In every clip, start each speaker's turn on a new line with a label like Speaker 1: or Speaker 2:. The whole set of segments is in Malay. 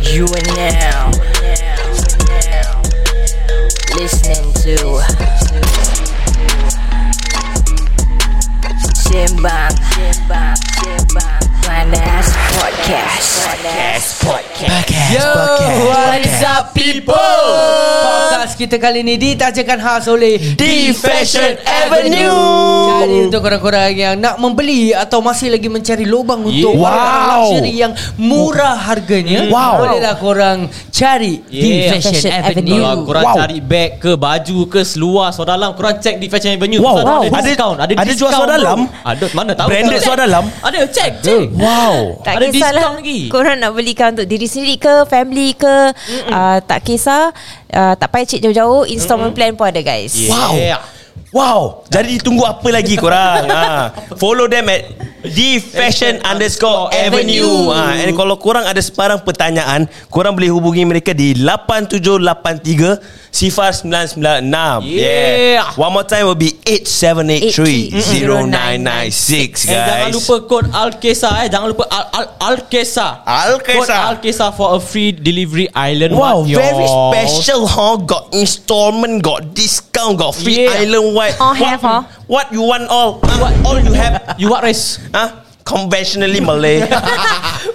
Speaker 1: You are now listening to Simbang Panas Podcast. Podcast.
Speaker 2: Podcast,
Speaker 3: Yo,
Speaker 2: podcast,
Speaker 3: what
Speaker 2: podcast.
Speaker 3: is up people? Podcast kita kali ni ditajakan khas oleh
Speaker 2: Di Fashion Avenue.
Speaker 3: Jadi untuk korang-korang yang nak membeli atau masih lagi mencari lubang untuk
Speaker 2: Yeah.
Speaker 3: barang-barang
Speaker 2: Wow. Hmm.
Speaker 3: luxury yang murah harganya,
Speaker 2: Wow.
Speaker 3: bolehlah korang cari
Speaker 4: Yeah.
Speaker 3: di Fashion,
Speaker 1: Fashion
Speaker 3: Avenue.
Speaker 1: Avenue.
Speaker 4: Kalau korang
Speaker 2: Wow.
Speaker 4: wow. cari bag ke baju ke seluar suara dalam korang check di Fashion Avenue.
Speaker 2: Wow.
Speaker 4: Pasal
Speaker 2: Wow.
Speaker 4: Ada
Speaker 2: Ada-
Speaker 4: diskaun, ada,
Speaker 2: ada jual
Speaker 4: diskaun,
Speaker 2: suara
Speaker 4: bro.
Speaker 2: dalam?
Speaker 4: Ada mana tahu.
Speaker 2: Branded
Speaker 4: Check.
Speaker 2: suara dalam?
Speaker 4: Ada check check.
Speaker 2: Hmm. Wow.
Speaker 5: Tak
Speaker 4: Ada
Speaker 5: kisahlah
Speaker 4: diskaun lagi.
Speaker 5: Korang nak belikan untuk diri sendiri ke Family ke uh, Tak kisah uh, Tak payah cek jauh-jauh Installment plan pun ada guys
Speaker 4: Yeah. Eh,
Speaker 2: Wow. Wow. Jadi tunggu apa lagi korang? ha. Follow them at The Fashion underscore Avenue. Ha. And kalau korang ada sebarang pertanyaan, korang boleh hubungi mereka di 8783 sifar 996.
Speaker 4: Yeah.
Speaker 2: One more time will be 8783-0996, guys.
Speaker 4: And jangan lupa kod Alkesa eh. Jangan lupa Al Al Alkesa.
Speaker 2: Alkesa.
Speaker 4: Kod Alkesa for a free delivery island.
Speaker 2: Wow,
Speaker 4: one,
Speaker 2: very
Speaker 4: y'all.
Speaker 2: special, huh? Got installment, got discount, got free
Speaker 4: Yeah.
Speaker 2: island wide.
Speaker 5: All have, huh?
Speaker 2: What you want all? Huh? all you have?
Speaker 4: You what race?
Speaker 2: Huh? Conventionally Malay.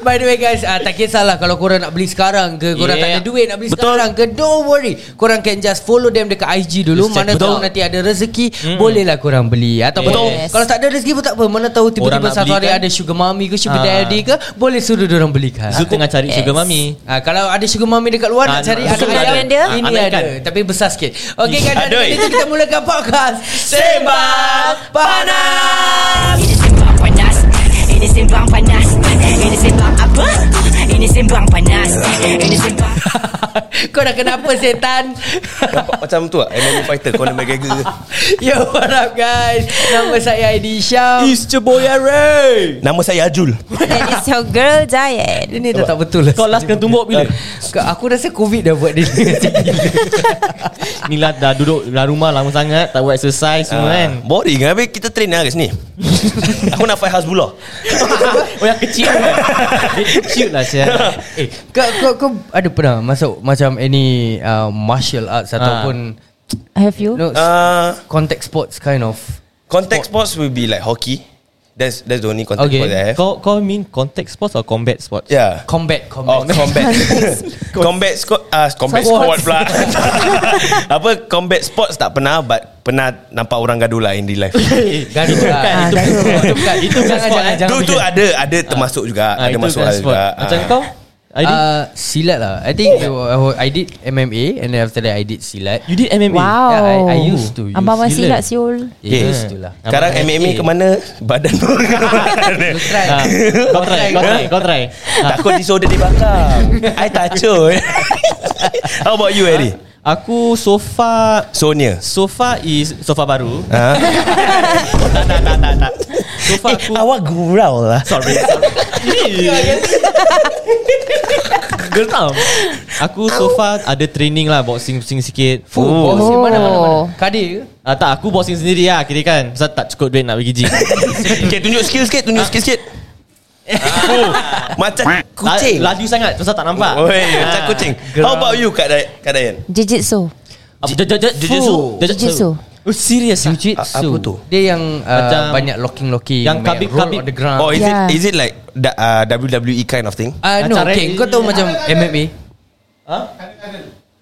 Speaker 3: By the way guys uh, Tak kisahlah Kalau korang nak beli sekarang ke Korang yeah. tak
Speaker 4: Yeah.
Speaker 3: ada duit Nak beli
Speaker 2: Betul.
Speaker 3: Betul. sekarang ke Don't worry Korang can just follow them Dekat IG dulu
Speaker 4: Just check.
Speaker 3: Mana
Speaker 4: Betul.
Speaker 3: tahu nanti ada rezeki mm. Bolehlah korang beli Ataupun
Speaker 4: Betul.
Speaker 3: yes. Kalau tak ada rezeki pun tak apa Mana tahu tiba-tiba
Speaker 4: Orang nak
Speaker 3: satu hari
Speaker 4: belikan.
Speaker 3: Ada sugar mami ke Sugar
Speaker 4: Ah.
Speaker 3: daddy ke Boleh suruh dorang belikan
Speaker 4: Aku tengah cari sugar mami.
Speaker 3: Ah, kalau ada sugar mami dekat luar
Speaker 4: Ah,
Speaker 3: nak cari anak
Speaker 4: sugar
Speaker 5: mami
Speaker 3: ayam
Speaker 5: ada?
Speaker 3: ini
Speaker 4: Ah, anak
Speaker 3: ada
Speaker 4: ikan.
Speaker 3: tapi besar sikit. Okey kan
Speaker 2: Adoi.
Speaker 3: nanti kita mulakan podcast Sembang Panas.
Speaker 1: Ini Simbang Panas. Ini Simbang Panas. Ini Simbang apa? Ini Simbang Panas. Ini Simbang
Speaker 3: Kau dah kenapa setan?
Speaker 2: Nampak macam tu lah MMA fighter Conor McGregor
Speaker 3: Yo, what up guys? Nama saya Aidy Syam.
Speaker 4: It's your boy Ray.
Speaker 2: Nama saya Ajul
Speaker 5: And it's your girl Giant
Speaker 3: Ini dah tak betul lah.
Speaker 4: Kau last kena tumbuk bila?
Speaker 3: Kau- Aku rasa COVID dah buat dia.
Speaker 4: Ni lah dah duduk dalam rumah lama sangat tak buat exercise semua kan.
Speaker 2: Ah, Boring kan Habis kita train lah kat sini Aku nak fight Hasbullah
Speaker 4: Oh yang kecil kan? Dia kecil lah Syah Eh
Speaker 3: kau, kau, kau ada pernah masuk macam any uh, martial arts
Speaker 4: Ah.
Speaker 3: ataupun
Speaker 5: Have you?
Speaker 3: no
Speaker 2: uh,
Speaker 3: contact sports kind of?
Speaker 2: Contact sports will be like hockey That's that's the only contact
Speaker 3: Okay.
Speaker 2: sports I have
Speaker 4: Kau kau mean contact sports or combat sports?
Speaker 2: Yeah
Speaker 3: Combat,
Speaker 2: Oh
Speaker 3: combat.
Speaker 2: combat Combat squad uh, Combat squad
Speaker 3: Squad.
Speaker 2: pula Apa Combat sports tak pernah But pernah Nampak orang gaduh lah In real life
Speaker 3: Gaduh lah.
Speaker 4: Kan, itu,
Speaker 3: Gaduh.
Speaker 4: bukan, itu bukan Itu bukan
Speaker 3: Jangan,
Speaker 4: sport
Speaker 3: jangan,
Speaker 4: eh.
Speaker 3: jangan.
Speaker 2: Tu tu
Speaker 3: fikir.
Speaker 2: ada Ada termasuk juga
Speaker 4: Ah,
Speaker 2: Ada
Speaker 4: itu
Speaker 2: masuk
Speaker 3: kan
Speaker 4: bukan
Speaker 2: hal
Speaker 4: sport.
Speaker 2: juga
Speaker 4: Macam
Speaker 2: Ah.
Speaker 4: kau? Aidi?
Speaker 3: Uh, silat lah. I think I- I did MMA and then after that I did silat.
Speaker 4: you did MMA?
Speaker 5: Wow
Speaker 3: Yeah, I- I used to use
Speaker 5: Abang masih
Speaker 4: silat.
Speaker 5: silap siul
Speaker 3: Yeah.
Speaker 2: Okay.
Speaker 3: Yes, Eh, itulah.
Speaker 2: Sekarang
Speaker 4: Abang
Speaker 2: MMA
Speaker 4: MMA.
Speaker 2: ke mana Badan
Speaker 3: You try.
Speaker 4: Ah, kau try, kau try, kau try. Ah,
Speaker 2: Takut disorder dibakar I takut How about you Harry?
Speaker 4: Aku so far
Speaker 2: Sonia
Speaker 4: So far is So far baru
Speaker 2: ha?
Speaker 4: Tak tak tak tak, tak So far aku
Speaker 2: Eh, gurau lah
Speaker 4: Sorry sorry. Girl tau Aku so far ada training lah Boxing-boxing sikit
Speaker 3: Fu, boxing Oh, mana mana mana.
Speaker 5: Oh.
Speaker 3: Kadir ke?
Speaker 4: Ah, tak aku boxing sendiri lah Kira kan Pasal tak cukup duit nak pergi gym
Speaker 2: Okay tunjuk skill sikit Tunjuk skill sikit oh, Macam kucing
Speaker 4: La, Laju sangat Pasal tak nampak
Speaker 2: Oi, Macam kucing How about you Kak, Day- Kak Dayan?
Speaker 5: Jiu-jitsu
Speaker 4: Ah, Jujutsu
Speaker 5: Jujutsu.
Speaker 4: Oh serious ah?
Speaker 3: Jiu-jitsu.
Speaker 2: apa tu?
Speaker 3: Dia yang uh,
Speaker 4: Macam-
Speaker 3: banyak locking-locking.
Speaker 4: Yang
Speaker 3: banyak
Speaker 4: kabib-
Speaker 3: roll
Speaker 4: kabib.
Speaker 3: on the ground.
Speaker 2: Oh is
Speaker 5: Yeah.
Speaker 2: it Is it like da- uh, WWE kind of thing?
Speaker 3: Ah uh, no,
Speaker 4: Acara-
Speaker 3: okay. Kau tahu macam MMA?
Speaker 4: Ha?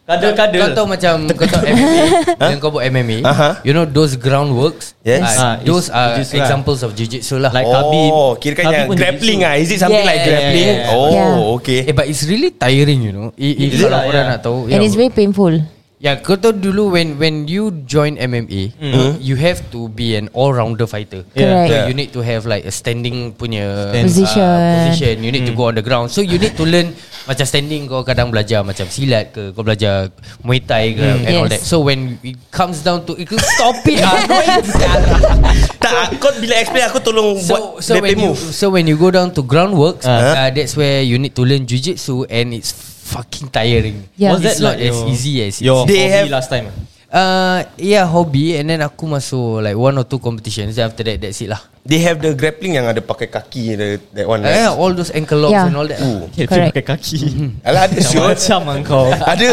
Speaker 4: Kadal-kadal
Speaker 3: Kau tahu macam kau tahu MMA yang kau buat MMA.
Speaker 2: Aha.
Speaker 3: You know those ground works?
Speaker 2: Yes.
Speaker 3: Ah,
Speaker 4: Ah,
Speaker 3: those
Speaker 4: it's
Speaker 3: are
Speaker 4: jujitsu lah.
Speaker 3: examples of jiu-jitsu lah.
Speaker 4: Like- Khabib.
Speaker 2: Oh kira kan
Speaker 4: Khabib
Speaker 2: yang
Speaker 4: pun
Speaker 2: grappling
Speaker 4: jiu-jitsu.
Speaker 2: ah. Is it something
Speaker 5: Yeah,
Speaker 2: like
Speaker 5: yeah,
Speaker 2: grappling?
Speaker 4: yeah.
Speaker 2: Oh
Speaker 5: Yeah.
Speaker 2: okay
Speaker 3: Eh, but it's really tiring, you know. If,
Speaker 4: Is
Speaker 3: if kalau
Speaker 4: it lah,
Speaker 3: orang
Speaker 4: yeah.
Speaker 3: nak tahu.
Speaker 5: And it's very painful
Speaker 3: Ya, kau tahu dulu when when you join MMA,
Speaker 4: Mm-hmm.
Speaker 3: you have to be an all-rounder fighter.
Speaker 5: Correct.
Speaker 3: So
Speaker 2: Yeah.
Speaker 3: you need to have like a standing punya
Speaker 4: Stand. Mm.
Speaker 5: Position.
Speaker 3: uh, position. You need to go on the ground. So you need to learn macam standing kau kadang belajar macam silat ke, kau belajar Muay Thai ke and all
Speaker 5: Mm.
Speaker 3: that.
Speaker 5: Yes.
Speaker 3: So when it comes down to it, stop it. ah, annoying sial.
Speaker 2: Tak kau bila explain Aku tolong
Speaker 3: So
Speaker 2: buat
Speaker 3: so
Speaker 2: DP
Speaker 3: when you
Speaker 2: move
Speaker 3: so when you go down to groundworks, uh,
Speaker 4: Ah.
Speaker 3: that's where you need to learn jujitsu and it's fucking tiring.
Speaker 5: Yeah.
Speaker 3: It's not as
Speaker 4: your-
Speaker 3: easy as it
Speaker 4: Your
Speaker 2: They
Speaker 4: hobby
Speaker 2: have-
Speaker 4: last time
Speaker 3: Uh, yeah, hobby and then aku masuk like one or two competitions. Then after that, that's it lah.
Speaker 2: They have the grappling yang ada pakai kaki the, that one. Right?
Speaker 3: Yeah, Eh, all those ankle locks
Speaker 5: Yeah.
Speaker 3: and all that.
Speaker 2: Ooh.
Speaker 4: Kira
Speaker 5: Correct.
Speaker 4: pakai kaki
Speaker 2: Alah ada
Speaker 4: Macam
Speaker 2: sure.
Speaker 4: Macam engkau
Speaker 2: Ada.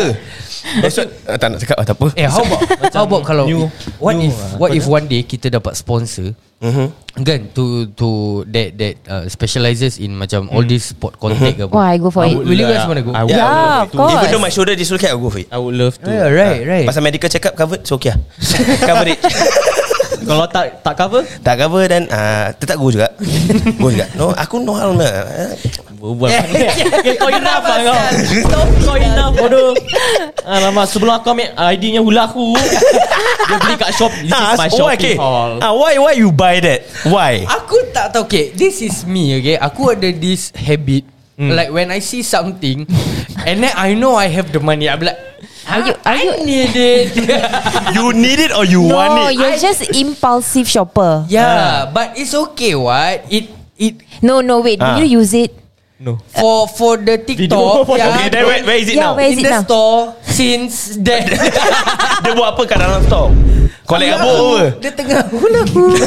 Speaker 2: Maksud ah, tak nak cakap ah, tak apa.
Speaker 3: Eh how about how about kalau
Speaker 4: new-
Speaker 3: what
Speaker 4: new
Speaker 3: if
Speaker 4: lah.
Speaker 3: what if one day kita dapat sponsor
Speaker 2: Mhm.
Speaker 3: mm-hmm. kan to to that that uh, specializes in macam all this sport contact mm-hmm. apa.
Speaker 5: Why I go for
Speaker 4: Hmm. I
Speaker 5: it?
Speaker 4: would
Speaker 3: Will you
Speaker 4: lah.
Speaker 3: guys wanna go?
Speaker 4: I would
Speaker 5: Yeah,
Speaker 4: love
Speaker 5: of
Speaker 4: to.
Speaker 5: course.
Speaker 2: Ya. Even though my shoulder dislocate I will go for it.
Speaker 4: I would love to
Speaker 3: Yeah, right,
Speaker 4: lah.
Speaker 3: right.
Speaker 2: Pasal medical check up covered So okay lah Coverage
Speaker 4: Ah, Kalau tak tak cover
Speaker 2: Tak cover dan uh, Tetap go juga Go juga No Aku no hal punya. Eh,
Speaker 4: Berbual okay,
Speaker 3: Oh,
Speaker 4: Kau enough lah kau Kau enough bodoh Alamak sebelum aku ambil ID-nya hula aku Dia beli kat shop This is
Speaker 2: Ah,
Speaker 4: my
Speaker 2: oh, okay.
Speaker 4: shopping haul
Speaker 2: Ah, why why you buy that? Why?
Speaker 3: Aku tak tahu okay. This is me okay. Aku ada this habit mm. like when I see something and then I know I have the money. I'm like "Ah,
Speaker 5: Are you- are
Speaker 3: I
Speaker 5: you-
Speaker 3: need it.
Speaker 2: You need it or you
Speaker 5: No,
Speaker 2: want it?
Speaker 5: you're just impulsive shopper.
Speaker 3: yeah, but it's okay what? It it
Speaker 5: No, no, wait.
Speaker 2: Ah.
Speaker 5: Do you use it?
Speaker 4: No
Speaker 3: for for the TikTok.
Speaker 4: Video.
Speaker 2: Okay, then where, where is it
Speaker 5: Yeah,
Speaker 2: now?
Speaker 5: where- is
Speaker 3: in
Speaker 5: it
Speaker 3: the
Speaker 5: now?
Speaker 3: store since then.
Speaker 2: Dia buat apa kat dalam store? Collect
Speaker 3: Hula
Speaker 2: apa
Speaker 3: hoop.
Speaker 2: over?
Speaker 3: Dia tengah hula hoop.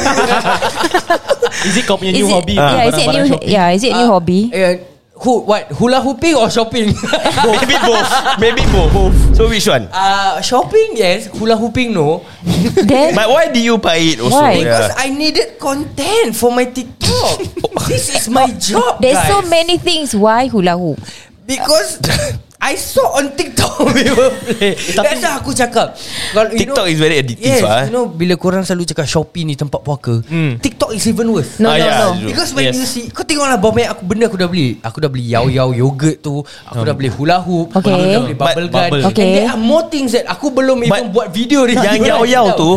Speaker 4: Is it kau punya
Speaker 5: Is
Speaker 4: new
Speaker 5: it,
Speaker 4: hobby Ah,
Speaker 5: Yeah,
Speaker 2: Ah.
Speaker 5: is it
Speaker 4: Barang-barang
Speaker 5: new?
Speaker 4: shopping?
Speaker 5: Yeah, is it new
Speaker 3: Ah,
Speaker 5: hobby?
Speaker 3: eh, Who what hula hooping or shopping?
Speaker 2: Maybe both. Maybe both. both. So which one?
Speaker 3: uh, shopping yes, hula hooping no.
Speaker 5: Then
Speaker 2: But why do you buy it also?
Speaker 5: Why?
Speaker 2: Yeah.
Speaker 3: Because I needed content for my TikTok. this is my job.
Speaker 5: there's
Speaker 3: guys.
Speaker 5: so many things. Why hula hoop?
Speaker 3: because I saw on TikTok people play. That's why aku cakap. Kalau you
Speaker 2: TikTok is very addictive,
Speaker 3: Yes,
Speaker 2: ah. Hmm.
Speaker 3: you know bila korang selalu cakap Shopee ni tempat puaka. TikTok is even worse.
Speaker 5: No,
Speaker 2: Ah,
Speaker 5: no,
Speaker 2: yeah,
Speaker 5: no.
Speaker 2: true.
Speaker 3: Because when yes.
Speaker 4: Yes.
Speaker 3: you see Kau tengok lah Berapa banyak aku, benda aku dah beli Aku dah beli yao-yao yogurt tu Aku
Speaker 2: Hmm.
Speaker 3: dah beli hula hoop
Speaker 5: Okay.
Speaker 3: Aku dah beli bubble
Speaker 4: But-
Speaker 3: gun
Speaker 4: bubble.
Speaker 5: Okay.
Speaker 3: And there are more things That aku belum
Speaker 2: But
Speaker 3: even buat video ni
Speaker 2: Yang yau-yau tu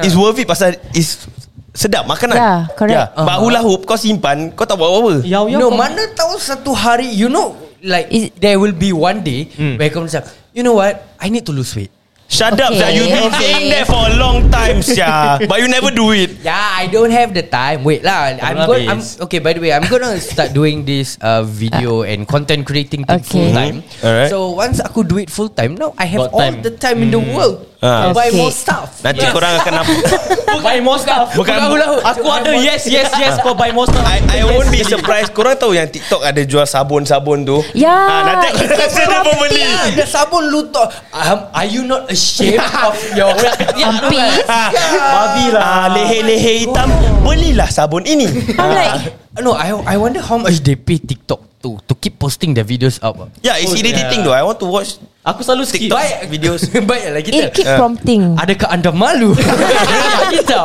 Speaker 2: Is worth it Pasal is Sedap makanan
Speaker 5: Yeah, correct.
Speaker 2: uh-huh. But hula hoop Kau simpan Kau tak buat apa-apa
Speaker 4: Yau yau
Speaker 3: No mana tahu satu hari You know Like
Speaker 5: Is-
Speaker 3: There will be one day
Speaker 4: Hmm.
Speaker 3: Where kau macam You know what I need to lose weight
Speaker 2: Shut up
Speaker 5: Okay,
Speaker 2: Zah You been
Speaker 5: okay.
Speaker 2: saying that for a long time Sia But you never do it
Speaker 3: Yeah, Ya, I don't have the time. Wait lah, I'm
Speaker 4: Dah
Speaker 3: going. I'm,
Speaker 4: habis.
Speaker 3: okay, by the way, I'm gonna start doing this uh, video and content creating thing
Speaker 5: Okay.
Speaker 3: full time.
Speaker 2: Mhm. Alright.
Speaker 3: So once aku do it full time, now I have
Speaker 4: Got
Speaker 3: all
Speaker 4: Mm-hmm. time. Mm.
Speaker 3: the time in the world
Speaker 2: Ah.
Speaker 3: to buy
Speaker 5: Okay.
Speaker 3: more stuff.
Speaker 2: Nanti korang akan nampak
Speaker 4: Buy more stuff
Speaker 2: Bukan-
Speaker 4: Aku ada yes yes yes Kau buy more stuff
Speaker 2: I, I won't be surprised Korang tahu yang TikTok Ada jual sabun-sabun tu
Speaker 5: Yeah,
Speaker 2: Ah, Nanti aku
Speaker 5: it's
Speaker 2: rasa dia pun beli
Speaker 3: Yeah, the sabun lutok. Um, are you not ashamed of your
Speaker 5: Armpits?
Speaker 2: Ah, Babi lah ah, Leher-leher hitam Belilah sabun ini
Speaker 5: I'm like,
Speaker 3: No, I I wonder how much they pay TikTok to to keep posting their videos up. ah.
Speaker 2: Yeah it's
Speaker 4: Oh,
Speaker 2: irritating
Speaker 4: yeah.
Speaker 2: though I want to watch
Speaker 4: Aku selalu skip
Speaker 2: TikTok
Speaker 3: Baik.
Speaker 2: videos
Speaker 3: Baiklah lagi
Speaker 5: it Eh, keep
Speaker 2: Eh.
Speaker 5: prompting.
Speaker 3: Adakah anda malu? Kita.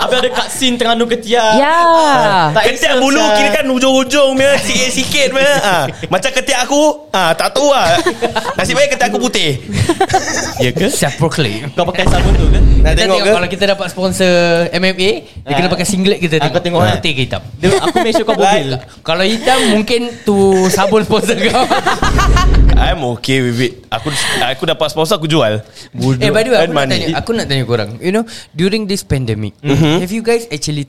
Speaker 4: Habis ada kat scene tengah nu ketiak Ya.
Speaker 5: Ya. Yeah.
Speaker 4: Tak
Speaker 2: Ketiak
Speaker 4: handsome,
Speaker 2: bulu
Speaker 5: ah.
Speaker 4: Zah.
Speaker 2: kira kan ujung-ujung punya Sikit-sikit punya ha. Macam ketiak aku ha, Tak tahu lah Nasib baik ketiak aku putih
Speaker 4: Ya ke?
Speaker 3: Self proclaim.
Speaker 4: Kau pakai sabun tu ke?
Speaker 2: Nak
Speaker 3: Kita
Speaker 2: tengok
Speaker 3: tengok,
Speaker 2: ke?
Speaker 3: kalau kita dapat sponsor MMA, dia
Speaker 4: Ah.
Speaker 3: kena pakai singlet kita
Speaker 4: Ah,
Speaker 3: tengok.
Speaker 4: kau tengok, eh?
Speaker 3: putih ke hitam.
Speaker 4: Dia, aku make sure kau bogil
Speaker 3: Kalau hitam mungkin tu sabun sponsor kau.
Speaker 2: I'm okay with it Aku aku dapat sponsor aku jual Bodoh.
Speaker 3: eh by the way aku
Speaker 2: Earn
Speaker 3: nak
Speaker 2: money.
Speaker 3: tanya, aku nak tanya korang. You know, during this pandemic, have you guys actually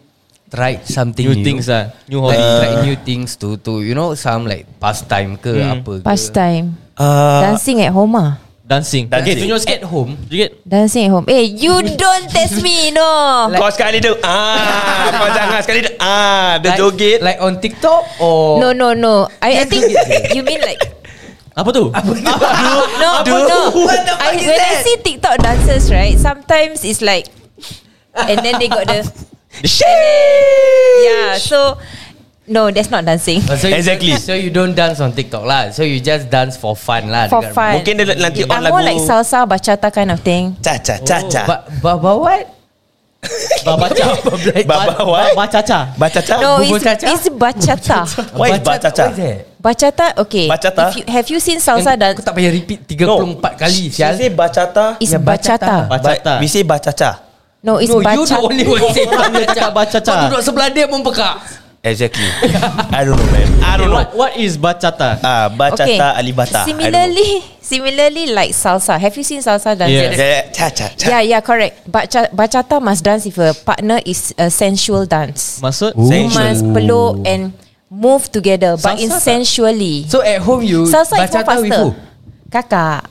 Speaker 3: tried something
Speaker 4: Mhm. New
Speaker 3: new?
Speaker 4: things ah. New
Speaker 3: Like
Speaker 4: hobby.
Speaker 3: try new things to to you know some like pastime ke
Speaker 4: Mm.
Speaker 3: apa ke.
Speaker 5: Pastime.
Speaker 2: Uh,
Speaker 5: Dancing at home ah.
Speaker 4: Dancing
Speaker 2: Dancing.
Speaker 4: Tunjuk sikit
Speaker 3: At home.
Speaker 4: Sikit
Speaker 5: Dancing at home. Eh, you don't test me, no.
Speaker 2: kau sekali dia ah, Kau jangan sekali dia ah, Dia
Speaker 3: Like-
Speaker 2: joget
Speaker 3: Like on TikTok or
Speaker 5: No, no, no. I, I think you mean like
Speaker 4: Apa tu? Apa tu?
Speaker 5: no,
Speaker 2: Apa
Speaker 5: no.
Speaker 2: tu? What the
Speaker 5: I, when I see TikTok dancers, right? Sometimes it's like, and then they got the yeah. So no, that's not dancing.
Speaker 3: Oh, so you-
Speaker 2: Exactly.
Speaker 3: so you don't dance on TikTok lah. So you just dance for fun lah.
Speaker 5: For
Speaker 3: dekat
Speaker 5: fun.
Speaker 2: Mungkin dia nanti on
Speaker 5: I'm more like
Speaker 2: lagu
Speaker 5: salsa, bachata kind of thing.
Speaker 2: Ca ca ca
Speaker 5: Oh,
Speaker 2: ca
Speaker 3: Ba ba ba what?
Speaker 4: Baba Caca
Speaker 2: Baba what?
Speaker 4: Baba Caca
Speaker 2: Baca ca
Speaker 5: No,
Speaker 3: Bubur
Speaker 5: it's,
Speaker 3: caca?
Speaker 5: it's bachata.
Speaker 2: Why is
Speaker 3: Bachata-
Speaker 2: bachata?
Speaker 3: what is that?
Speaker 5: Bachata, okay.
Speaker 2: Bachata?
Speaker 5: If you, have you seen salsa
Speaker 3: Yang
Speaker 5: dance?
Speaker 3: Aku tak payah repeat 34 kali
Speaker 2: She
Speaker 3: sial.
Speaker 2: say Ya, bachata
Speaker 5: It's
Speaker 3: Yeah,
Speaker 5: bachata.
Speaker 3: bachata.
Speaker 4: Bachata.
Speaker 2: But We say bachata
Speaker 5: No, it's
Speaker 3: no, you the only
Speaker 5: bachata.
Speaker 3: one say bacaca.
Speaker 4: bacaca.
Speaker 3: Kau duduk sebelah dia pun pekak.
Speaker 2: Exactly I don't know man I don't know
Speaker 4: What, what is bachata?
Speaker 2: Ah, bachata alibata I don't know.
Speaker 5: Similarly, similarly like salsa. Have you seen salsa dance?
Speaker 4: Yeah.
Speaker 2: Yeah, Ca ca ca
Speaker 5: Yeah, yeah, correct. Bacha, bachata must dance if a partner is a sensual dance.
Speaker 4: Maksud?
Speaker 5: You must peluk and move together, but
Speaker 4: Salsa
Speaker 5: in
Speaker 4: tak?
Speaker 5: sensually.
Speaker 3: So at home you
Speaker 5: salsa is more
Speaker 3: bachata with
Speaker 5: faster.
Speaker 3: who?
Speaker 5: Kakak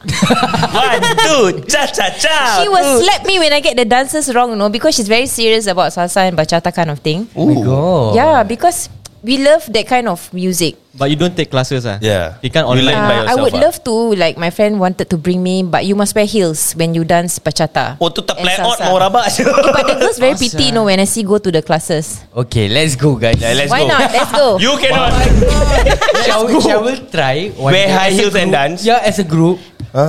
Speaker 2: One, two, cha cha cha.
Speaker 3: Ah,
Speaker 5: She will slap me when I get the dances wrong, you know, because she's very serious about salsa and bachata kind of thing.
Speaker 3: Oh my god.
Speaker 5: Yeah, because we love that kind of music.
Speaker 4: But you don't take classes ah?
Speaker 2: Yeah.
Speaker 4: You can't
Speaker 2: You
Speaker 4: online.
Speaker 2: like- by
Speaker 5: Uh, I
Speaker 2: yourself,
Speaker 5: would
Speaker 2: ah?
Speaker 5: love to, like my friend wanted to bring me, but you must wear heels when you dance bachata.
Speaker 2: Oh tu tak
Speaker 5: and
Speaker 2: plan out
Speaker 5: salsa.
Speaker 2: mau rabak je.
Speaker 5: But the girls very
Speaker 3: Awesome.
Speaker 5: pity, you know, when I see go to the classes.
Speaker 3: Okay, let's go guys.
Speaker 2: Yeah, let's
Speaker 5: Why
Speaker 2: go.
Speaker 5: not? Let's go.
Speaker 2: You cannot.
Speaker 3: shall, we, shall we try? one
Speaker 2: Wear
Speaker 3: day
Speaker 2: high
Speaker 3: as a
Speaker 2: heels and
Speaker 3: group?
Speaker 2: dance?
Speaker 3: Yeah, as a group.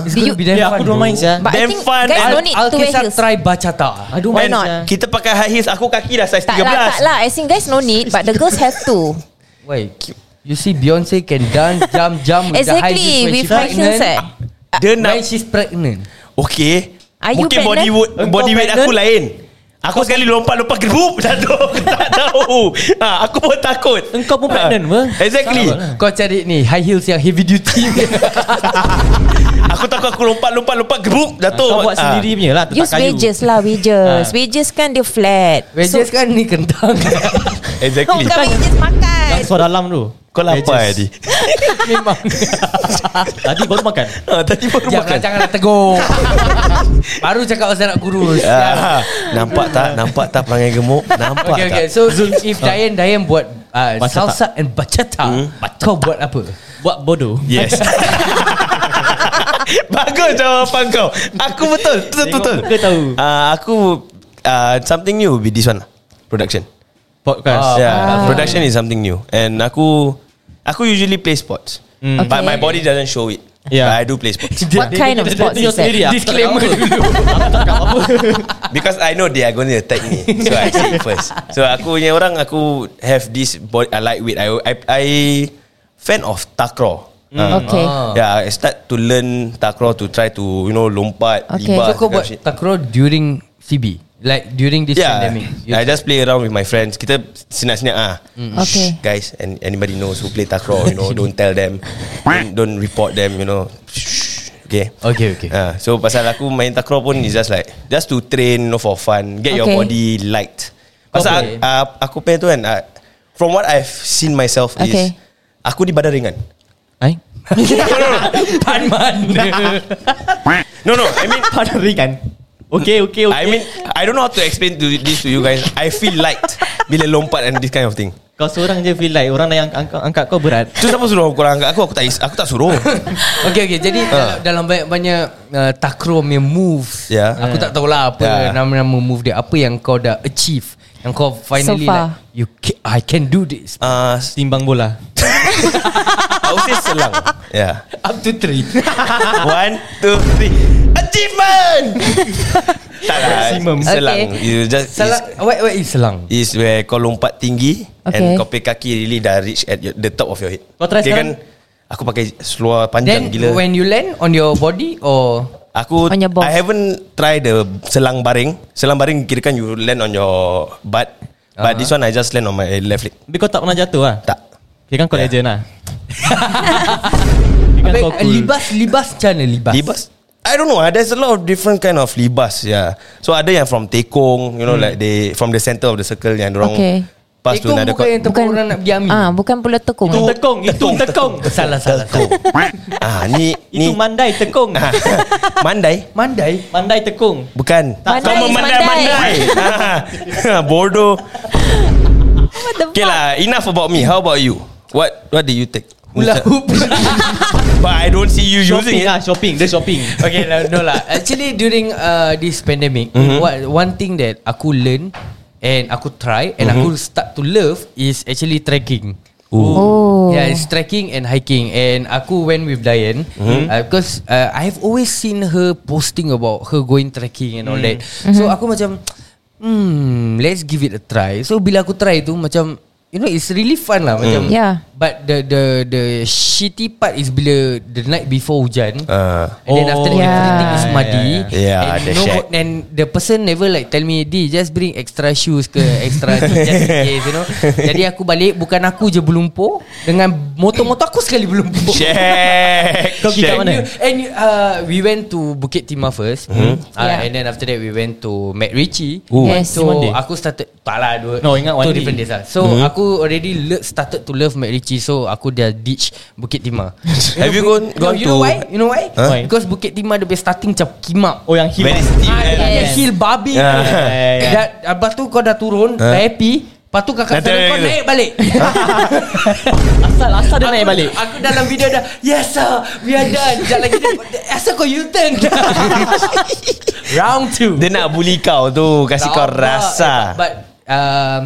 Speaker 3: It's
Speaker 5: Do
Speaker 3: going
Speaker 5: you-
Speaker 3: to be damn
Speaker 4: Yeah,
Speaker 3: fun.
Speaker 4: aku don't
Speaker 3: bro.
Speaker 4: mind sia.
Speaker 5: But I
Speaker 2: Damn
Speaker 5: think
Speaker 2: fun.
Speaker 5: guys
Speaker 2: I'll-
Speaker 5: don't need
Speaker 3: I'll
Speaker 5: to wear
Speaker 3: kisah
Speaker 5: heels.
Speaker 3: try bachata. I don't
Speaker 5: Why
Speaker 3: mind.
Speaker 5: not?
Speaker 3: sia.
Speaker 2: Kita pakai high heels Aku kaki dah size
Speaker 5: Tak lah, tak
Speaker 2: 13
Speaker 5: lah. I think guys no need, but the girls have to.
Speaker 3: Wait. You see Beyonce can dance jump jump with the high heels
Speaker 5: exactly,
Speaker 3: when
Speaker 5: with
Speaker 3: she's
Speaker 5: high heels. Eh.
Speaker 3: pregnant.
Speaker 2: Dia
Speaker 3: When
Speaker 2: nak
Speaker 3: she's pregnant.
Speaker 2: Okay
Speaker 5: Are you
Speaker 2: Mungkin body
Speaker 5: pregnant?
Speaker 2: weight,
Speaker 3: Engkau
Speaker 2: body weight aku
Speaker 3: pregnant?
Speaker 2: lain Aku sekali lompat-lompat Gerbuk Jatuh Aku Tak tahu ha, Aku pun takut
Speaker 4: Engkau pun
Speaker 2: Ha,
Speaker 4: pregnant apa?
Speaker 2: Exactly
Speaker 3: Kau cari ni high heels yang heavy duty.
Speaker 2: Aku takut aku lompat-lompat-lompat Gerbuk Jatuh
Speaker 4: lah. Ah, Kau buat
Speaker 2: Ha.
Speaker 4: sendiri punya lah Tetap
Speaker 5: Use
Speaker 4: kayu
Speaker 5: wedges lah,
Speaker 2: Ah.
Speaker 5: wedges. Wedges kan dia flat.
Speaker 3: Wedges kan ni kentang.
Speaker 5: Kau
Speaker 2: Exactly
Speaker 5: bukan wedges makan.
Speaker 4: Langsung dalam tu
Speaker 2: Kau lapar Adi
Speaker 3: Memang.
Speaker 4: Tadi baru makan
Speaker 2: ha, Tadi baru
Speaker 3: Jangan
Speaker 2: makan
Speaker 3: janganlah tegur. Baru cakap pasal nak kurus.
Speaker 2: Ah, nampak tak Nampak tak perangai gemuk Nampak
Speaker 3: Okay, okay.
Speaker 2: tak
Speaker 3: So if Dayan Dayan buat uh,
Speaker 4: Bachata.
Speaker 3: salsa and bachata,
Speaker 2: Hmm.
Speaker 3: kau buat apa?
Speaker 4: Buat bodoh
Speaker 2: Yes Bagus jawapan kau Aku betul Betul
Speaker 4: Tengok
Speaker 2: betul
Speaker 4: muka tahu.
Speaker 2: Ah, Aku ah, Something new will be this one lah. Production
Speaker 4: Podcast
Speaker 2: Yeah Production is something new And aku Aku usually play sports
Speaker 5: Okay.
Speaker 2: But my body doesn't show it
Speaker 4: Hmm. Yeah.
Speaker 2: But I do play sports
Speaker 5: What kind of sports is that?
Speaker 4: Disclaimer dulu
Speaker 2: Because I know they are going to attack me So I say it first So aku punya orang Aku have this body, I lightweight I, I, I Fan of takraw Ah.
Speaker 5: Hmm. Okay.
Speaker 3: Ah.
Speaker 2: Yeah, I start to learn takraw to try to you know lompat,
Speaker 5: Okay.
Speaker 2: libat.
Speaker 3: So kau
Speaker 2: that kind of
Speaker 3: buat
Speaker 2: shit.
Speaker 3: takraw during CB, like during this
Speaker 2: Yeah,
Speaker 3: pandemic. You-
Speaker 2: I just play around with my friends. Kita senak-senak ah.
Speaker 5: Mm. Okay.
Speaker 2: Shh, guys, and anybody knows who play takraw, you know, don't tell them, don't, don't report them, you know. Shh, okay.
Speaker 3: Okay, okay.
Speaker 2: Ah, so pasal aku main takraw pun is just like just to train, you know, for fun, get your
Speaker 5: Okay.
Speaker 2: body light. Pasal
Speaker 3: Okay.
Speaker 2: ah, aku play tu kan, ah, from what I've seen myself is
Speaker 5: Okay.
Speaker 2: aku di badan ringan.
Speaker 4: Hai
Speaker 3: Pan mana?
Speaker 2: No no, I mean
Speaker 4: Pada ringan Okay okay okay
Speaker 2: Ah. I mean I don't know how to explain to this to you guys. I feel light bila lompat and this kind of thing.
Speaker 4: Kau seorang je feel like Orang yang angkat, angkat kau berat
Speaker 2: Tu siapa suruh kau angkat aku aku tak is- aku tak suruh.
Speaker 3: okay, okay. Jadi dalam, dalam banyak-banyak uh, takraw punya moves,
Speaker 2: Ah. Yeah.
Speaker 3: aku tak tahulah apa
Speaker 2: Yeah.
Speaker 3: nama-nama move dia. Apa yang kau dah achieve? Yang kau finally
Speaker 5: So far.
Speaker 3: like, you ca- I can do this.
Speaker 2: Ah, uh,
Speaker 4: Timbang bola
Speaker 2: I would say selang. Yeah.
Speaker 3: Up to three.
Speaker 2: One, two, three. Achievement. tak lah.
Speaker 4: Maximum.
Speaker 2: Selang.
Speaker 5: Okay.
Speaker 2: You just
Speaker 3: selang. What, what is selang?
Speaker 2: is, is where kau lompat tinggi okay. and
Speaker 5: Okay.
Speaker 2: kau pakai kaki really dah reach at your, the top of your head.
Speaker 4: Kau try
Speaker 2: kan
Speaker 4: sekarang?
Speaker 2: aku pakai seluar panjang
Speaker 3: Then
Speaker 2: gila.
Speaker 3: when you land on your body or
Speaker 2: Aku
Speaker 5: On your
Speaker 2: I
Speaker 5: balls.
Speaker 2: haven't try the selang baring. Selang baring kirakan you land on your butt. But uh-huh. this one I just land on my left leg.
Speaker 4: Tapi kau tak pernah jatuh lah
Speaker 2: Tak.
Speaker 4: Kira kan kau
Speaker 2: Ya.
Speaker 4: legend lah Kira kan kau
Speaker 3: Baik,
Speaker 4: cool
Speaker 3: libas libas macam mana libas?
Speaker 2: Libas. I don't know. ah. There's a lot of different kind of libas. Yeah. So ada yang from tekong, you know, hmm. like they from the center of the circle yang orang
Speaker 5: Okay.
Speaker 2: pass
Speaker 3: Itu
Speaker 2: to another.
Speaker 3: bukan
Speaker 2: court.
Speaker 3: yang tempat orang nak pergi ambil.
Speaker 5: Ah, bukan pula tekung.
Speaker 4: Itu tekong Itu tekong
Speaker 3: Salah salah. salah.
Speaker 2: ah ni ni
Speaker 4: Itu mandai tekong
Speaker 2: Ah, mandai.
Speaker 3: Mandai.
Speaker 4: Mandai tekong
Speaker 2: Bukan.
Speaker 5: Mandai
Speaker 2: Kau
Speaker 5: is
Speaker 2: memandai-mandai. Ah, Bodoh.
Speaker 5: What the
Speaker 2: Okay lah. Enough about me. How about you? What What do you take?
Speaker 3: Hula hoop.
Speaker 2: But I don't see you
Speaker 4: Shopping
Speaker 2: using it.
Speaker 4: lah Shopping Dia shopping
Speaker 3: okay, no, no lah. Actually during uh, this pandemic, mm-hmm. what one thing that aku learn and aku try and mm-hmm. aku start to love is actually trekking.
Speaker 5: Oh.
Speaker 3: Yeah, it's trekking and hiking and aku went with Diane mm-hmm. uh, because uh, I have always seen her posting about her going trekking and all that.
Speaker 5: Mhm.
Speaker 3: So aku macam hmm let's give it a try. So bila aku try tu macam you know it's really fun lah macam
Speaker 5: Mm. Yeah.
Speaker 3: but the the the shitty part is bila the night before hujan
Speaker 2: Ah.
Speaker 3: And then after that
Speaker 5: Oh, yeah.
Speaker 3: everything is muddy
Speaker 4: Yeah,
Speaker 2: yeah, yeah. Yeah,
Speaker 3: and,
Speaker 2: the
Speaker 3: no,
Speaker 2: shack.
Speaker 3: and the person never like tell me Di just bring extra shoes ke Extra ni just in case you know Jadi aku balik Bukan aku je berlumpur Dengan motor-motor aku sekali berlumpur
Speaker 2: Check.
Speaker 4: Kau pergi
Speaker 2: Check.
Speaker 4: kat mana?
Speaker 3: And you, uh, we went to Bukit Timah first
Speaker 2: Hmm.
Speaker 3: mm. uh,
Speaker 5: Yeah.
Speaker 3: yeah. And then after that we went to Mac Ritchie
Speaker 5: Ooh. Yes.
Speaker 3: So
Speaker 4: One day?
Speaker 3: aku started Tak lah dua,
Speaker 4: No, ingat one
Speaker 3: Two
Speaker 2: Hmm.
Speaker 4: day.
Speaker 3: different days lah So mm. aku already le- started to love Mac kecil So aku dah ditch Bukit Timah
Speaker 2: Have you gone,
Speaker 3: no,
Speaker 2: gone
Speaker 3: You
Speaker 2: to
Speaker 3: know why? You know why?
Speaker 2: Huh?
Speaker 4: Why?
Speaker 3: Because Bukit Timah Dia punya starting macam kimak
Speaker 4: Oh yang hilang
Speaker 2: Very steep
Speaker 3: Ah,
Speaker 2: kan?
Speaker 3: dia punya
Speaker 5: Yes.
Speaker 3: hill babi
Speaker 2: Ah.
Speaker 3: yeah.
Speaker 4: Yeah.
Speaker 3: Dan Lepas tu kau dah turun
Speaker 2: Ah.
Speaker 3: Dah happy Lepas tu kakak
Speaker 2: Nanti-
Speaker 3: saudara kau naik balik
Speaker 4: Asal asal dia naik
Speaker 3: Aku-
Speaker 4: balik
Speaker 3: Aku dalam video dah Yes sir We are done Sekejap lagi dia Asal kau U-turn Round 2
Speaker 2: Dia nak bully kau tu Kasih kau rasa
Speaker 3: But um,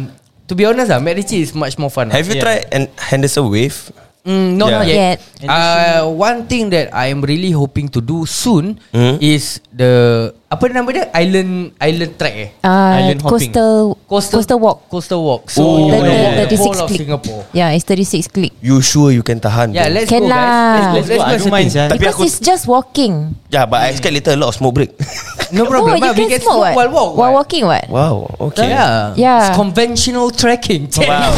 Speaker 3: To be honest lah Mac Ritchie is much more fun lah.
Speaker 2: Have you
Speaker 4: Yeah.
Speaker 2: tried an Henderson wave?
Speaker 3: Mm, no,
Speaker 2: Yeah.
Speaker 3: not
Speaker 5: Yet.
Speaker 3: yet. Uh, one thing that I am really hoping to do soon
Speaker 2: Hmm.
Speaker 3: is the apa nama dia island island track eh.
Speaker 5: Uh,
Speaker 4: Island hopping.
Speaker 5: coastal, coastal Coastal walk
Speaker 3: Coastal walk. So
Speaker 2: Oh,
Speaker 3: you
Speaker 5: the,
Speaker 3: will
Speaker 5: the,
Speaker 3: walk the
Speaker 5: 36
Speaker 3: whole of
Speaker 5: click
Speaker 3: Singapore.
Speaker 5: Yeah it's 36 click
Speaker 2: You sure you can tahan?
Speaker 3: Yeah,
Speaker 2: bro?
Speaker 3: let's go
Speaker 5: Can
Speaker 3: guys.
Speaker 5: lah.
Speaker 3: Let's, let's,
Speaker 4: Let's go, I
Speaker 3: let's
Speaker 4: don't
Speaker 3: go.
Speaker 4: mind,
Speaker 3: Shanti.
Speaker 2: Tapi
Speaker 5: Because
Speaker 2: aku-
Speaker 5: it's just walking
Speaker 2: yeah, but I expect later a lot of smoke break.
Speaker 3: No problem.
Speaker 5: No
Speaker 3: but
Speaker 5: Oh, you
Speaker 3: we
Speaker 5: can smoke what?
Speaker 3: while walk.
Speaker 5: While
Speaker 3: what?
Speaker 5: walking what
Speaker 2: wow, okay.
Speaker 3: Oh, Yeah.
Speaker 5: Yeah.
Speaker 3: It's conventional trekking.
Speaker 2: Oh, Wow.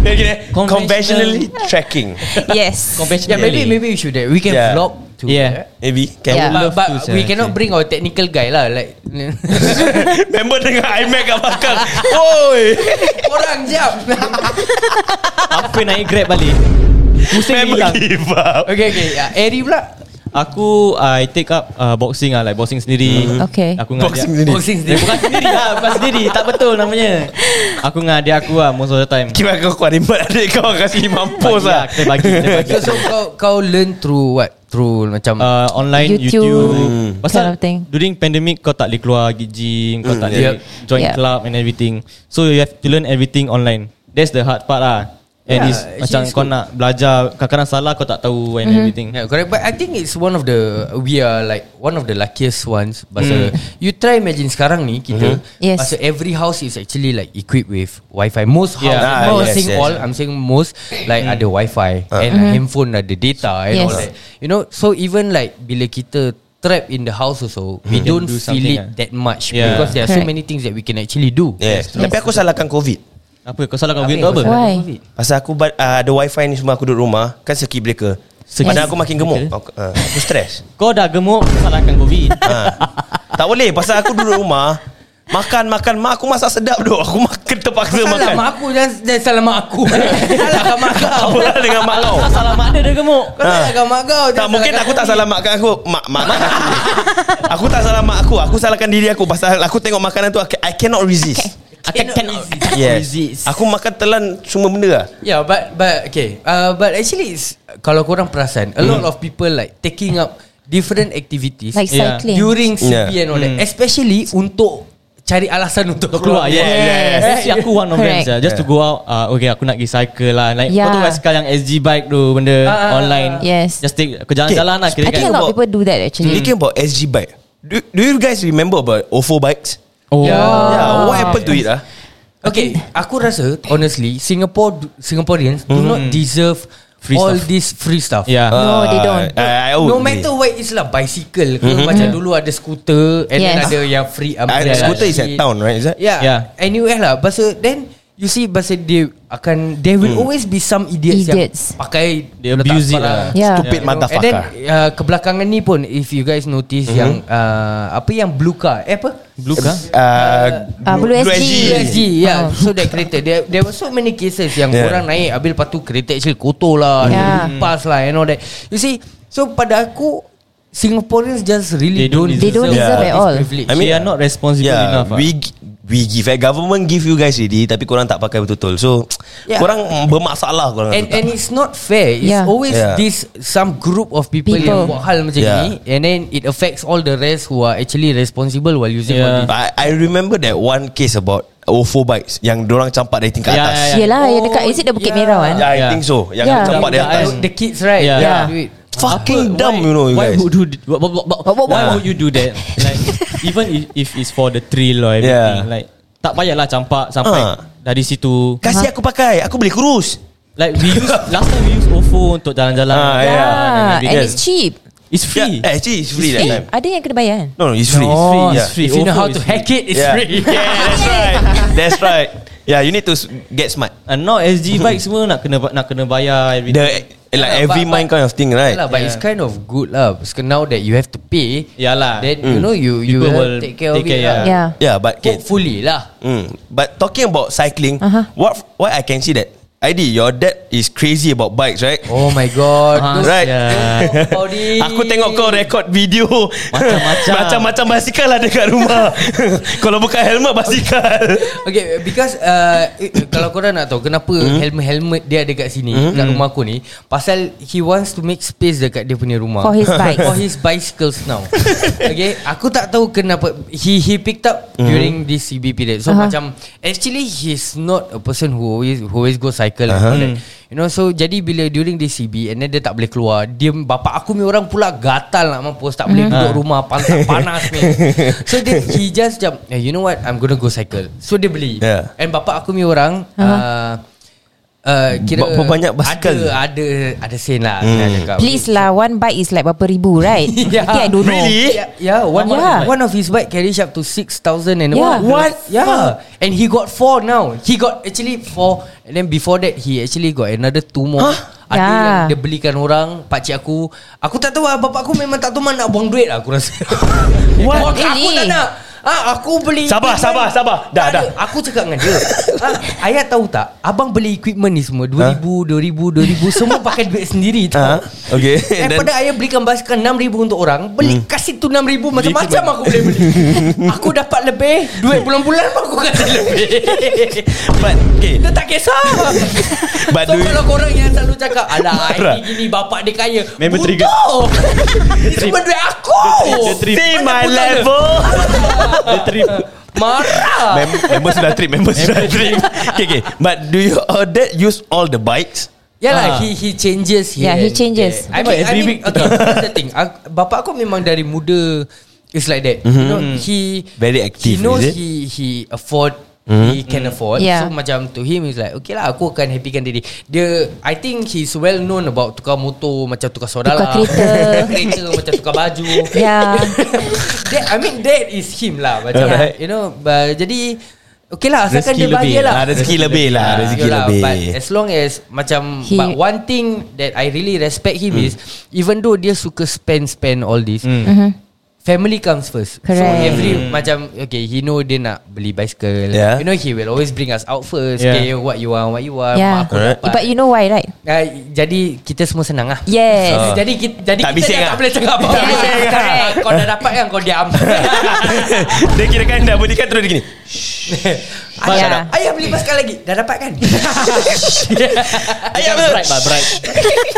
Speaker 2: Conventionally
Speaker 4: Conventional-
Speaker 2: tracking.
Speaker 5: Yes
Speaker 3: Yeah, maybe maybe we should. do that. We can
Speaker 2: Yeah.
Speaker 3: vlog too.
Speaker 4: Yeah.
Speaker 2: Maybe can
Speaker 5: Yeah.
Speaker 2: yeah.
Speaker 3: But,
Speaker 2: eh,
Speaker 3: but we
Speaker 4: to, Shanti.
Speaker 3: cannot bring our technical guy lah like
Speaker 2: Member dengan iMac kat belakang Oh, Oi
Speaker 3: orang jam.
Speaker 4: Apa naik grab balik Pusing
Speaker 2: Member
Speaker 4: hilang
Speaker 2: give up
Speaker 3: okay okay. Yeah. Eri pula
Speaker 4: Aku I take up uh, boxing lah Like boxing sendiri
Speaker 5: Okay.
Speaker 4: Aku ngajak
Speaker 2: Uh-huh. Boxing sendiri.
Speaker 3: boxing
Speaker 4: Eh,
Speaker 3: sendiri.
Speaker 4: bukan sendiri lah Bukan sendiri Tak betul namanya Aku dengan adik aku lah Most of the time
Speaker 2: Kira kau kuat rimbat adik kau Kasih mampus
Speaker 4: Bagi lah
Speaker 2: lah
Speaker 4: Kita bagi Kita bagi
Speaker 3: So, so kau kau learn through what? Through macam uh,
Speaker 4: uh, online
Speaker 5: YouTube,
Speaker 4: YouTube,
Speaker 5: Hmm.
Speaker 4: YouTube. pasal
Speaker 5: kind of thing.
Speaker 4: during pandemic kau tak boleh keluar pergi gym kau tak
Speaker 3: Hmm.
Speaker 4: boleh
Speaker 3: Yep.
Speaker 4: join
Speaker 5: Yep.
Speaker 4: club and everything so you have to learn everything online that's the hard part lah
Speaker 3: Yeah,
Speaker 4: and it's
Speaker 3: actually
Speaker 4: macam
Speaker 3: it's
Speaker 4: kau
Speaker 3: good.
Speaker 4: nak belajar kadang-kadang salah kau tak tahu
Speaker 5: Mm-hmm.
Speaker 4: and everything
Speaker 3: yeah, correct. But I think it's one of the we are like one of the luckiest ones. Pasal you try imagine sekarang ni kita
Speaker 5: Yes.
Speaker 3: pasal every house is actually like equipped with Wi-Fi. Most house,
Speaker 4: Yeah.
Speaker 2: Ah,
Speaker 3: yeah. I'm not
Speaker 2: yes,
Speaker 3: saying
Speaker 2: yes.
Speaker 3: all. I'm saying most like ada Wi-Fi and handphone ada data and
Speaker 5: Mm-hmm. Yes.
Speaker 3: all that. You know, so even like bila kita trapped in the house also, we
Speaker 4: Hmm.
Speaker 3: don't
Speaker 4: Can do
Speaker 3: feel
Speaker 4: something,
Speaker 3: it
Speaker 4: ah.
Speaker 3: that much
Speaker 4: Yeah.
Speaker 3: because there are so
Speaker 5: Correct.
Speaker 3: many things that we can actually do.
Speaker 2: Yes.
Speaker 5: Yes.
Speaker 2: Tapi aku salahkan COVID
Speaker 4: apa kau salah kau
Speaker 3: Apa
Speaker 4: kau
Speaker 3: yang
Speaker 4: apa
Speaker 3: kau salah
Speaker 5: Why?
Speaker 3: COVID?
Speaker 2: Pasal aku ba- uh, ada wifi ni semua aku duduk rumah Kan circuit breaker
Speaker 4: Circuit
Speaker 2: Padahal aku makin gemuk
Speaker 4: breaker?
Speaker 2: Aku, uh, aku stres
Speaker 4: kau dah gemuk kau salahkan covid
Speaker 3: Ah.
Speaker 2: ha. Tak boleh Pasal aku duduk rumah Makan makan Mak aku masak sedap duk Aku makan terpaksa
Speaker 3: Salah
Speaker 2: makan
Speaker 3: mak aku Jangan, jangan salah mak aku Salahkan mak kau
Speaker 2: Apa lah dengan mak kau
Speaker 4: kau salah mak dia dia gemuk Ha.
Speaker 3: Kau salahkan mak kau
Speaker 2: tak mungkin aku tak salah mak aku mak mak mak aku. aku tak salah mak aku aku salahkan diri aku pasal aku tengok makanan tu I, ca- I cannot resist
Speaker 4: akan cannot
Speaker 2: yes aku makan telan semua benda lah
Speaker 3: Yeah Ya, but But okay uh, But actually it's, Kalau korang perasan A lot
Speaker 4: Hmm.
Speaker 3: of people like Taking up Different activities
Speaker 5: Like
Speaker 4: Yeah. Hmm.
Speaker 5: cycling
Speaker 3: During CP
Speaker 2: Yeah.
Speaker 3: and all that Especially untuk Cari alasan untuk keluar
Speaker 4: keluar yeah,
Speaker 3: yeah.
Speaker 4: yeah.
Speaker 5: Yes.
Speaker 4: Actually aku one of them
Speaker 5: Correct.
Speaker 4: sia. Just to
Speaker 2: Yeah.
Speaker 4: go out uh, Okay aku nak pergi cycle lah Like
Speaker 5: Yeah.
Speaker 4: kau tahu basikal yang SG bike tu Benda
Speaker 3: ah, ah.
Speaker 4: online
Speaker 5: Yes.
Speaker 4: Just take Aku jalan-jalan lah
Speaker 5: I
Speaker 4: kira
Speaker 5: think a
Speaker 4: kan
Speaker 5: lot of people do that
Speaker 2: mm.
Speaker 5: actually
Speaker 2: thinking about SG bike do, do you guys remember about Ofo bikes oh.
Speaker 4: Oh
Speaker 3: Yeah.
Speaker 2: yeah what happened to it ah
Speaker 3: Okay Aku rasa Honestly Singapore Singaporeans Do not deserve
Speaker 4: Hmm. Free
Speaker 3: All
Speaker 4: stuff.
Speaker 3: this free stuff
Speaker 4: Yeah.
Speaker 5: No, they don't.
Speaker 2: Ah, I, I would
Speaker 3: No
Speaker 2: agree.
Speaker 3: matter what It's lah bicycle ke
Speaker 4: Hmm.
Speaker 3: mm-hmm. Macam dulu ada scooter And yes. then
Speaker 5: Yes.
Speaker 3: ada yang free um,
Speaker 2: I,
Speaker 3: umbrella
Speaker 2: scooter is at
Speaker 3: shit.
Speaker 2: town right is that
Speaker 3: Yeah,
Speaker 4: Yeah.
Speaker 3: yeah. Anywhere lah Pasal then You see Pasal dia akan There will hmm. always be some idiots,
Speaker 5: Idiots. Ya.
Speaker 3: Yang pakai
Speaker 4: They
Speaker 3: letak
Speaker 4: abuse it
Speaker 3: barang.
Speaker 4: lah.
Speaker 5: Yeah.
Speaker 2: Stupid
Speaker 3: You know, And then
Speaker 2: motherfucker
Speaker 3: uh, Kebelakangan ni pun If you guys notice mm-hmm. Yang uh, Apa yang blue car Eh apa
Speaker 4: Hmm. Blue car
Speaker 2: uh,
Speaker 5: Ah, Blue SG.
Speaker 3: USG
Speaker 5: Ah.
Speaker 3: yeah. ya. So that kereta there, there were so many cases Yang
Speaker 2: Yeah.
Speaker 3: yeah. orang naik Habis lepas tu kereta actually kotor lah
Speaker 5: Yeah.
Speaker 3: Lepas lah and all that You see So pada aku Singaporeans just really
Speaker 4: They don't
Speaker 3: don't,
Speaker 4: They
Speaker 5: don't
Speaker 2: deserve
Speaker 5: at
Speaker 3: this
Speaker 5: all.
Speaker 3: privilege.
Speaker 4: I mean, They are not responsible yeah,
Speaker 2: Yeah,
Speaker 4: enough
Speaker 2: we gi- we give eh, government give you guys already tapi korang tak pakai betul-betul. So yeah.
Speaker 3: Yeah.
Speaker 2: korang mm, bermasalah korang.
Speaker 3: And
Speaker 2: tu tak.
Speaker 3: and it's not fair. It's
Speaker 5: Yeah.
Speaker 3: yeah. always
Speaker 2: Yeah.
Speaker 3: yeah. this some group of people,
Speaker 5: People.
Speaker 3: yang buat hal macam
Speaker 2: Yeah.
Speaker 3: yeah. ni and then it affects all the rest who are actually responsible while using yeah. all
Speaker 4: Yeah.
Speaker 3: this.
Speaker 2: But I, I remember that one case about Ofo bikes yang dorang campak dari tingkat
Speaker 4: Yeah,
Speaker 2: atas.
Speaker 4: yeah,
Speaker 5: Yelah yang dekat
Speaker 3: Oh,
Speaker 5: Is it the Bukit
Speaker 3: yeah.
Speaker 5: Merah kan
Speaker 2: Yeah, I
Speaker 4: Yeah.
Speaker 2: think so. Yang
Speaker 5: Yeah.
Speaker 2: campak dari
Speaker 3: The,
Speaker 2: atas.
Speaker 3: the kids right.
Speaker 4: Yeah.
Speaker 5: Yeah.
Speaker 3: Do it.
Speaker 2: Fucking dumb you know you
Speaker 4: why
Speaker 2: guys.
Speaker 4: would you do, why, why, why, why would you do that? Like even if, if it's for the thrill or everything,
Speaker 2: Yeah.
Speaker 4: like tak payahlah campak sampai
Speaker 2: Ah.
Speaker 4: dari situ.
Speaker 2: Kasih aku pakai, aku beli kurus.
Speaker 4: Like we use last time we use Ofo untuk jalan-jalan.
Speaker 2: Ah,
Speaker 5: Yeah,
Speaker 2: yeah.
Speaker 5: yeah. And it's cheap
Speaker 4: It's free.
Speaker 2: Yeah, eh, actually it's free that
Speaker 5: Eh
Speaker 2: time.
Speaker 5: ada yang kena bayar kan
Speaker 2: No, no, it's free.
Speaker 3: Oh,
Speaker 2: it's
Speaker 4: it's
Speaker 2: free.
Speaker 4: free.
Speaker 3: If you know
Speaker 4: Ofo
Speaker 3: how
Speaker 4: is
Speaker 3: to
Speaker 4: free.
Speaker 3: hack it, it's
Speaker 2: yeah.
Speaker 3: free.
Speaker 2: Yeah, that's right. That's right. Yeah, you need to s- get smart.
Speaker 4: And now SG
Speaker 2: Hmm.
Speaker 4: bike semua nak kena nak kena bayar everything.
Speaker 2: The like
Speaker 3: Yeah,
Speaker 2: every
Speaker 3: but-
Speaker 2: mind kind of thing, right?
Speaker 3: Lah, but
Speaker 4: Yeah.
Speaker 3: it's kind of good lah. Because now that you have to pay,
Speaker 4: Yalah.
Speaker 3: then you know you you
Speaker 4: People
Speaker 3: will
Speaker 4: will
Speaker 3: take care of
Speaker 4: take care,
Speaker 3: it. lah.
Speaker 4: yeah.
Speaker 5: Yeah
Speaker 2: Mm. Yeah, but okay,
Speaker 3: Hopefully lah.
Speaker 2: Mm. But Hmm. talking about cycling,
Speaker 5: Uh-huh.
Speaker 2: what what I can see that ID, your dad is crazy about bikes, right?
Speaker 3: Oh my god
Speaker 4: Ah,
Speaker 3: Those-
Speaker 2: right.
Speaker 3: Oh, Paudi.
Speaker 2: Aku tengok kau rekod video
Speaker 4: Macam-macam.
Speaker 2: Macam-macam basikal ada kat rumah Kalau bukan helmet basikal
Speaker 3: Okay because uh, eh, Kalau korang nak tahu Kenapa helmet-helmet dia ada kat sini Kat rumah aku ni Pasal he wants to make space Dekat dia punya rumah
Speaker 5: For his bike.
Speaker 3: For his bicycles now Okay Aku tak tahu kenapa He he picked up During this CB period So
Speaker 5: Uh-huh.
Speaker 3: macam Actually he's not a person Who always who always go cycle and all that. You know so Jadi bila during this CB And then dia tak boleh keluar Dia bapak aku ni orang pula Gatal nak mampus Tak boleh
Speaker 5: Mm-hmm.
Speaker 3: duduk rumah Pantat panas ni So dia, he just jump hey, You know what I'm gonna go cycle So dia beli
Speaker 2: Yeah.
Speaker 3: And bapak aku ni orang
Speaker 5: Uh-huh.
Speaker 3: uh, uh, Kira
Speaker 2: Ba- berbanyak basikal.
Speaker 3: Ada Ada ada sen lah hmm. cakap.
Speaker 5: Please lah One bike is like Berapa ribu right
Speaker 3: Yeah.
Speaker 5: I think I don't know
Speaker 2: Really?
Speaker 3: Yeah, yeah, one
Speaker 5: Yeah.
Speaker 3: one of his bike carries up to six thousand and
Speaker 5: Yeah.
Speaker 3: what? Yeah, and he got four now. He got actually four, and then before that he actually got another two more. Ada
Speaker 5: Yeah.
Speaker 3: yang dia belikan orang Pakcik aku Aku tak tahu lah Bapak aku memang tak tahu Mana nak buang duit lah Aku rasa What? Aku, aku tak
Speaker 5: Really?
Speaker 3: nak Ah, aku beli
Speaker 2: Sabar,
Speaker 3: equipment.
Speaker 2: sabar, sabar. Dah,
Speaker 3: Tak ada. Aku cakap dengan dia ah, Ayah tahu tak Abang beli equipment ni semua 2000, 2000, 2000 Semua pakai duit sendiri tau
Speaker 2: Ah, okay. And then-
Speaker 3: Daripada ayah belikan basikal 6,000 untuk orang Beli hmm. kasih tu 6,000 Macam-macam
Speaker 2: Beli tu
Speaker 3: aku boleh beli Aku dapat lebih Duit bulan-bulan pun aku kasi lebih
Speaker 2: But okay
Speaker 3: Dia tak kisah
Speaker 2: But do
Speaker 3: So
Speaker 2: you-
Speaker 3: kalau korang yang selalu cakap Alah
Speaker 2: Marah.
Speaker 3: ini gini bapak dia kaya
Speaker 4: Member
Speaker 3: Bodoh.
Speaker 4: trigger.
Speaker 3: Ini semua duit aku
Speaker 4: Dia trip.
Speaker 2: See my
Speaker 3: Mana pun tak ada.
Speaker 2: level
Speaker 4: Dia trip.
Speaker 3: Marah
Speaker 2: Mem- Member sudah trip Member sudah trip Okay okay But do your uh, dad use all the bikes?
Speaker 3: Yalah Ya lah,
Speaker 4: Ah.
Speaker 3: he he changes here
Speaker 5: Yeah, he
Speaker 3: and
Speaker 5: changes.
Speaker 3: there. I
Speaker 4: About
Speaker 3: mean, I
Speaker 4: every
Speaker 3: mean
Speaker 4: week.
Speaker 3: okay, that's the thing. Ak- Bapa aku memang dari muda is like that. Mm-hmm. You know, he
Speaker 2: Very active,
Speaker 3: He knows
Speaker 2: is it?
Speaker 3: he he afford mm-hmm. he can afford. So
Speaker 5: Yeah.
Speaker 3: macam to him is like okay lah aku akan happykan diri. Dia I think he's well known about tukar motor macam tukar soda
Speaker 5: Tukar
Speaker 3: lah.
Speaker 5: kereta.
Speaker 3: kereta macam tukar baju.
Speaker 5: Yeah.
Speaker 3: that, I mean that is him lah macam
Speaker 2: Alright.
Speaker 3: you know but, jadi okay lah asalkan
Speaker 4: Rezeki
Speaker 3: dia bahagia
Speaker 4: lebih.
Speaker 3: lah.
Speaker 2: Ah, rezeki lebih lah Rezeki
Speaker 3: Yalah,
Speaker 2: lebih
Speaker 3: But as long as macam he,
Speaker 5: He-
Speaker 3: but one thing that I really respect him
Speaker 2: Hmm.
Speaker 3: mm. is even though dia suka spend spend all this. Mm. Family comes first So
Speaker 5: Mhm. Correct.
Speaker 3: every Macam Okay he know dia nak Beli
Speaker 2: Hmm.
Speaker 3: bicycle
Speaker 2: Yeah.
Speaker 3: You know he will always Bring us out first
Speaker 4: Yeah.
Speaker 3: Okay what you want What you want Mak
Speaker 5: Yeah
Speaker 3: aku
Speaker 2: Alright.
Speaker 3: dapat
Speaker 5: But you know why right
Speaker 3: uh, Jadi kita semua senang lah
Speaker 5: Yes.
Speaker 3: Ah. Jadi kita, jadi
Speaker 2: Tak
Speaker 3: kita
Speaker 2: bising
Speaker 3: dah
Speaker 2: ah.
Speaker 3: tak boleh cakap apa-apa Ah,
Speaker 5: Yes, correct.
Speaker 3: Kau dah dapat kan Kau diam
Speaker 2: Dia kira kan dah berikan Terus dia gini
Speaker 5: Yeah.
Speaker 3: Ayah, ayah beli basikal lagi Dah dapat kan
Speaker 2: Ayam tu
Speaker 4: Bright, but bright.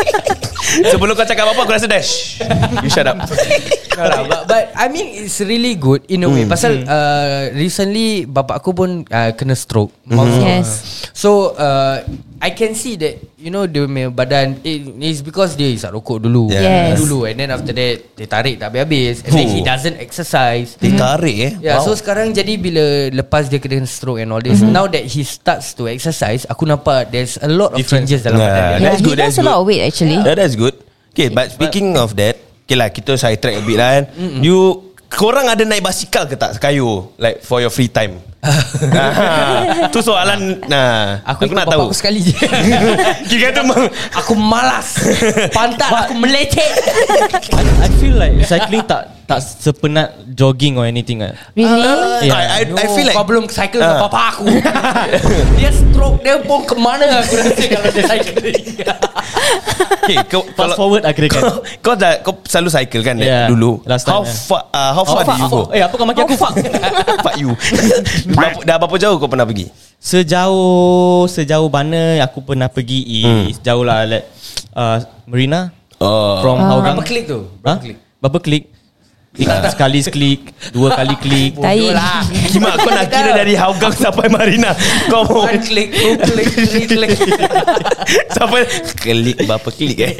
Speaker 2: Sebelum kau cakap apa Aku rasa dah "Shh, You shut up
Speaker 3: No lah, but, but I mean it's really good in a way. Pasal uh, recently bapak aku pun uh, kena stroke. Mm.
Speaker 5: Yes.
Speaker 3: So uh, I can see that you know dia punya badan it, it's because dia isap rokok dulu.
Speaker 5: Yes.
Speaker 3: Dulu and then after that dia tarik tak habis-habis and then
Speaker 2: Fuh.
Speaker 3: he doesn't exercise.
Speaker 2: Ditarik eh
Speaker 3: Yeah, wow. Ya, so sekarang jadi bila lepas dia kena stroke and all this, mm-hmm. now that he starts to exercise, aku nampak there's a lot of
Speaker 4: Difference.
Speaker 3: changes dalam
Speaker 2: Yeah.
Speaker 3: badan dia.
Speaker 5: Yeah,
Speaker 2: That's
Speaker 5: He
Speaker 2: good,
Speaker 5: lost
Speaker 2: that's
Speaker 5: a lot
Speaker 2: good.
Speaker 5: of weight actually
Speaker 2: That is good Okay but speaking of that Okay lah kita side track a bit lah kan You Korang ada naik basikal ke tak Kayu Like for your free time ah, Tu soalan nah,
Speaker 3: Aku, ikut bapak Aku sekali je.
Speaker 2: Kira tu meng-
Speaker 3: aku malas. Pantat aku melecek.
Speaker 4: I, I feel like cycling tak tak sepenat jogging or anything ah.
Speaker 3: Uh.
Speaker 5: Really
Speaker 4: Yeah.
Speaker 2: I, I, I feel like
Speaker 3: Kau belum cycle
Speaker 2: Ah.
Speaker 3: uh. Bapak aku Dia stroke Dia pun ke mana Aku rasa kalau dia cycling
Speaker 2: okay, kau,
Speaker 4: Fast
Speaker 2: kalau,
Speaker 4: forward akhir kan.
Speaker 2: kau, kau, dah, kau selalu cycle kan
Speaker 4: Yeah.
Speaker 2: dulu
Speaker 4: Last
Speaker 2: How
Speaker 4: time, yeah.
Speaker 2: far uh, How far
Speaker 4: Oh,
Speaker 2: did you go
Speaker 4: fuck. Eh apa kau maki aku?
Speaker 2: Fuck you Berapa- Dah berapa jauh kau pernah pergi
Speaker 4: Sejauh sejauh mana aku pernah pergi
Speaker 2: Hmm.
Speaker 4: is jauh lah like, uh, Marina
Speaker 2: Oh.
Speaker 4: from Hougang.
Speaker 3: Ah. Berapa klik tu?
Speaker 4: Ha?
Speaker 3: Berapa klik?
Speaker 4: Berapa klik? Klik
Speaker 2: Ah.
Speaker 4: sekali klik, dua kali klik.
Speaker 5: Tai.
Speaker 3: Bodoh lah
Speaker 2: Kimak kau nak kira dari Hougang sampai Marina Kau mau
Speaker 3: One klik Two klik Three klik
Speaker 2: Sampai Klik berapa klik eh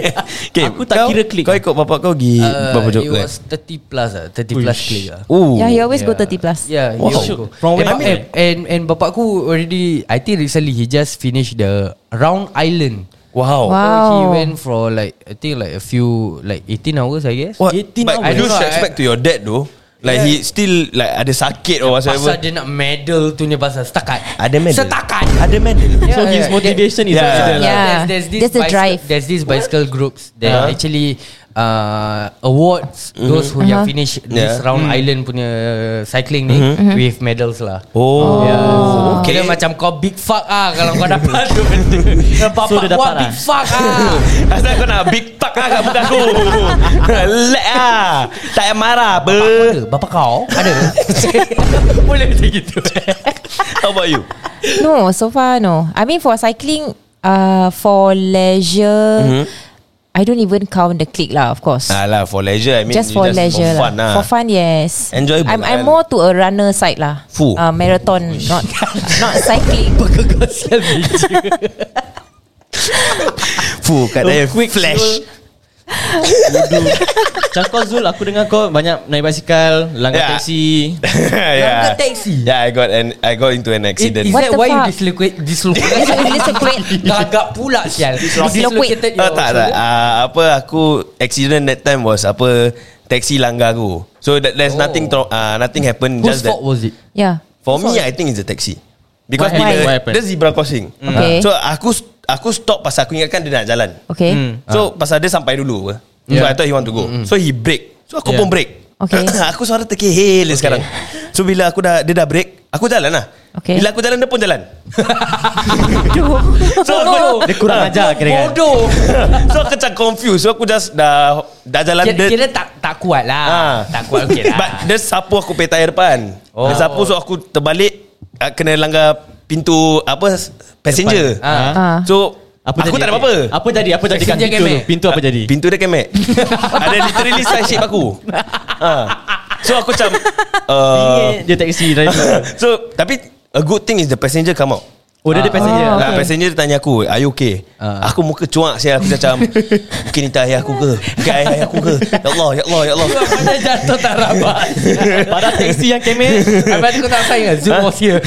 Speaker 2: okay,
Speaker 4: Aku tak
Speaker 2: kau,
Speaker 4: kira klik.
Speaker 2: Kau ikut bapak kau pergi uh,
Speaker 3: Uh,
Speaker 2: Berapa jauh
Speaker 3: It
Speaker 2: klik
Speaker 3: was 30 plus lah 30 plus
Speaker 4: Uish.
Speaker 3: klik lah
Speaker 2: Oh
Speaker 5: Yeah he always go
Speaker 3: Yeah.
Speaker 5: 30 plus
Speaker 3: Yeah,
Speaker 2: Wow.
Speaker 3: wow. years ago.
Speaker 4: From
Speaker 3: and,
Speaker 4: where?
Speaker 3: and, Eh, and, and bapak aku already, I think recently he just finished the round island.
Speaker 2: Wow,
Speaker 5: Wow.
Speaker 3: So he went for like, I think like a few, like 18 hours I guess.
Speaker 2: What?
Speaker 4: 18
Speaker 2: But
Speaker 4: hours.
Speaker 2: you
Speaker 3: I don't
Speaker 2: should
Speaker 3: know,
Speaker 2: expect to your dad though Like
Speaker 3: Yeah.
Speaker 2: he still Like ada sakit or
Speaker 3: Pasal
Speaker 2: whatsoever
Speaker 3: dia nak medal tu ni pasal setakat.
Speaker 2: Ada medal
Speaker 3: Setakat.
Speaker 2: Ada medal
Speaker 4: So
Speaker 3: Yeah,
Speaker 4: his
Speaker 3: yeah.
Speaker 4: motivation is lah.
Speaker 2: Yeah.
Speaker 4: yeah.
Speaker 5: Yeah.
Speaker 3: There's, there's this
Speaker 5: That's the
Speaker 3: bicycle,
Speaker 5: drive.
Speaker 3: There's this bicycle groups that
Speaker 2: Uh-huh.
Speaker 3: actually uh, awards mm-hmm. those who uh-huh. yang finish this
Speaker 2: Yeah.
Speaker 3: round mm. island punya cycling ni mm-hmm. with medals lah.
Speaker 2: Oh.
Speaker 3: Yeah. So,
Speaker 2: Okay.
Speaker 3: Kira macam kau big fuck ah kalau kau dapat tu benda. Kau
Speaker 4: So,
Speaker 3: Bapak
Speaker 4: dia dapat
Speaker 3: kau
Speaker 4: lah.
Speaker 3: big fuck ah.
Speaker 2: Asal kau nak big talk lah kat muka aku Lek lah Tak payah marah apa
Speaker 3: Ada bapak kau ada. Boleh macam gitu.
Speaker 2: How about you?
Speaker 5: No, so far no. I mean for cycling, uh, for leisure, mm-hmm. I don't even count the click lah. Of course,
Speaker 2: Alah for leisure I mean
Speaker 5: just
Speaker 2: you
Speaker 5: for leisure
Speaker 2: for fun lah
Speaker 5: For fun, yes.
Speaker 2: Enjoyable
Speaker 5: I'm,
Speaker 2: kan?
Speaker 5: I'm more to a runner side lah.
Speaker 2: Fuh.
Speaker 5: Uh, marathon, not not cycling.
Speaker 2: Fuh kat dia
Speaker 4: Quick
Speaker 2: flash
Speaker 4: Macam kau Zul Aku dengar kau Banyak naik basikal Langgar
Speaker 2: Ya.
Speaker 4: taksi
Speaker 2: yeah.
Speaker 3: Kau taxi.
Speaker 2: Yeah I got an I got into an accident
Speaker 3: Is
Speaker 5: What
Speaker 3: that
Speaker 5: the
Speaker 3: why you
Speaker 5: fuck?
Speaker 3: dislocate Dislocate
Speaker 5: Dislocate.
Speaker 3: Gagak pula sial
Speaker 5: Dislocate.
Speaker 3: your
Speaker 2: Oh, tak tak uh, Apa aku Accident that time was Apa Taxi langgar aku So that, there's
Speaker 3: Oh.
Speaker 2: nothing tro- uh, Nothing happened
Speaker 3: Whose
Speaker 2: Just that
Speaker 3: fault was it?
Speaker 5: yeah.
Speaker 2: For me I think it's the taxi Because
Speaker 4: Why?
Speaker 2: bila
Speaker 4: Why happened?
Speaker 2: There's zebra crossing
Speaker 5: Okay.
Speaker 2: So aku Aku stop pasal aku ingatkan dia nak jalan
Speaker 5: Okay.
Speaker 3: Hmm.
Speaker 4: Ah.
Speaker 2: So pasal dia sampai dulu apa. So
Speaker 3: Yeah.
Speaker 2: I thought he want to go So he break So aku
Speaker 4: Yeah.
Speaker 2: pun break
Speaker 5: Okay.
Speaker 2: Aku suara terkehil okay. sekarang So bila aku dah Dia dah break Aku jalan lah
Speaker 5: Okay.
Speaker 2: Bila aku jalan dia pun jalan So aku
Speaker 4: Dia kurang
Speaker 2: Ah.
Speaker 4: ajar kira kan
Speaker 3: Bodoh
Speaker 2: So aku macam confused So aku just dah Dah jalan
Speaker 3: Kira,
Speaker 2: dia-
Speaker 3: kira tak tak kuat lah
Speaker 2: Ah.
Speaker 3: Tak kuat okay lah
Speaker 2: But dia sapu aku pay tayar depan oh. Dia sapu so aku terbalik ah, Kena langgar pintu Apa Passenger
Speaker 3: Depan. Ah.
Speaker 5: Ah.
Speaker 2: So Aku tak ada apa-apa
Speaker 4: Apa jadi Apa jadi kat
Speaker 3: Taxi kan, dia
Speaker 4: pintu
Speaker 3: kemek.
Speaker 4: tu? Pintu apa jadi
Speaker 2: Pintu dia kemek Ada literally side shape aku ha. So aku macam uh,
Speaker 4: Dia taksi driver
Speaker 2: So Tapi A good thing is the passenger come out
Speaker 4: Oh dia ada passenger
Speaker 2: Ah, Passenger dia tanya aku Are you okay?
Speaker 3: Ah.
Speaker 2: Aku muka cuak saya Aku macam Mungkin ni tak ayah aku ke Mungkin ayah aku ke Ya Allah Ya Allah Ya Allah
Speaker 3: Mana jatuh tak rabat
Speaker 4: Pada taksi yang kemek
Speaker 3: Abang tu kau tak sayang kan? Zoom was here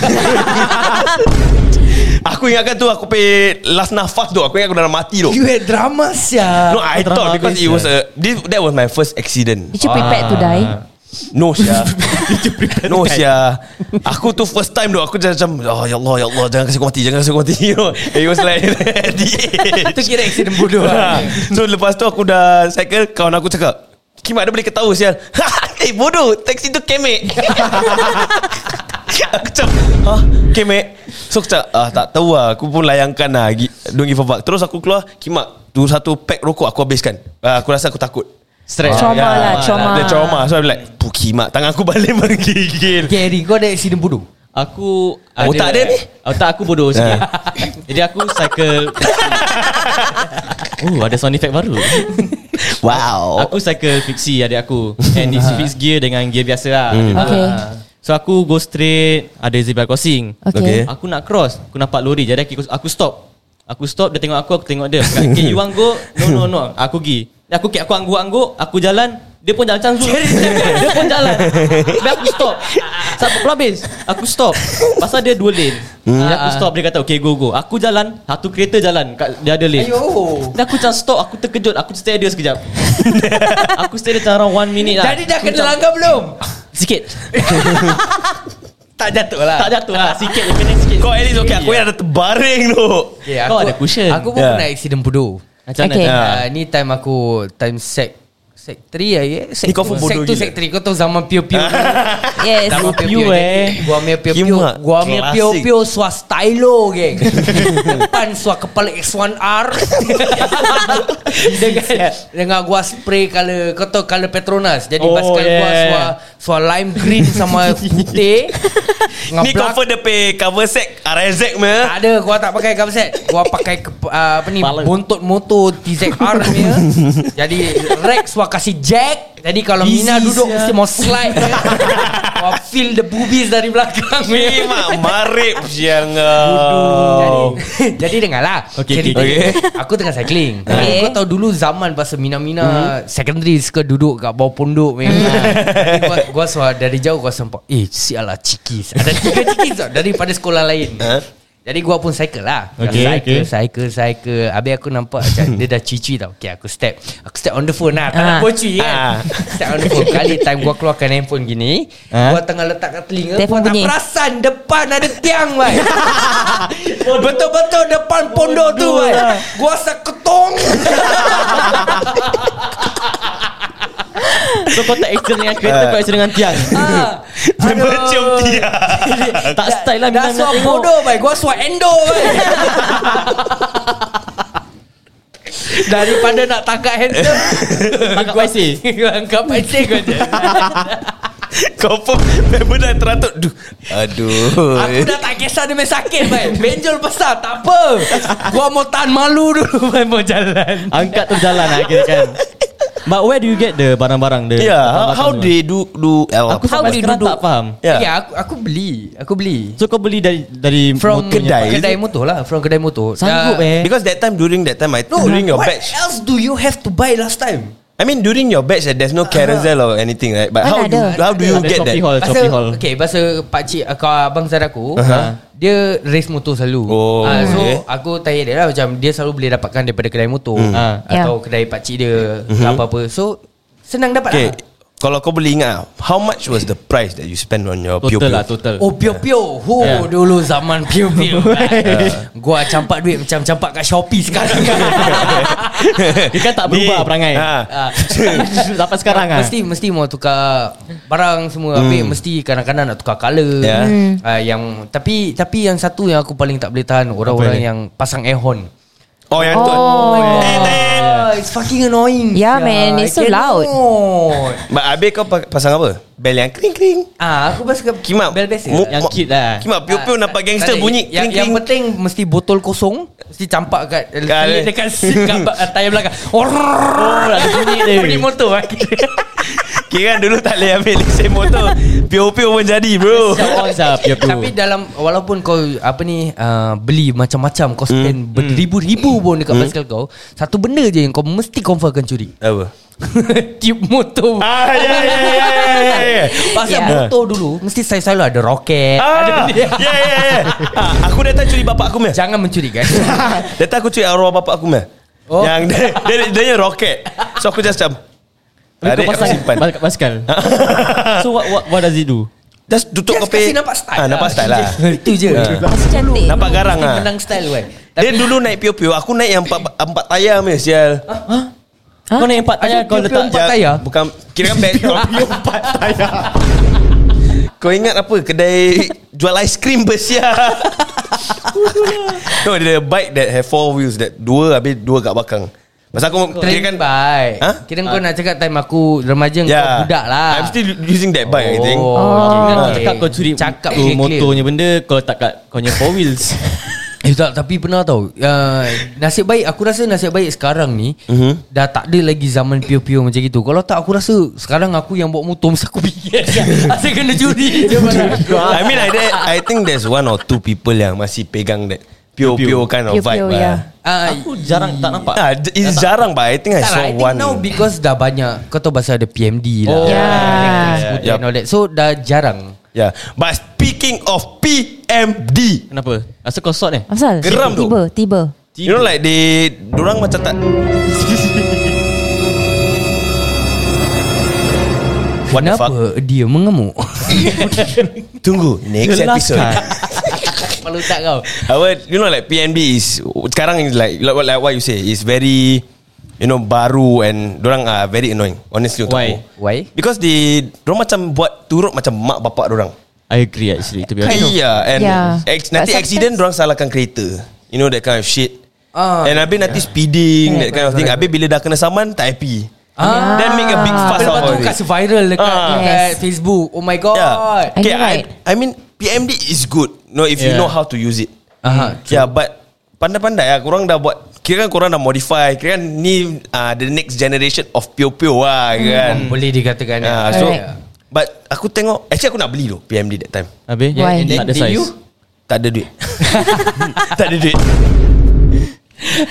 Speaker 2: Aku ingatkan tu Aku pay Last nafas tu Aku ingat aku dah mati tu
Speaker 3: You had drama sial
Speaker 2: No I thought Because it was a this, That was my first accident
Speaker 5: Did you prepare to die?
Speaker 4: Ah.
Speaker 2: No Syah No Syah Aku tu first time tu Aku just macam oh, Ya Allah Ya Allah Jangan kasi aku mati Jangan kasi aku mati you know? It was like at the end.
Speaker 3: Itu kira accident bodoh
Speaker 2: Ha.
Speaker 3: lah
Speaker 2: So lepas tu aku dah cycle Kawan aku cakap Kimak dia boleh ketawa sial Eh bodoh Taxi tu kemek Aku macam Ha kemek So aku cakap ah, Tak tahu lah Aku pun layankan lah Gi- Don't give a fuck Terus aku keluar Kimak Tu satu pack rokok aku habiskan ah, Aku rasa aku takut Ah.
Speaker 4: Stress
Speaker 5: Trauma lah, trauma.
Speaker 2: The trauma So I'm like Puh kimak Tangan aku balik menggigil
Speaker 3: Gary kau ada accident bodoh
Speaker 4: Aku
Speaker 2: Ah, Otak dia ni? Ah.
Speaker 4: Otak aku bodoh sikit Jadi aku cycle Oh ada sound effect baru
Speaker 2: Wow
Speaker 4: Aku cycle fixie adik aku And
Speaker 2: Ah.
Speaker 4: it's fixed gear dengan gear biasa lah
Speaker 2: Hmm.
Speaker 5: Okay.
Speaker 3: Ah.
Speaker 4: So aku go straight Ada zebra crossing
Speaker 5: Okay.
Speaker 4: Aku nak cross Aku nampak lori Jadi aku, aku stop Aku stop Dia tengok aku Aku tengok dia Aku Okay you want go No no no Aku pergi Dia Aku kek aku angguk-angguk Aku jalan Dia pun jalan Macam Zul Dia pun jalan Dia aku stop Sampai pukul habis Aku stop Pasal dia dua lane Dia aku stop Dia kata okay go go Aku jalan Satu kereta jalan kat, Dia ada lane
Speaker 3: Ayuh.
Speaker 4: Dan aku macam stop Aku terkejut Aku stay dia sekejap Aku stay dia macam around one minute lah
Speaker 3: Jadi dah
Speaker 4: Aku
Speaker 3: kena
Speaker 4: macam-
Speaker 3: langgar belum?
Speaker 4: Sikit
Speaker 3: Tak jatuh lah
Speaker 4: Tak jatuh lah Sikit dia kena sikit
Speaker 2: Kau at least okay Aku yang ada terbaring tu Ya.
Speaker 3: Okay,
Speaker 4: Kau ada cushion.
Speaker 3: Aku pun
Speaker 2: Yeah.
Speaker 3: yeah. pernah accident bodoh.
Speaker 4: Macam
Speaker 5: Okay.
Speaker 2: Ya.
Speaker 4: mana
Speaker 3: Uh, ni time aku time sec sec 3 ya. Yeah? Sec
Speaker 2: Ni kau pun
Speaker 3: two. sec
Speaker 2: bodoh gila.
Speaker 3: 2 sec 3 kau tahu zaman pio-pio.
Speaker 5: Yes.
Speaker 3: Zaman
Speaker 4: Pio-pio,
Speaker 3: pio-pio
Speaker 4: eh.
Speaker 3: eh. Gua punya pio-pio.
Speaker 2: Kimak.
Speaker 3: Gua punya
Speaker 2: Klasik.
Speaker 3: pio-pio suar stylo geng. Depan suar kepala X1R. dengan dengan gua spray color kau tahu color Petronas. Jadi
Speaker 4: Oh,
Speaker 3: oh, basikal yeah. gua
Speaker 4: yeah.
Speaker 3: suar suar lime green sama putih. Dengan
Speaker 2: Ni
Speaker 3: belakang-
Speaker 2: cover dia pay Cover set RZ me
Speaker 3: tak ada Gua tak pakai cover set Gua pakai ke, uh, Apa ni
Speaker 4: Kepala.
Speaker 3: Bontot motor TZR punya Jadi Rex Gua kasih jack Jadi kalau
Speaker 4: Easy
Speaker 3: Mina duduk
Speaker 4: sia.
Speaker 3: Mesti mau slide Gua feel the boobies Dari belakang
Speaker 2: Ni
Speaker 3: punya.
Speaker 2: mak marip siang ah. kau.
Speaker 3: Jadi, jadi dengarlah
Speaker 4: Okay,
Speaker 3: Cerita
Speaker 2: okay, okay.
Speaker 3: dia. Aku tengah cycling
Speaker 5: Okay.
Speaker 3: Kau tahu dulu zaman Bahasa Mina-Mina Secondary suka duduk Kat bawah pondok memang. Jadi gua, gua suara dari jauh Gua sempat Eh sialah cikis Ada tiga cikis tau Daripada sekolah lain
Speaker 2: Huh?
Speaker 3: Jadi gua pun cycle lah
Speaker 4: Okay,
Speaker 3: Cycle,
Speaker 4: okay.
Speaker 3: cycle, cycle Habis aku nampak macam Dia dah cici tau Okay aku step Aku step on the phone lah Tak nak
Speaker 5: Ah.
Speaker 3: bocui
Speaker 2: Ah.
Speaker 3: kan Step on the phone Kali time gua keluarkan handphone gini
Speaker 4: Ah.
Speaker 3: Gua tengah letak kat telinga Gua
Speaker 5: Telefon
Speaker 3: tak
Speaker 5: bunyi.
Speaker 3: perasan Depan ada tiang lah Betul-betul depan pondok tu
Speaker 4: Bodoh
Speaker 3: kan.
Speaker 4: lah.
Speaker 3: Gua seketong.
Speaker 4: So kau tak action dengan kereta
Speaker 2: Ya.
Speaker 4: Kau action dengan tiang
Speaker 3: Ah.
Speaker 2: Member cium dia
Speaker 4: Tak style lah
Speaker 3: Dah
Speaker 4: Minang nak
Speaker 3: suap
Speaker 4: tengok
Speaker 3: bodoh baik Gua suap endo baik Daripada nak tangkap handsome
Speaker 4: Tangkap pasir
Speaker 3: Kau angkat pancing kau je
Speaker 2: Kau pun Member dah teratur Duh. Aduh
Speaker 3: Aku dah tak kisah dia main sakit baik Benjol besar tak apa Gua mau tahan malu dulu baik Mau jalan
Speaker 4: Angkat tu jalan lah kira kan But where do you get the barang-barang the
Speaker 2: Yeah Ya,
Speaker 4: barang-barang
Speaker 2: How
Speaker 4: semua?
Speaker 2: they do do
Speaker 4: Aku
Speaker 5: How
Speaker 4: sampai
Speaker 5: do you
Speaker 4: sekarang
Speaker 5: duduk?
Speaker 4: tak faham
Speaker 3: Ya yeah, aku, aku beli Aku beli
Speaker 4: So kau beli dari dari
Speaker 3: From
Speaker 4: motor punya
Speaker 2: kedai.
Speaker 4: part.
Speaker 3: Kedai motor lah From kedai motor
Speaker 4: Sanggup
Speaker 3: Ah,
Speaker 4: eh
Speaker 2: Because that time during that time I during your
Speaker 3: what
Speaker 2: batch
Speaker 3: else do you have to buy last time?
Speaker 2: I mean during your batch eh, there's no carousel or anything right but
Speaker 5: Mana
Speaker 2: how do
Speaker 5: ada?
Speaker 2: how do you
Speaker 4: Ada
Speaker 2: get
Speaker 4: Shopee
Speaker 2: that
Speaker 4: Hall Shopee Hall
Speaker 3: Okay Bahasa pakcik Kau abang saudara aku ha,
Speaker 2: Aha.
Speaker 3: Dia race motor selalu
Speaker 2: Oh,
Speaker 3: Ah, So
Speaker 2: okay. Hmm.
Speaker 3: aku tanya dia lah Macam dia selalu boleh dapatkan Daripada kedai motor Ah,
Speaker 5: Yeah.
Speaker 3: Atau kedai pakcik dia ke Apa-apa So Senang dapat
Speaker 2: Mhm. Okay
Speaker 3: lah
Speaker 2: Kalau kau boleh ingat How much was the price That you spend on your
Speaker 4: Total
Speaker 2: pupil
Speaker 4: lah total
Speaker 3: Oh pio-pio Ho
Speaker 2: Ya.
Speaker 4: Yeah.
Speaker 3: dulu zaman pio-pio Gua campak duit Macam campak kat Shopee sekarang
Speaker 4: Dia kan tak berubah
Speaker 2: Ni.
Speaker 4: perangai
Speaker 2: Ha.
Speaker 3: Ah.
Speaker 4: Dapat sekarang ah.
Speaker 3: Mesti mesti mau tukar barang semua. Habis mesti kadang-kadang nak tukar color.
Speaker 2: Ya.
Speaker 5: Hmm.
Speaker 3: Ah, yang tapi tapi yang satu yang aku paling tak boleh tahan orang-orang
Speaker 4: Apa ni?
Speaker 3: yang pasang air horn.
Speaker 2: Oh yang tu
Speaker 5: Oh my
Speaker 3: Ah, it's fucking annoying.
Speaker 5: Yeah, man, it's so
Speaker 3: I
Speaker 5: loud.
Speaker 3: cannot.
Speaker 2: But habis kau pa- pasang apa Bel yang kring kring
Speaker 3: Ah, aku pasal
Speaker 2: Kimak
Speaker 3: bel biasa.
Speaker 2: mu-
Speaker 4: Yang
Speaker 2: mu-
Speaker 4: kid lah.
Speaker 2: Kimak pupil
Speaker 3: Ah,
Speaker 2: nampak
Speaker 3: tak-
Speaker 2: gangster
Speaker 3: tak ada.
Speaker 2: bunyi
Speaker 3: yang,
Speaker 2: kring
Speaker 3: yang
Speaker 2: kring
Speaker 3: penting mesti botol kosong Mesti campak kat
Speaker 2: Kat-
Speaker 3: Dekat Dekat seat kat ba- tayar belakang Oh ada bunyi dia Bunyi motor lah
Speaker 2: Kira kan dulu tak boleh ambil lesen motor POP pun jadi bro
Speaker 4: Siapa siapa ya bro.
Speaker 3: Tapi dalam Walaupun kau Apa ni uh, Beli macam-macam
Speaker 2: Hmm.
Speaker 3: Kau spend Beribu-ribu pun Dekat basikal kau Satu benda je Yang kau mesti confirm akan curi
Speaker 2: Apa
Speaker 3: Tube motor
Speaker 2: Ah ya ya ya, ya ya, ya
Speaker 3: Pasal
Speaker 5: Yeah.
Speaker 3: motor dulu Mesti saya selalu ada roket Ada
Speaker 2: Ah,
Speaker 3: benda
Speaker 2: ya ya ya. Ah, aku datang curi bapak aku meh.
Speaker 3: Jangan mencuri guys
Speaker 2: Datang aku curi arwah bapak aku meh.
Speaker 3: Oh.
Speaker 2: Yang dia dia, dia, dia roket. So aku just macam Adik
Speaker 4: Tapi kau
Speaker 2: aku
Speaker 4: pasang
Speaker 2: simpan. Ha.
Speaker 4: bas- basikal. So what what what does it do?
Speaker 2: Just tutup
Speaker 3: Just
Speaker 2: kopi.
Speaker 3: kasi nampak style
Speaker 2: Ah,
Speaker 3: lah.
Speaker 2: nampak style lah.
Speaker 3: Itu je
Speaker 2: Ah.
Speaker 5: Masih cantik
Speaker 2: Nampak garang
Speaker 3: Mesti
Speaker 2: ah.
Speaker 3: menang style kan
Speaker 2: Dia dulu naik pio-pio Aku naik yang empat, empat tayar ya. meh sial
Speaker 4: Kau naik empat tayar
Speaker 3: Ada
Speaker 4: kau
Speaker 3: dia punya
Speaker 4: letak
Speaker 3: Ah, Empat tayar?
Speaker 2: Bukan Kira kan bag Empat tayar Kau ingat apa Kedai Jual aiskrim bersia ya. No the bike that have four wheels That dua Habis dua kat belakang Pasal aku Kira
Speaker 3: Kira
Speaker 2: kan
Speaker 3: kan baik
Speaker 2: Ha?
Speaker 3: Kira kau nak cakap time aku Remaja kau
Speaker 2: Yeah.
Speaker 3: budak lah
Speaker 2: Ya. I'm still using that bike oh. I think
Speaker 4: Ingat kau
Speaker 3: okay.
Speaker 4: cakap kau curi
Speaker 3: Cakap
Speaker 4: tu
Speaker 3: clear, clear.
Speaker 4: motornya benda kau letak kat kau punya four wheels.
Speaker 3: Eh tak tapi pernah tau uh, Nasib baik Aku rasa nasib baik sekarang ni
Speaker 2: Mhm.
Speaker 3: Dah tak ada lagi zaman pio-pio macam itu Kalau tak aku rasa Sekarang aku yang bawa motor Mesti aku fikir Asyik kena curi je barang.
Speaker 2: I mean I, that, I think there's one or two people Yang masih pegang that Pio-pio kind of
Speaker 5: Pio-pio,
Speaker 2: vibe
Speaker 5: yeah.
Speaker 2: lah
Speaker 3: Ah,
Speaker 4: Aku jarang tak nampak.
Speaker 2: Ah, it's jarang but I think I
Speaker 3: tak lah,
Speaker 2: saw
Speaker 3: I think
Speaker 2: one
Speaker 3: now because dah banyak Kau tahu pasal ada PMD lah
Speaker 4: Oh,
Speaker 5: yeah.
Speaker 3: Electric scooter
Speaker 2: Yeah.
Speaker 3: and all that. So dah jarang
Speaker 2: Yeah But speaking of PMD
Speaker 4: Kenapa? Asal kau eh? sort ni?
Speaker 5: Asal
Speaker 2: Geram tu.
Speaker 5: Tiba Tiba
Speaker 2: You know like they Diorang macam tak What the fuck
Speaker 3: Kenapa dia mengemuk
Speaker 2: Tunggu Next
Speaker 4: Jelaskan.
Speaker 2: episode
Speaker 3: Kalau tak kau
Speaker 2: Our, You know like PNB is Sekarang is like like, what- like what you say Is very You know baru And Diorang are very annoying Honestly untuk
Speaker 4: Why?
Speaker 2: aku.
Speaker 3: Why?
Speaker 2: Because they Diorang macam buat Turut macam mak bapak diorang
Speaker 4: I agree actually to be honest.
Speaker 2: Iya And
Speaker 5: Yeah.
Speaker 2: ex,
Speaker 5: Ya. But
Speaker 2: Nanti
Speaker 5: sometimes-
Speaker 2: accident Diorang salahkan kereta You know that kind of shit
Speaker 3: Ah,
Speaker 2: And habis nanti speeding That kind of thing Habis bila dah kena saman Tak happy
Speaker 3: Ah.
Speaker 2: Then make a big fuss
Speaker 3: Lepas
Speaker 2: out
Speaker 3: tu
Speaker 2: of it
Speaker 3: kasi viral dekat,
Speaker 2: Ah. Ya.
Speaker 3: dekat
Speaker 5: Yes.
Speaker 3: Facebook Oh my god
Speaker 2: Yeah.
Speaker 5: I
Speaker 2: Okay,
Speaker 5: know, right?
Speaker 2: I, I mean PMD is good. No, if you
Speaker 4: Yeah.
Speaker 2: know how to use it.
Speaker 3: Aha,
Speaker 2: Yeah, Ya, but pandai-pandai lah. Korang dah buat, kira kan korang dah modify. Kira kan ni uh, the next generation of pio-pio lah kan.
Speaker 3: Hmm. Boleh dikatakan
Speaker 2: Yeah,
Speaker 3: ya.
Speaker 2: so,
Speaker 5: Correct.
Speaker 2: but aku tengok, actually aku nak beli tu PMD that time.
Speaker 4: Habis?
Speaker 5: Why?
Speaker 4: Yeah, and then
Speaker 3: Tak ada
Speaker 4: did
Speaker 3: size.
Speaker 4: you?
Speaker 2: Tak ada duit. tak ada duit.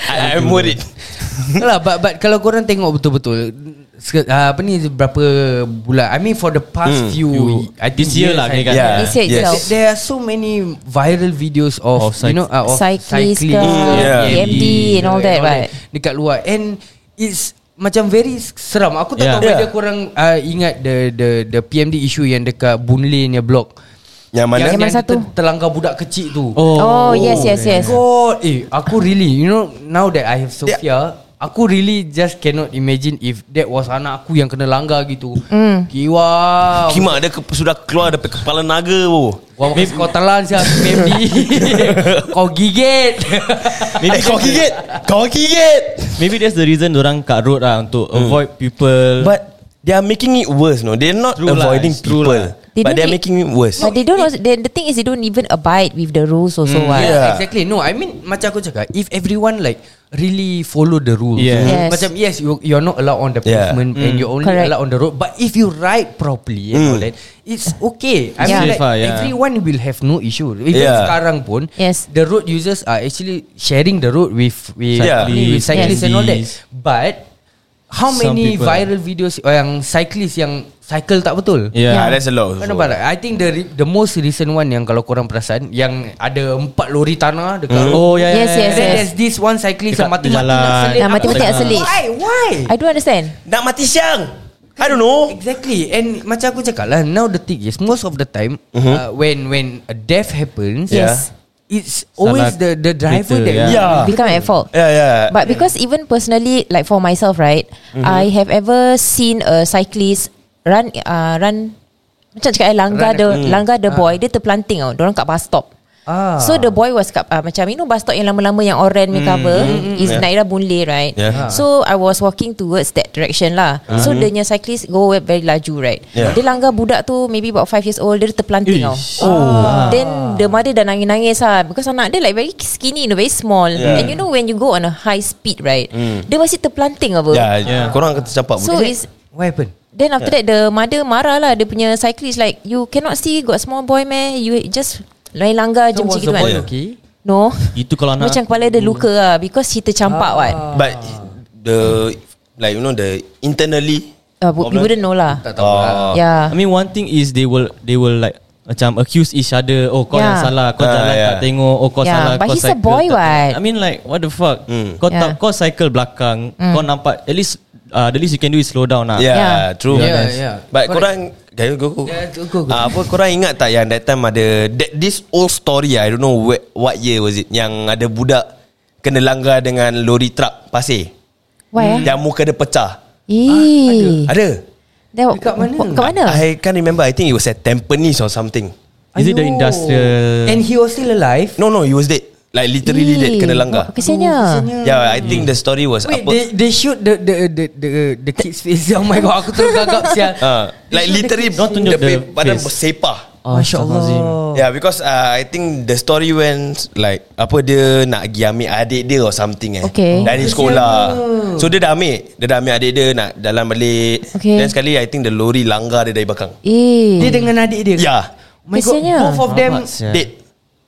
Speaker 2: I, I'm worried.
Speaker 3: Alah, but, but kalau korang tengok betul-betul se- ah, Apa ni berapa bulan I mean for the past
Speaker 2: Hmm.
Speaker 3: few I think
Speaker 4: This year lah
Speaker 3: years,
Speaker 4: kira kan.
Speaker 2: Yeah.
Speaker 5: This year
Speaker 2: Ya. Yes.
Speaker 5: itself
Speaker 3: There- There are so many viral videos of,
Speaker 4: Of cyc-
Speaker 3: you know uh, of
Speaker 5: Cyclist ke
Speaker 2: Yeah.
Speaker 5: PMD and all that right
Speaker 3: Dekat luar And it's macam very seram Aku tak
Speaker 4: Yeah.
Speaker 3: tahu whether
Speaker 2: Yeah.
Speaker 3: korang uh, ingat the the the PMD issue yang dekat Boon Lay ni blog
Speaker 2: Yang mana?
Speaker 5: Yang-
Speaker 3: yang
Speaker 5: satu.
Speaker 3: ter- terlanggar budak kecil tu
Speaker 5: Oh yes yes yes
Speaker 3: God Eh aku really You know Now that I have Sophia Aku really just cannot imagine if that was anak aku yang kena langgar gitu. Mm. Kiwa.
Speaker 2: Kimak dia ke, sudah keluar daripada kepala naga tu.
Speaker 3: Wah, makan kau telan siapa Maybe Kau gigit
Speaker 2: Eh, kau gigit. Kau gigit.
Speaker 4: Maybe that's the reason orang kat road lah untuk avoid people.
Speaker 2: But they are making it worse, no. They're not
Speaker 4: True lah,
Speaker 2: avoiding
Speaker 4: it's true
Speaker 2: people.
Speaker 4: lah.
Speaker 5: They
Speaker 2: but they're
Speaker 5: don't make-
Speaker 2: making it worse.
Speaker 5: But they don't also, they, The thing is They don't even abide With the rules also
Speaker 2: Hmm.
Speaker 3: Yeah,
Speaker 5: mm, what.
Speaker 2: Yeah.
Speaker 3: exactly. No, I mean macam aku cakap, if everyone like really follow the rules,
Speaker 4: Yeah.
Speaker 5: Yes.
Speaker 3: macam yes, you you're not allowed on the
Speaker 2: Yeah.
Speaker 3: pavement and you're only
Speaker 5: Correct.
Speaker 3: allowed on the road. But if you ride properly and all that, it's okay. I mean,
Speaker 5: Yeah.
Speaker 4: Safe
Speaker 3: like,
Speaker 4: lah, yeah.
Speaker 3: everyone will have no issue. Even
Speaker 2: Yeah.
Speaker 3: sekarang pun,
Speaker 5: Yes.
Speaker 3: the road users are actually sharing the road with with,
Speaker 2: Yeah.
Speaker 3: with cyclists
Speaker 4: Cyclists.
Speaker 3: and all that.
Speaker 4: Yes.
Speaker 3: But how
Speaker 4: Some
Speaker 3: many
Speaker 4: people-
Speaker 3: viral videos oh, yang cyclist yang cycle tak betul?
Speaker 2: yeah,
Speaker 4: Ah,
Speaker 5: Yeah.
Speaker 2: that's a lot.
Speaker 3: Kau nampak tak? I think the re- the most recent one yang kalau korang perasan yang ada empat lori tanah dekat mm.
Speaker 4: Oh yeah.
Speaker 5: Yes,
Speaker 4: yeah,
Speaker 5: yes,
Speaker 3: And then
Speaker 5: yes.
Speaker 3: there's this one cyclist
Speaker 4: Dekat
Speaker 3: yang mati-mati
Speaker 4: jalan.
Speaker 3: nak selit.
Speaker 5: Yang mati-mati nak selit.
Speaker 3: Why? Why?
Speaker 5: I don't understand
Speaker 2: Nak mati siang. I don't know.
Speaker 3: Exactly And macam aku cakap lah Now the thing is Most of the time
Speaker 4: Mm-hmm.
Speaker 3: uh, When when a death happens
Speaker 5: Yes.
Speaker 3: It's always
Speaker 4: Salah
Speaker 3: the the driver
Speaker 4: kereta,
Speaker 3: that
Speaker 2: Yeah.
Speaker 4: yeah.
Speaker 5: Become at fault
Speaker 2: Yeah, Uh, yeah. Mm-hmm.
Speaker 5: But because even personally, like for myself, right, I have ever seen a cyclist run, uh, run. Macam cakap, eh, langgar
Speaker 3: Run
Speaker 5: the
Speaker 2: mm.
Speaker 5: langgar
Speaker 2: Ah.
Speaker 5: the boy, dia terpelanting tau. Diorang kat bus stop.
Speaker 3: Ah.
Speaker 5: So the boy was kat, uh, macam you know bus stop yang lama-lama yang orange mm, cover
Speaker 2: Mm-hmm.
Speaker 5: is
Speaker 2: Yeah.
Speaker 5: Naira Boon Lay right.
Speaker 2: Yeah. Ah.
Speaker 5: So I was walking towards that direction lah. So the punya cyclist go very laju right.
Speaker 2: Yeah.
Speaker 5: Dia langgar budak tu maybe about 5 years old dia terpelanting tau.
Speaker 4: Ish.
Speaker 2: Ah.
Speaker 5: Oh. Then the mother dah nangis-nangis lah Because anak dia like very skinny you know, Very small
Speaker 2: Yeah. Hmm.
Speaker 5: yeah. And you know when you go on a high speed right Dia masih terpelanting apa
Speaker 2: Yeah, yeah.
Speaker 4: Yeah.
Speaker 2: Ya, korang akan tercampak.
Speaker 5: So it's
Speaker 3: What happened?
Speaker 5: Then after
Speaker 2: Ya.
Speaker 5: yeah. that the mother marah lah Dia punya cyclist like You cannot see got small boy meh You just lain langgar je
Speaker 3: So
Speaker 5: macam
Speaker 3: was
Speaker 5: gitu
Speaker 3: the
Speaker 5: kan
Speaker 3: boy okay?
Speaker 5: No
Speaker 4: Itu kalau nak
Speaker 5: Macam kepala dia luka lah Because he tercampak what
Speaker 2: But the like you know the internally
Speaker 5: uh, bu- You wouldn't know lah Ya.
Speaker 3: Tak tahu
Speaker 2: Oh.
Speaker 3: lah
Speaker 4: I
Speaker 5: Yeah
Speaker 4: mean one thing is they will they will like macam accuse each other oh kau yeah.
Speaker 5: Yeah.
Speaker 4: yang salah kau
Speaker 2: Ah,
Speaker 4: jalan
Speaker 2: yeah.
Speaker 4: tak tengok oh kau
Speaker 5: Yeah,
Speaker 4: salah
Speaker 5: but
Speaker 4: kau
Speaker 5: he's a boy
Speaker 4: tak tengok."
Speaker 5: what?
Speaker 4: I mean like what the fuck
Speaker 2: Mm.
Speaker 4: kau tak
Speaker 5: Yeah. Hmm.
Speaker 4: kau cycle belakang kau nampak at least uh, the least you can do is slow down lah
Speaker 2: Yeah, yeah,
Speaker 5: Yeah.
Speaker 2: true.
Speaker 3: Yeah,
Speaker 2: Yes.
Speaker 3: yeah.
Speaker 2: But
Speaker 3: Correct.
Speaker 2: korang Gaya go go.
Speaker 3: Yeah, go, go, go.
Speaker 2: Ah, apa korang ingat tak yang that time ada that, this old story I don't know where, what year was it yang ada budak kena langgar dengan lori truk pasir.
Speaker 5: Why ah
Speaker 2: Yang muka dia pecah.
Speaker 5: Eh
Speaker 2: Ada.
Speaker 5: Then
Speaker 3: Dekat mana?
Speaker 5: Kat mana
Speaker 2: I can't remember. I think it was at Tampines or something.
Speaker 4: Is it the
Speaker 3: Ayuh.
Speaker 5: Eh,
Speaker 4: industrial-
Speaker 3: And he was still alive?
Speaker 2: No, no, he was dead. Like literally dead kena langgar.
Speaker 5: Kesiannya
Speaker 2: Yeah, I think the story was
Speaker 3: Wait,
Speaker 2: apa?
Speaker 3: they, they shoot the the the the, the kid's face. Oh my god, aku terus gagap sial.
Speaker 2: Ah, like literally
Speaker 4: Don't
Speaker 2: the,
Speaker 4: tunjuk
Speaker 2: the
Speaker 4: the
Speaker 2: badan
Speaker 4: face.
Speaker 2: bersepah.
Speaker 3: Masya-Allah.
Speaker 2: Yeah, because uh, I think the story went like apa dia nak pergi ambil adik dia or something eh.
Speaker 5: Okay.
Speaker 2: Dari sekolah. So dia dah ambil, dia dah ambil adik dia nak jalan balik.
Speaker 5: Okay.
Speaker 2: Then sekali I think the lori langgar dia dari belakang.
Speaker 5: Eh
Speaker 3: Dia dengan adik dia. ke?
Speaker 2: Yeah.
Speaker 3: Oh my god,
Speaker 5: Kesiannya.
Speaker 3: both of them.
Speaker 4: Rabak sia.
Speaker 2: Dead.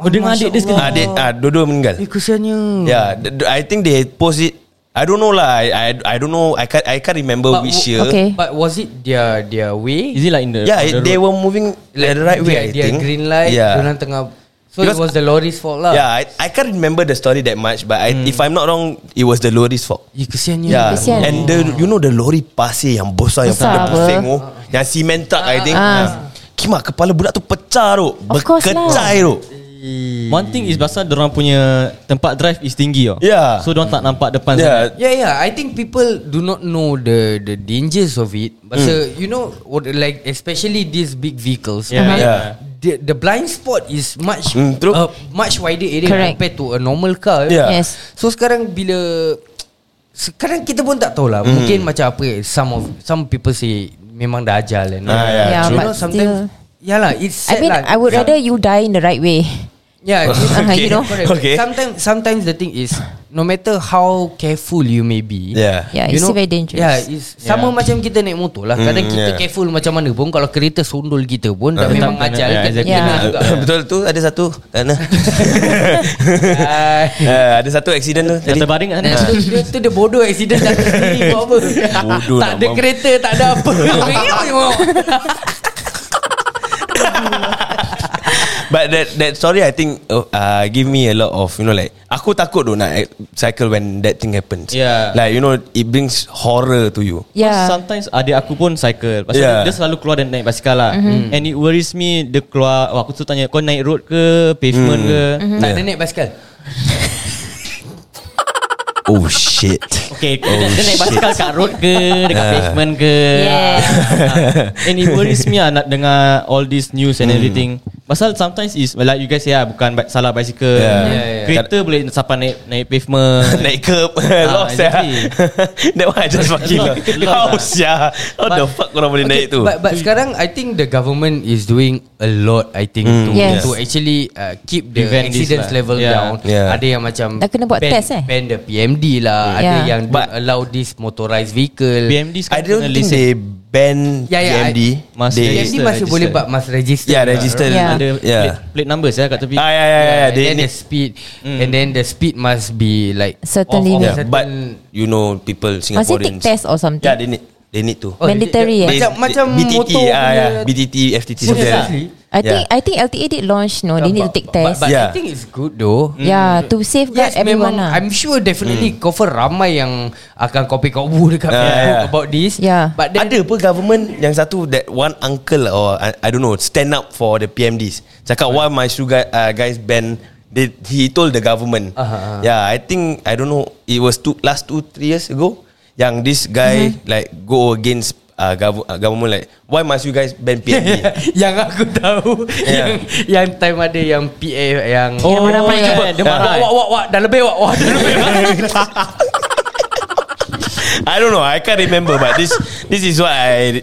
Speaker 4: oh dengan adik dia sekali
Speaker 2: Adik Ya. ah dua-dua meninggal.
Speaker 3: Eh, kesiannya.
Speaker 2: Yeah, th- th- I think they post it. I don't know lah. I I, I don't know. I can't I can't remember
Speaker 3: But
Speaker 2: which
Speaker 3: w-
Speaker 2: year.
Speaker 5: okay.
Speaker 3: But was it their their way?
Speaker 4: is it like in the
Speaker 2: Yeah,
Speaker 4: on the
Speaker 2: it, they
Speaker 4: road?
Speaker 2: were moving like, the right way. I
Speaker 3: Their, their
Speaker 2: think.
Speaker 3: green light.
Speaker 2: Yeah.
Speaker 3: Yeah. Orang tengah. So
Speaker 2: Ya. Because- Ya.
Speaker 3: it was the lorry's fault
Speaker 5: Ah.
Speaker 3: lah.
Speaker 2: Yeah, I, I can't remember the story that much, but I, if I'm not wrong, it was the lorry's fault.
Speaker 3: Eh, kesiannya.
Speaker 2: Yeah,
Speaker 5: Hmm. Kesian.
Speaker 2: and the you know the lorry pasir yang besar yang
Speaker 5: Besar
Speaker 2: pernah
Speaker 5: apa? Ah.
Speaker 2: pusing tu, yang cement truck I think. Kima kepala budak tu pecah tu,
Speaker 5: Of course lah.
Speaker 2: berkecai tu.
Speaker 4: one thing is pasal orang punya tempat drive is tinggi oh
Speaker 2: Yeah.
Speaker 4: so orang tak nampak depan sangat.
Speaker 2: Yeah,
Speaker 3: Yeah, yeah. I think people do not know the the dangers of it.
Speaker 2: Hmm.
Speaker 3: But so, you know, what, like especially these big vehicles.
Speaker 4: Yeah.
Speaker 2: Yeah.
Speaker 3: The, the blind spot is much
Speaker 2: Mm, true.
Speaker 3: uh, much wider area
Speaker 5: Correct.
Speaker 3: compared to a normal car.
Speaker 2: Yeah.
Speaker 5: Yes
Speaker 3: So sekarang bila sekarang kita pun tak tahulah hmm. mungkin macam apa some of some people say memang dah ajal and all
Speaker 2: Ah,
Speaker 3: that.
Speaker 2: yeah,
Speaker 5: Yeah,
Speaker 3: you
Speaker 5: but
Speaker 3: know sometimes yalah it's sad
Speaker 5: I mean
Speaker 3: lah.
Speaker 5: I would rather you die in the right way
Speaker 3: yeah,
Speaker 5: Uh-huh, you know.
Speaker 3: Correct.
Speaker 2: Okay.
Speaker 3: Sometimes sometimes the thing is no matter how careful you may be.
Speaker 2: Yeah.
Speaker 5: Yeah,
Speaker 3: you
Speaker 5: it's
Speaker 3: know,
Speaker 5: still very dangerous.
Speaker 3: Yeah, it's sama
Speaker 4: Yeah.
Speaker 3: macam kita naik motor lah. Kadang
Speaker 2: Mm,
Speaker 3: kita
Speaker 2: yeah.
Speaker 3: careful macam mana pun kalau kereta sundul kita pun dah
Speaker 2: Ah,
Speaker 3: memang
Speaker 4: tetap kena,
Speaker 3: ajal
Speaker 4: yeah,
Speaker 3: kan.
Speaker 4: exactly.
Speaker 3: Kena
Speaker 5: Yeah.
Speaker 3: juga.
Speaker 2: Betul tu ada satu tanah.
Speaker 3: Ah,
Speaker 2: uh, ada satu accident tu
Speaker 4: yang
Speaker 2: tadi.
Speaker 4: terbaring kat sana
Speaker 3: Nah, tu, dia, tu dia bodoh accident tak sendiri buat apa.
Speaker 2: Bodoh
Speaker 3: tak
Speaker 2: nak
Speaker 3: ada
Speaker 2: mam-
Speaker 3: kereta, tak ada apa. Merah tengok.
Speaker 2: But that that story I think uh, uh, give me a lot of you know like aku takut tu nak cycle when that thing happens.
Speaker 4: Yeah.
Speaker 2: Like you know it brings horror to you.
Speaker 5: Yeah
Speaker 4: Because Sometimes adik aku pun cycle Pasal
Speaker 2: Yeah.
Speaker 4: yeah. dia selalu keluar dan naik basikal lah
Speaker 5: Mhm.
Speaker 4: mm-hmm. And it worries me Dia keluar oh, Aku tu tanya Kau
Speaker 2: Hmm.
Speaker 4: naik
Speaker 5: Mhm.
Speaker 4: road ke Pavement mm. ke mm-hmm.
Speaker 3: tak ada naik basikal.
Speaker 2: Oh shit
Speaker 4: Okay oh, Dia naik basikal kat road ke Dekat pavement ke
Speaker 5: Yeah.
Speaker 4: Ah. And it worries me lah Nak dengar All this news
Speaker 2: Hmm.
Speaker 4: and everything Pasal sometimes is Like you guys say lah Bukan ba- salah basikal
Speaker 2: Yeah.
Speaker 3: Yeah, yeah.
Speaker 4: Kereta boleh Sampai naik Naik pavement
Speaker 2: Naik curb Lost ya
Speaker 4: Ah, exactly.
Speaker 2: That one I just fucking
Speaker 4: Lost, lost,
Speaker 2: How sia How the
Speaker 3: But-
Speaker 2: fuck korang boleh
Speaker 3: Okay,
Speaker 2: naik tu
Speaker 3: But, but sekarang I think the government is doing a lot I think
Speaker 2: Hmm.
Speaker 3: to
Speaker 5: Yes.
Speaker 3: to actually uh, keep the
Speaker 4: Prevent this
Speaker 3: incidence
Speaker 4: lah.
Speaker 3: level
Speaker 4: Yeah.
Speaker 3: down.
Speaker 2: Yeah.
Speaker 3: Ada yang macam
Speaker 5: Dah kena buat
Speaker 3: ban,
Speaker 5: test, eh?
Speaker 3: Ban the PMD lah. Ada
Speaker 5: Yeah.
Speaker 3: yang but, allow this motorised vehicle.
Speaker 4: BMD
Speaker 2: I
Speaker 4: sekarang
Speaker 2: don't
Speaker 4: kena
Speaker 2: think
Speaker 4: lesen.
Speaker 2: they ban
Speaker 3: Yeah, yeah,
Speaker 2: PMD
Speaker 4: I- must
Speaker 2: They
Speaker 3: PMD
Speaker 4: Register,
Speaker 3: masih
Speaker 4: register.
Speaker 3: boleh but must register.
Speaker 2: Yeah
Speaker 3: lah,
Speaker 2: register
Speaker 5: Yeah.
Speaker 4: Ada
Speaker 2: Yeah.
Speaker 4: plate, plate numbers ya kat tepi
Speaker 2: Ah, yeah, yeah, yeah, yeah.
Speaker 3: and
Speaker 2: They
Speaker 3: then
Speaker 2: need
Speaker 3: the speed
Speaker 4: Hmm.
Speaker 3: and then the speed must be like
Speaker 5: Certain
Speaker 3: of- of
Speaker 5: limit.
Speaker 2: yeah,
Speaker 3: certain-
Speaker 2: But you know people
Speaker 5: Must it take
Speaker 2: Singaporeans
Speaker 5: test or something?
Speaker 2: Yeah they need They need to
Speaker 3: Oh, dia-
Speaker 5: Mandatory, eh?
Speaker 3: Macam macam
Speaker 2: BTT,
Speaker 3: motor
Speaker 2: ah,
Speaker 3: punya-
Speaker 2: yeah. BTT FTT
Speaker 3: Serious
Speaker 2: something
Speaker 3: ah?
Speaker 2: like that.
Speaker 5: I think
Speaker 2: Yeah.
Speaker 5: I think LTA did launch. No,
Speaker 3: Yeah,
Speaker 5: they need to
Speaker 3: but-
Speaker 5: take
Speaker 3: but-
Speaker 5: test.
Speaker 3: But,
Speaker 2: Yeah.
Speaker 3: I think it's good though.
Speaker 4: Hmm.
Speaker 5: yeah, to safeguard
Speaker 3: Yes, memang
Speaker 5: everyone lah.
Speaker 3: I'm sure definitely mm. Cover ramai yang Akan copy kau bu Dekat
Speaker 2: Hmm. Yeah,
Speaker 3: Facebook
Speaker 2: yeah.
Speaker 3: About this
Speaker 5: Yeah.
Speaker 3: But then
Speaker 2: ada pun government yang satu that one uncle or I, I don't know stand up for the PMDs. Cakap why my sugar uh, guys ban they, he told the government.
Speaker 3: Aha, aha.
Speaker 2: Yeah, I think I don't know it was two last two three years ago yang this guy like go against uh, gov- uh, government like why must you guys ban PMD?
Speaker 3: Yang aku tahu Yang
Speaker 2: Yeah.
Speaker 3: yang time ada yang PA Yang
Speaker 4: Oh, Yang marah-marah
Speaker 3: yang
Speaker 4: kan? Dia marah,
Speaker 3: Wak
Speaker 4: eh?
Speaker 3: wak wak wak Dah lebih wak wak Dah lebih
Speaker 2: I don't know. I can't remember, but this this is what I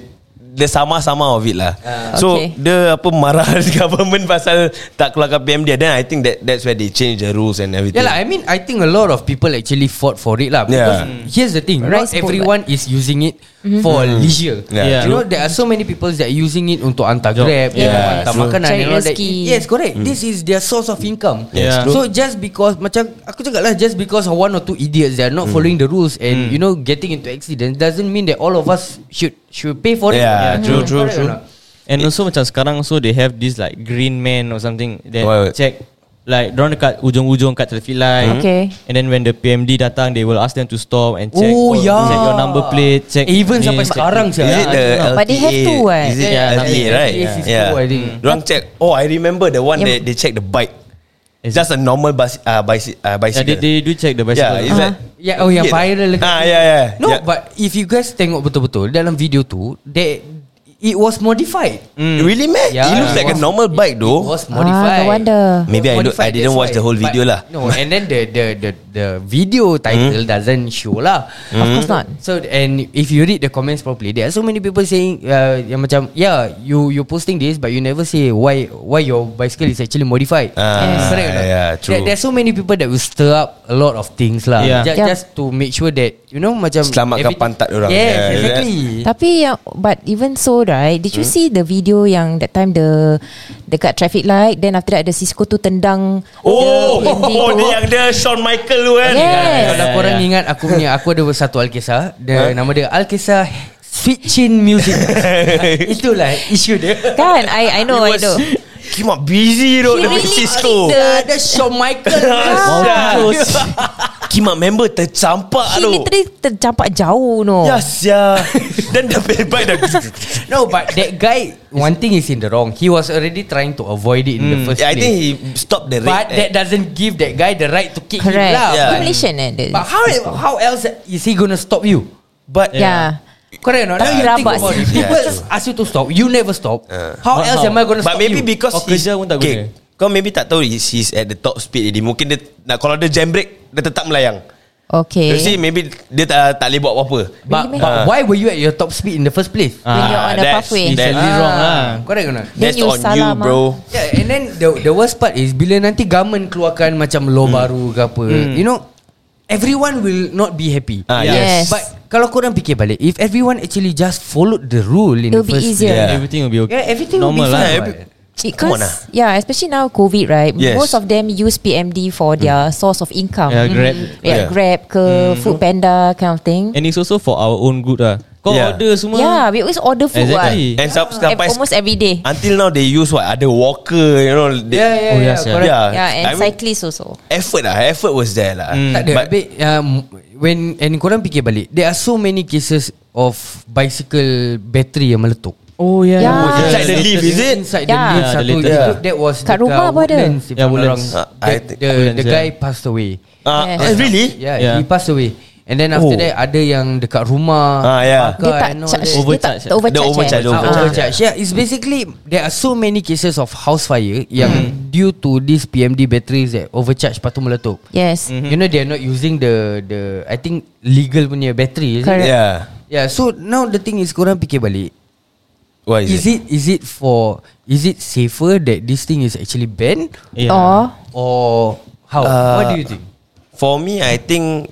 Speaker 2: the sama-sama of it lah. Uh, so okay.
Speaker 5: Okay.
Speaker 2: the apa marah government pasal tak keluarkan PMD. Then I think that that's where they change the rules and everything.
Speaker 3: Yalah lah, I mean I think a lot of people Actually fought for it lah Because
Speaker 2: Yeah.
Speaker 3: Here's the thing Not
Speaker 5: Rights book,
Speaker 3: everyone is using it
Speaker 5: Mm-hmm.
Speaker 3: For leisure
Speaker 2: Mm-hmm. Yeah.
Speaker 3: You know there are so many people That are using it Untuk hantar
Speaker 4: Job.
Speaker 3: grab
Speaker 5: Yeah.
Speaker 3: untuk Hantar
Speaker 2: True. Mm.
Speaker 3: makanan
Speaker 5: Cari
Speaker 3: and all that.
Speaker 5: rezeki.
Speaker 3: Yes correct This is their source of income
Speaker 4: Yes,
Speaker 3: So just because Macam aku cakap lah Just because one or two idiots They are
Speaker 2: Mm.
Speaker 3: not following the rules And you know Getting into accidents Doesn't mean that all of us Should should pay for it
Speaker 2: Yeah, true,
Speaker 3: Mhm.
Speaker 2: true,
Speaker 3: Correct or
Speaker 2: true.
Speaker 3: not?
Speaker 4: And also macam sekarang so they have this like green man or something that
Speaker 2: Why-
Speaker 4: check like dorang dekat ujung-ujung kat traffic
Speaker 2: Hmm.
Speaker 4: light.
Speaker 5: Okay.
Speaker 4: And then when the PMD datang they will ask them to stop and check
Speaker 3: Oh,
Speaker 4: all-
Speaker 3: yeah.
Speaker 4: check your number plate, check
Speaker 3: Even
Speaker 4: ni,
Speaker 3: sampai
Speaker 4: check
Speaker 3: sekarang Ah,
Speaker 4: ni.
Speaker 3: sia.
Speaker 2: Is it the LTA?
Speaker 5: But they have eh? to, what?
Speaker 2: Is it
Speaker 4: lah. Yeah,
Speaker 2: LTA,
Speaker 4: yeah.
Speaker 2: right?
Speaker 3: LTA is
Speaker 2: Yeah.
Speaker 3: cool, I think.
Speaker 2: Dorang check. Oh, I remember the one
Speaker 5: Yeah.
Speaker 2: they they check the bike. It's
Speaker 4: Is
Speaker 2: just a normal bus, uh, bicy, uh,
Speaker 4: Yeah,
Speaker 2: bicycle.
Speaker 4: they, they do check the
Speaker 2: Yeah,
Speaker 4: bicycle.
Speaker 2: is that?
Speaker 5: Uh-huh.
Speaker 3: Yeah, oh yang viral dekat
Speaker 2: Ah, yeah, yeah.
Speaker 3: No
Speaker 2: yeah.
Speaker 3: yeah. but If you guys tengok betul-betul Dalam video tu they, It was modified
Speaker 2: Mm. Really man?
Speaker 3: Yeah,
Speaker 2: it looks
Speaker 3: it
Speaker 2: like a
Speaker 3: was-
Speaker 2: normal bike
Speaker 3: It
Speaker 2: though.
Speaker 3: was modified
Speaker 5: Ah, no wonder.
Speaker 2: Maybe I don't- I
Speaker 3: Modified,
Speaker 2: didn't
Speaker 3: that's
Speaker 2: watch the whole video
Speaker 3: But
Speaker 2: lah.
Speaker 3: No and then the the the, the video title mm. doesn't show lah
Speaker 2: Mm.
Speaker 5: Of course not.
Speaker 3: So and if you read the comments properly, there are so many people saying uh, yang macam yeah you you posting this but you never say why why your bicycle is actually modified.
Speaker 2: Ah,
Speaker 3: Correct or not?
Speaker 2: yeah, true.
Speaker 3: There, there are so many people that will stir up a lot of things lah.
Speaker 4: Yeah.
Speaker 3: Just,
Speaker 5: Yeah.
Speaker 3: just to make sure that you know macam
Speaker 2: Selamatkan
Speaker 3: everything-
Speaker 2: pantat orang.
Speaker 3: Yes,
Speaker 2: Yeah,
Speaker 3: yeah,
Speaker 2: yeah.
Speaker 3: exactly.
Speaker 5: Tapi yang but even so right, did you hmm? see the video yang that time the dekat traffic light then after that the Cisco tu tendang
Speaker 2: Oh,
Speaker 5: the PMD
Speaker 2: oh,
Speaker 5: tu.
Speaker 2: dia yang dia Shawn Michael tu kan.
Speaker 5: Yes.
Speaker 3: Kalau
Speaker 4: yeah,
Speaker 5: ya.
Speaker 3: korang ingat aku punya aku ada satu
Speaker 2: Ha?
Speaker 3: Alkisah, dia nama dia Alkisah Sweet Chin Music. Itulah isu dia.
Speaker 5: Kan I I know I know.
Speaker 2: Came up busy tu
Speaker 5: He
Speaker 2: Dia
Speaker 5: really
Speaker 2: Cisco
Speaker 5: clicked
Speaker 3: Ada Shawn Michael.
Speaker 2: Wow Came up member tercampak
Speaker 5: He
Speaker 2: tu
Speaker 5: literally tercampak jauh no.
Speaker 2: Yes ya Dan dah baik dah
Speaker 3: No, but that guy, one thing is in the wrong. He was already trying to avoid it in the first
Speaker 2: Hmm. I
Speaker 3: place.
Speaker 2: think he stopped the
Speaker 3: but that
Speaker 2: rate
Speaker 3: doesn't give that guy the right to kick him
Speaker 5: Correct.
Speaker 3: lah.
Speaker 2: Yeah.
Speaker 5: Yeah.
Speaker 2: He
Speaker 5: Malaysian eh. The,
Speaker 3: But how how else is he gonna stop you?
Speaker 2: But
Speaker 5: yeah.
Speaker 3: Correct or not?
Speaker 5: Tapi
Speaker 3: Now you think
Speaker 5: rabak
Speaker 3: about
Speaker 5: sih.
Speaker 3: it. People
Speaker 2: Yeah,
Speaker 3: just ask you to stop. You never stop. How
Speaker 4: But
Speaker 3: else
Speaker 4: how?
Speaker 3: am I gonna
Speaker 2: But
Speaker 3: stop
Speaker 2: maybe
Speaker 3: you?
Speaker 2: because
Speaker 4: Oh,
Speaker 2: he's-
Speaker 4: kerja pun tak
Speaker 2: okay, Kau maybe tak tahu He's, he's at the top speed ini. Mungkin dia nak, Kalau dia jam brake Dia tetap melayang
Speaker 5: Okay.
Speaker 2: You see maybe Dia tak, tak boleh buat apa-apa
Speaker 3: But,
Speaker 5: Really,
Speaker 3: but
Speaker 2: man?
Speaker 3: why were you at your top speed in the first place? Ah,
Speaker 5: When you're
Speaker 2: Ah,
Speaker 5: on a
Speaker 2: that's-
Speaker 5: pathway.
Speaker 4: It's a
Speaker 2: that's-
Speaker 4: little wrong lah.
Speaker 3: Correct or not?
Speaker 5: Then
Speaker 2: That's
Speaker 5: you
Speaker 2: on you
Speaker 5: salah, Ma.
Speaker 2: bro
Speaker 3: Yeah, and then the the worst part is bila nanti government keluarkan macam
Speaker 2: Hmm.
Speaker 3: law baru ke apa, you know, everyone will not be happy.
Speaker 2: Ah,
Speaker 5: Yes. yes.
Speaker 3: But kalau korang fikir balik, if everyone actually just followed the rule in
Speaker 5: It'll
Speaker 3: the
Speaker 5: be
Speaker 3: first
Speaker 5: easier.
Speaker 2: Yeah.
Speaker 4: Everything will be okay.
Speaker 3: Yeah, everything
Speaker 4: Normal
Speaker 3: will be
Speaker 4: lah.
Speaker 3: fine.
Speaker 2: Yeah,
Speaker 3: what.
Speaker 2: Come on, lah.
Speaker 5: Because yeah, especially now COVID right,
Speaker 2: Yes. Hmm.
Speaker 5: most of them use PMD for their source of income. Mm-hmm.
Speaker 4: Yeah, Grab. Hmm.
Speaker 5: yeah,
Speaker 2: Yeah.
Speaker 5: Grab ke, Food Panda kind of thing.
Speaker 4: And it's also for our own good lah. Kau
Speaker 2: Yeah.
Speaker 4: order semua.
Speaker 5: yeah, we always order food
Speaker 4: Exactly.
Speaker 5: exactly.
Speaker 2: And some-
Speaker 5: Ev-
Speaker 2: sampai Ah,
Speaker 5: almost every day.
Speaker 2: Until now they use what Ada walker You know they,
Speaker 3: Yeah, yeah,
Speaker 4: Oh,
Speaker 3: yeah.
Speaker 4: yes, yeah.
Speaker 3: correct.
Speaker 5: Yeah, and
Speaker 2: ah. I mean,
Speaker 5: cyclists also.
Speaker 2: Effort lah Effort was there lah
Speaker 3: Tak ada.
Speaker 2: But
Speaker 3: But, um, when and korang fikir balik, there are so many cases of bicycle battery yang meletup.
Speaker 4: Oh yeah.
Speaker 5: Yeah.
Speaker 2: Inside the leaf, is it?
Speaker 3: Inside the
Speaker 5: Yeah.
Speaker 3: leaf
Speaker 4: Yeah, the
Speaker 3: satu
Speaker 4: latest.
Speaker 3: yeah. That was
Speaker 5: Kat rumah pun ada.
Speaker 3: Woodlands, if I'm
Speaker 4: Yeah,
Speaker 3: not
Speaker 4: Woodlands.
Speaker 3: wrong.
Speaker 2: Ah, I
Speaker 3: The,
Speaker 2: think
Speaker 3: the, the
Speaker 4: Woodlands,
Speaker 3: guy
Speaker 4: yeah.
Speaker 3: passed away
Speaker 2: Ah,
Speaker 5: Yes.
Speaker 2: ah, really?
Speaker 3: Yeah,
Speaker 4: Yeah.
Speaker 3: yeah, he passed away. And then
Speaker 2: Oh.
Speaker 3: after oh. that ada yang dekat rumah.
Speaker 2: Ah, yeah.
Speaker 5: Dia tak charge,
Speaker 3: overcharge.
Speaker 5: dia tak
Speaker 4: Overcharge.
Speaker 2: Dia
Speaker 5: tak overcharge.
Speaker 2: overcharge, dia
Speaker 5: eh?
Speaker 3: Ah,
Speaker 2: overcharge.
Speaker 5: Ah.
Speaker 3: overcharge. Yeah, it's basically there are so many cases of house fire yang
Speaker 2: Hmm.
Speaker 3: due to these PMD batteries that overcharge patu meletup.
Speaker 2: Mm.
Speaker 5: Yes.
Speaker 2: Mm-hmm.
Speaker 3: You know they are not using the the I think legal punya battery. Is it?
Speaker 5: Correct.
Speaker 2: Yeah.
Speaker 3: Yeah, so now the thing is korang fikir balik.
Speaker 2: Why
Speaker 3: Is it is it for is it safer that this thing is actually banned
Speaker 4: Yeah.
Speaker 3: Oh.
Speaker 5: Or
Speaker 3: or how?
Speaker 2: Uh,
Speaker 3: What do you think?
Speaker 2: For me, I think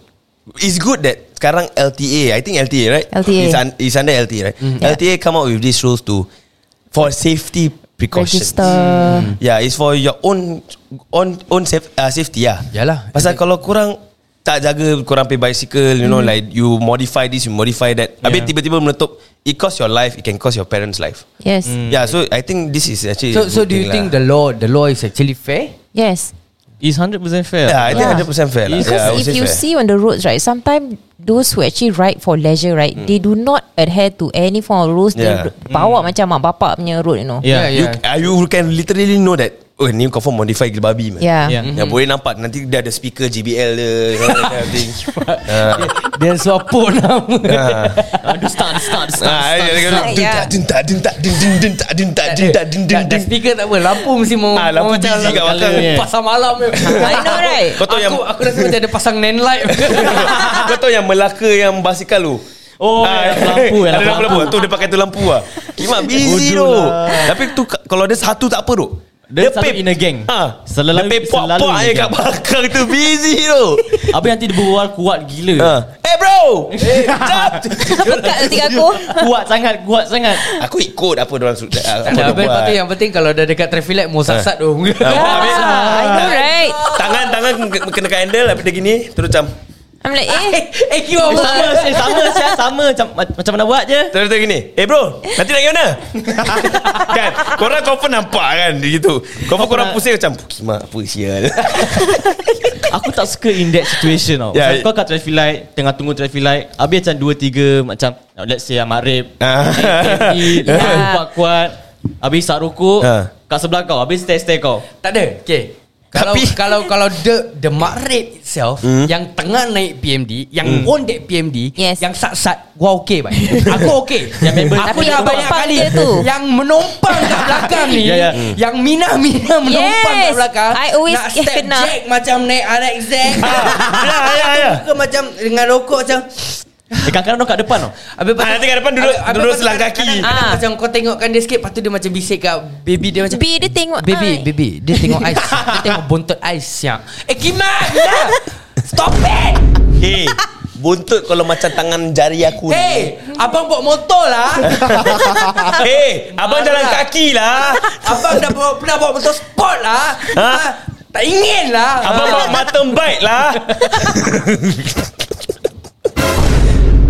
Speaker 2: it's good that sekarang LTA, I think LTA, right?
Speaker 5: LTA.
Speaker 2: It's, un- it's under LTA, right?
Speaker 3: Mm.
Speaker 5: Yeah.
Speaker 2: LTA come out with these rules to for safety precautions. Mm.
Speaker 5: register.
Speaker 2: Yeah, it's for your own own own safe, uh, safety lah.
Speaker 3: Yalah.
Speaker 2: Pasal kalau kurang tak jaga kurang pay bicycle, you know
Speaker 5: Mm.
Speaker 2: like you modify this, you modify that. Habis
Speaker 4: Yeah.
Speaker 2: tiba-tiba meletup, it cost your life, it can cost your parents' life.
Speaker 5: Yes.
Speaker 2: Yeah, so I think this is actually a
Speaker 3: Mm. So so
Speaker 2: good
Speaker 3: do you
Speaker 2: thing
Speaker 3: think
Speaker 2: lah.
Speaker 3: the law the law is actually fair?
Speaker 5: Yes.
Speaker 4: It's 100% fair.
Speaker 2: Yeah, I think
Speaker 5: Yeah.
Speaker 2: 100% fair lah.
Speaker 4: Because
Speaker 2: yeah, I would
Speaker 5: Because
Speaker 2: say
Speaker 5: if you
Speaker 2: fair.
Speaker 5: see on the roads, right, sometimes those who actually ride for leisure, right, they do not adhere to any form of rules.
Speaker 2: Mm. Yeah. Mm.
Speaker 5: They bawa macam mak bapak punya road, you know.
Speaker 4: Yeah.
Speaker 2: You, uh, you can literally know that Oh ni confirm modify gila babi man Mm-hmm.
Speaker 5: Yeah.
Speaker 4: Yeah.
Speaker 2: Yang boleh nampak Nanti dia ada speaker JBL dia you know, that kind of thing.
Speaker 3: Dia suapuk nama
Speaker 4: Aduh, start, start, start.
Speaker 2: Ah, dia kata,
Speaker 5: start.
Speaker 2: "Dun, tak, dun, tak, dun, tak, dun, dun, dun, tak, dun, tak, dun, tak, dun, dun,
Speaker 3: Dah
Speaker 2: dun."
Speaker 3: speaker tak apa Lampu mesti mau
Speaker 2: Ah, lampu
Speaker 3: mau macam
Speaker 2: busy kat belakang.
Speaker 3: colour. Pasang malam
Speaker 5: I know, right?
Speaker 2: Kau tahu
Speaker 3: Aku,
Speaker 2: yang-
Speaker 3: aku rasa macam ada pasang nan light
Speaker 2: Kau tahu yang Melaka yang basikal tu
Speaker 4: Oh,
Speaker 2: Ah,
Speaker 4: yang lampu, yang
Speaker 2: Ada lampu,
Speaker 4: lampu.
Speaker 2: lampu. Tu dia pakai tu lampu lah Kimak busy tu
Speaker 4: Bodoh lah.
Speaker 2: Tapi tu ka- Kalau dia satu tak apa tu
Speaker 4: Dia satu in a gang.
Speaker 2: ha, Dia
Speaker 4: Selalu-
Speaker 2: pay
Speaker 4: selalu
Speaker 2: pok-pok
Speaker 4: in a
Speaker 2: je
Speaker 4: gang.
Speaker 2: kat belakang tu Busy tu
Speaker 4: Habis nanti dia berbual kuat gila.
Speaker 2: ha. Eh bro Eh jap
Speaker 5: Pekat hati aku.
Speaker 4: Kuat sangat, kuat sangat.
Speaker 2: Aku ikut apa orang sudah apa
Speaker 3: Dah
Speaker 2: dia
Speaker 3: habis
Speaker 2: buat. Ah,
Speaker 3: tu yang penting Kalau dah dekat traffic light Mau sasat tu
Speaker 5: Yeah, Ah, I know, right?
Speaker 2: Tangan tangan ke- kena kat handle habis dia lah, gini terus macam
Speaker 5: I'm like, eh,
Speaker 3: Eh kira
Speaker 4: Eh,
Speaker 3: apa
Speaker 4: sama, eh, sama, Syah, sama. Macam, macam mana buat je.
Speaker 2: terus terus gini. Eh bro, nanti nak pergi mana? kan? Korang kau pun nampak kan gitu. Kau pun korang
Speaker 4: nak-
Speaker 2: pusing macam kimak apa sial.
Speaker 4: Aku tak suka in that situation tau
Speaker 2: Yeah.
Speaker 4: yeah. Kau kat traffic light Tengah tunggu traffic light Habis macam dua tiga Macam Let's say ah, Maghrib
Speaker 2: Ah.
Speaker 4: AKB,
Speaker 5: Yeah.
Speaker 4: ah, Kuat-kuat Habis isap rokok
Speaker 2: Ah.
Speaker 4: Kat sebelah kau Habis stare-stare kau
Speaker 3: Tak ada Okay kalau
Speaker 2: Tapi-
Speaker 3: kalau kalau the the makrib itself mm. yang tengah naik PMD yang mm. on that PMD
Speaker 5: Yes.
Speaker 3: yang sat-sat gua okay bang aku okay yang
Speaker 4: member-
Speaker 3: aku
Speaker 5: Tapi
Speaker 3: dah banyak
Speaker 5: yang penumpang
Speaker 3: kali
Speaker 5: dia tu.
Speaker 3: yang menompang kat belakang ni
Speaker 4: Ya, ya.
Speaker 3: yang mina-mina menompang kat
Speaker 5: Yes.
Speaker 3: belakang
Speaker 5: I always
Speaker 3: nak step
Speaker 5: kena.
Speaker 3: jack macam naik RX Zack
Speaker 2: ya, ya, ya.
Speaker 3: ke macam dengan rokok macam
Speaker 4: Eh kadang-kadang orang kat depan tau
Speaker 3: Habis
Speaker 2: Ah, nanti kat depan duduk-
Speaker 3: habis
Speaker 2: duduk
Speaker 3: lepas tu
Speaker 2: selang
Speaker 3: kadang-
Speaker 2: kaki.
Speaker 3: kadang-kadang
Speaker 5: Ah.
Speaker 3: Macam kau tengokkan dia sikit Lepas tu dia macam bisik kat baby dia macam
Speaker 5: B, dia tengok ah." I.
Speaker 3: Baby, baby, dia tengok ais. dia tengok bontot ais siang. Eh, Kimak, Kimak! Stop it!
Speaker 2: Hey, buntut kalau macam tangan jari aku ni.
Speaker 3: Hey, abang bawa motor lah.
Speaker 2: hey abang jalan kaki lah.
Speaker 3: abang dah bawa, pernah bawa motor sport lah.
Speaker 2: Ha?
Speaker 3: Ha? Tak ingin lah.
Speaker 2: Abang bawa mata baik lah.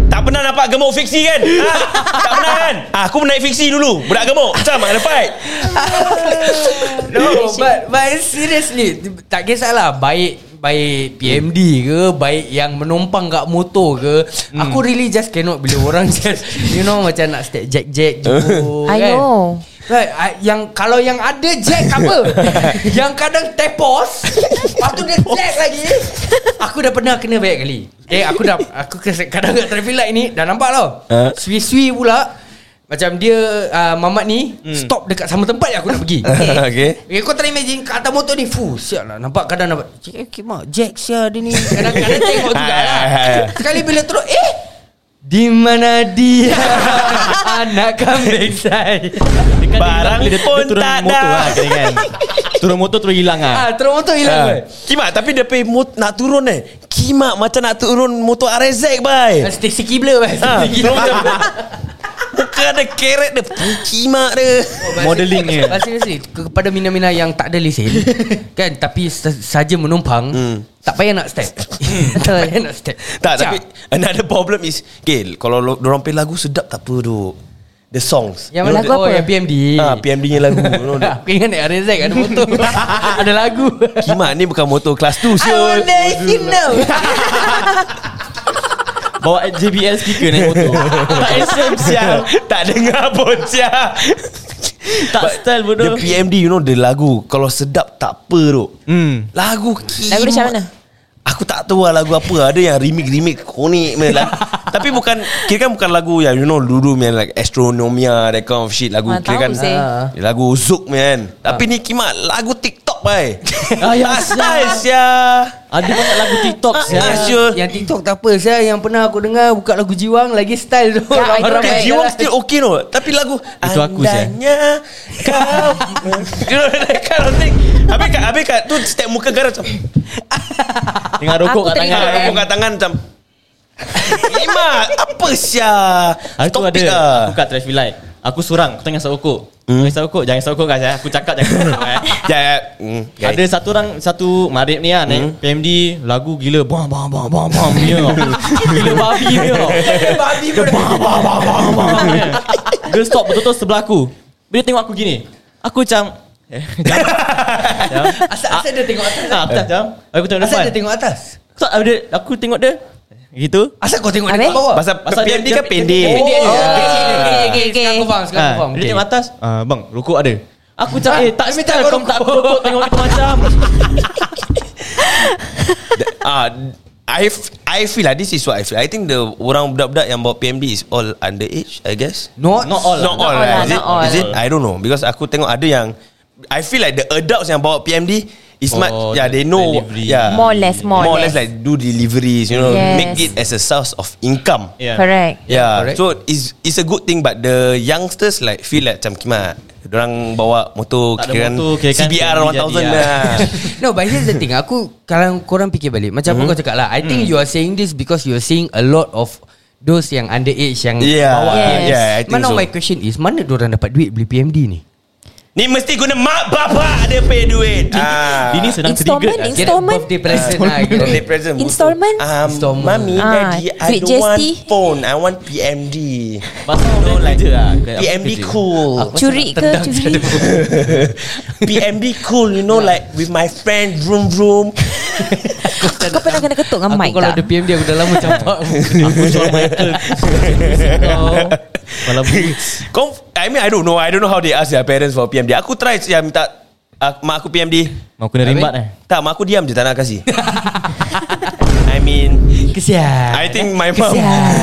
Speaker 2: Tak pernah nampak gemuk fiksi kan? Ha? Tak pernah kan? Ha, aku naik fiksi dulu. Budak gemuk. Macam mana fight?
Speaker 3: No, but, but seriously, tak kisahlah baik baik PMD ke baik yang menumpang kat motor ke hmm. aku really just cannot bila orang just you know macam nak step jack jack jumbo
Speaker 5: I
Speaker 3: kan.
Speaker 5: know.
Speaker 3: Right, I- yang kalau yang ada jack apa? yang kadang tepos, lepas tu dia jack lagi. Aku dah pernah kena banyak kali. Eh, aku dah aku kes- kadang kat traffic light ni dah nampak tau.
Speaker 2: Ha?
Speaker 3: Sui-sui pula macam dia uh, mamat ni stop dekat sama tempat yang aku nak pergi.
Speaker 2: Hmm. Okay.
Speaker 3: Okay, kau try imagine kat atas motor ni Fuh, siap lah Nampak kadang nampak Cik, okay, mak Jack siap dia ni Kadang-kadang tengok juga
Speaker 2: Ha,
Speaker 3: lah Sekali bila terus Eh Di mana dia Anak kambing saya
Speaker 4: Dekat
Speaker 2: Barang pun
Speaker 4: dia, dia turun
Speaker 2: tak
Speaker 4: motor
Speaker 2: ada.
Speaker 4: lah kira kan. Turun motor terus hilang lah
Speaker 3: Ah, Terus motor hilang
Speaker 2: Ha.
Speaker 3: uh.
Speaker 2: Kimak tapi dia pay mot- nak turun eh. Kimak macam nak turun motor RZ bai.
Speaker 3: Stasi kibla bas.
Speaker 2: Ha.
Speaker 3: Stasi kibla.
Speaker 2: turun dia- Muka ada keret dia. Kimak dia.
Speaker 4: Modeling dia.
Speaker 3: But seriously Kepada mina-mina yang tak ada lesen Kan Tapi sa- saja menumpang Tak payah nak step Hmm. Tak payah nak step
Speaker 2: Tak
Speaker 3: Cap.
Speaker 2: tapi another problem is okay, kalau lo- dorang play lagu sedap tak apa tu. The songs.
Speaker 3: Yang
Speaker 2: You know,
Speaker 3: mana
Speaker 5: lagu
Speaker 3: oh,
Speaker 5: apa?
Speaker 3: Yang PMD
Speaker 2: Ah, PMD nya lagu. You know, the-
Speaker 3: Aku ingat naik RZ ada motor Ada lagu
Speaker 2: Kimak ni bukan motor kelas tu
Speaker 3: I
Speaker 2: siul.
Speaker 3: wonder if you know
Speaker 4: Bawa JBL speaker naik motor Tak handsome sial
Speaker 2: Tak dengar pun Sia
Speaker 4: Tak
Speaker 2: The
Speaker 4: style bodoh
Speaker 2: PMD you know The lagu Kalau sedap tak apa tu
Speaker 4: Hmm.
Speaker 2: Lagu kimak.
Speaker 5: Lagu dia macam mana?
Speaker 2: Aku tak tahu lah lagu apa Ada yang remix-remix Konik punya lagu. Tapi bukan Kira kan bukan lagu yang You know dulu yang like Astronomia That kind of shit Lagu
Speaker 5: Mana
Speaker 2: kira
Speaker 5: Ah, tahu
Speaker 2: kan
Speaker 5: sih.
Speaker 2: Lagu Zouk man Tapi ni kimak Lagu TikTok bai
Speaker 4: Ah, ya,
Speaker 2: Tak
Speaker 4: sial.
Speaker 2: style sia
Speaker 4: Ada banyak lagu TikTok
Speaker 2: Ah,
Speaker 4: sial
Speaker 2: Syul.
Speaker 3: Yang TikTok tak apa saya Yang pernah aku dengar Buka lagu Jiwang Lagi style tu
Speaker 5: Ya, I know
Speaker 2: Orang
Speaker 5: Alright,
Speaker 2: jiwa still okay no Tapi lagu
Speaker 4: Itu aku, Syah.
Speaker 2: Andainya Kau You know that kind of thing Habis kat, habis kat Tu step muka garang macam
Speaker 3: Ah,
Speaker 4: Dengan rokok
Speaker 5: Aku
Speaker 4: kat tangan
Speaker 5: teringat.
Speaker 2: Aku kat tangan macam Lima Apa lah. sia
Speaker 4: Hari tu ada
Speaker 2: Topik
Speaker 3: lah.
Speaker 4: Aku kat traffic light Aku surang Aku tanya asap rokok hmm. Asap rokok Jangan asap rokok guys eh. Aku cakap jangan asap rokok eh.
Speaker 2: Sekejap hmm, guys.
Speaker 4: Ada satu orang Satu marib ni lah
Speaker 3: Hmm.
Speaker 4: naik PMD Lagu gila Bam bam bam bam bam ni tau. ya. Gila babi ya. ni tau.
Speaker 3: Babi pun
Speaker 4: Dia stop betul-betul sebelah aku Dia tengok aku gini Aku macam eh, jam. Jam.
Speaker 3: Asal, asal dia tengok atas
Speaker 4: Ah, Aku tak jam. Aku tengok
Speaker 3: Asal
Speaker 4: depan
Speaker 3: dia tengok atas
Speaker 4: Tak, ada Aku tengok dia Gitu
Speaker 3: Asal kau tengok dia
Speaker 5: Habis?
Speaker 3: kat bawah
Speaker 2: Pasal
Speaker 4: Pasal dia-
Speaker 2: PMD
Speaker 4: dia-
Speaker 2: kan pendek
Speaker 4: dia- dia-
Speaker 3: Oh.
Speaker 4: dia-
Speaker 5: Okay, okay, okay.
Speaker 3: Sekarang aku faham Sekarang aku
Speaker 4: ha,
Speaker 3: faham
Speaker 4: Ah. Dia
Speaker 3: Okay.
Speaker 4: tengok atas ah, Bang rokok ada Aku macam eh tak
Speaker 3: dia minta
Speaker 4: style
Speaker 3: kau
Speaker 4: kau tak
Speaker 3: rokok.
Speaker 4: rokok tengok kita macam
Speaker 2: Ah, I f- I feel lah This is what I feel I think the Orang budak-budak yang bawa PMD Is all underage I guess
Speaker 3: Not,
Speaker 4: Not all.
Speaker 2: Not
Speaker 4: Not
Speaker 2: all, lah.
Speaker 5: all lah,
Speaker 2: Is it,
Speaker 5: not all.
Speaker 2: is it I don't know Because aku tengok ada yang I feel like the adults Yang bawa PMD Is
Speaker 4: Oh,
Speaker 2: much Yeah they know
Speaker 4: delivery.
Speaker 2: yeah.
Speaker 5: More or less, more or
Speaker 2: More or less
Speaker 5: less.
Speaker 2: like Do deliveries You know
Speaker 5: Yes.
Speaker 2: Make it as a source of income
Speaker 4: Yeah.
Speaker 5: Correct
Speaker 2: Yeah,
Speaker 3: Correct.
Speaker 2: so it's it's a good thing but the youngsters like feel like macam kimak. Orang bawa motor
Speaker 4: Tak ada
Speaker 2: kira
Speaker 4: motor, kira kan
Speaker 2: CBR
Speaker 4: family
Speaker 2: 1000
Speaker 4: jadi,
Speaker 2: lah.
Speaker 3: No but here's the thing Aku Kalau korang fikir balik Macam mm-hmm. kau cakap lah I think you are saying this Because you are seeing a lot of Those yang underage Yang
Speaker 2: yeah.
Speaker 3: bawa
Speaker 5: Yes.
Speaker 2: Yeah, I think
Speaker 3: Mana
Speaker 2: so.
Speaker 3: my question is Mana diorang dapat duit Beli PMD ni
Speaker 2: Ni mesti guna mak bapak ada pay duit. Ah.
Speaker 4: Ini sedang triggered
Speaker 5: Installment,
Speaker 4: lah.
Speaker 3: Kira
Speaker 5: Installment?
Speaker 3: birthday present lah kira.
Speaker 2: birthday present.
Speaker 5: Installment?
Speaker 2: Um,
Speaker 3: Installment.
Speaker 2: Mummy,
Speaker 5: Ah,
Speaker 2: daddy, I
Speaker 5: duit
Speaker 2: don't want
Speaker 5: GST.
Speaker 2: phone. I want PMD.
Speaker 4: Pasal orang kerja lah
Speaker 2: PMD cool.
Speaker 5: Curi ke curi
Speaker 2: PMD cool, you know, like with my friend, room, room.
Speaker 5: Kau pernah kena ketuk
Speaker 3: Aku
Speaker 5: dengan mic
Speaker 3: kalau
Speaker 5: tak?
Speaker 3: ada PMD Aku dah lama campak
Speaker 4: Aku jual Michael Kau Malam boots
Speaker 2: Kau, I mean, I don't know. I don't know how they ask their parents for PMD. Aku try ya, minta uh, mak aku PMD.
Speaker 4: Mau kena rimbat eh
Speaker 2: Tak, mak aku diam je, tak nak kasi. I mean,
Speaker 3: Kesian
Speaker 2: I think my mom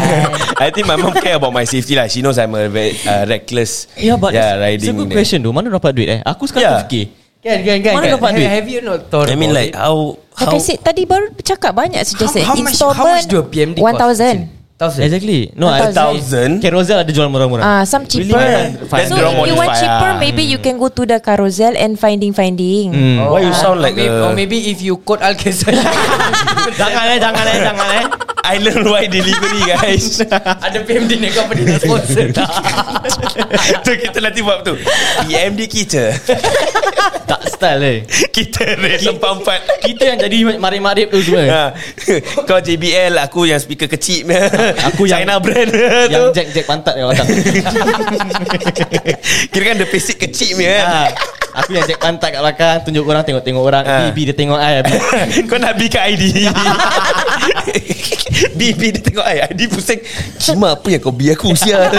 Speaker 2: I think my mom care about my safety lah. She knows I'm a very uh, reckless
Speaker 4: Ya but
Speaker 2: yeah,
Speaker 4: It's a
Speaker 2: riding.
Speaker 4: good
Speaker 2: there.
Speaker 4: question tu Mana dapat duit eh Aku sekarang
Speaker 2: Yeah.
Speaker 4: terfikir
Speaker 3: Kan kan kan
Speaker 4: Mana
Speaker 3: kan.
Speaker 4: dapat duit?
Speaker 3: Have you not thought
Speaker 2: I mean
Speaker 3: about
Speaker 2: like
Speaker 3: it?
Speaker 2: how how
Speaker 5: Like I said, tadi baru cakap banyak suggestion.
Speaker 3: how, how much how much do a PMD cost?
Speaker 5: 1000.
Speaker 3: Thousand.
Speaker 4: Exactly No I-
Speaker 2: thousand.
Speaker 4: Carousel ada jual murah-murah
Speaker 5: Ah, some cheaper.
Speaker 2: Really? That's
Speaker 5: so
Speaker 2: the
Speaker 5: if
Speaker 2: wrong
Speaker 5: you want
Speaker 2: modifier.
Speaker 5: cheaper, maybe you can go to the carousel and finding finding.
Speaker 4: Hmm.
Speaker 2: Why you sound like
Speaker 3: Oh, uh, or
Speaker 2: a-
Speaker 3: maybe, or maybe if you quote Al Kaisar
Speaker 4: Jangan eh Jangan eh Jangan eh
Speaker 2: I learn why delivery guys
Speaker 3: ada PMD ni kau pernah sponsor tak?
Speaker 2: Tu kita nanti buat tu PMD kita
Speaker 4: Tak style eh
Speaker 2: Kita rate empat-empat
Speaker 4: Kita yang jadi marip-marip tu semua
Speaker 2: Ha. Kau JBL Aku yang speaker kecil
Speaker 4: Aku yang-
Speaker 2: China brand tu.
Speaker 4: Yang jack-jack pantat yang datang
Speaker 2: Kira kan the basic kecil ni
Speaker 4: Ah, Aku yang jack pantat kat belakang Tunjuk orang tengok-tengok orang
Speaker 2: Ah.
Speaker 4: Bibi dia tengok I
Speaker 2: Kau nak B ke ID B B dia tengok I ID pusing Cima apa yang kau B aku sia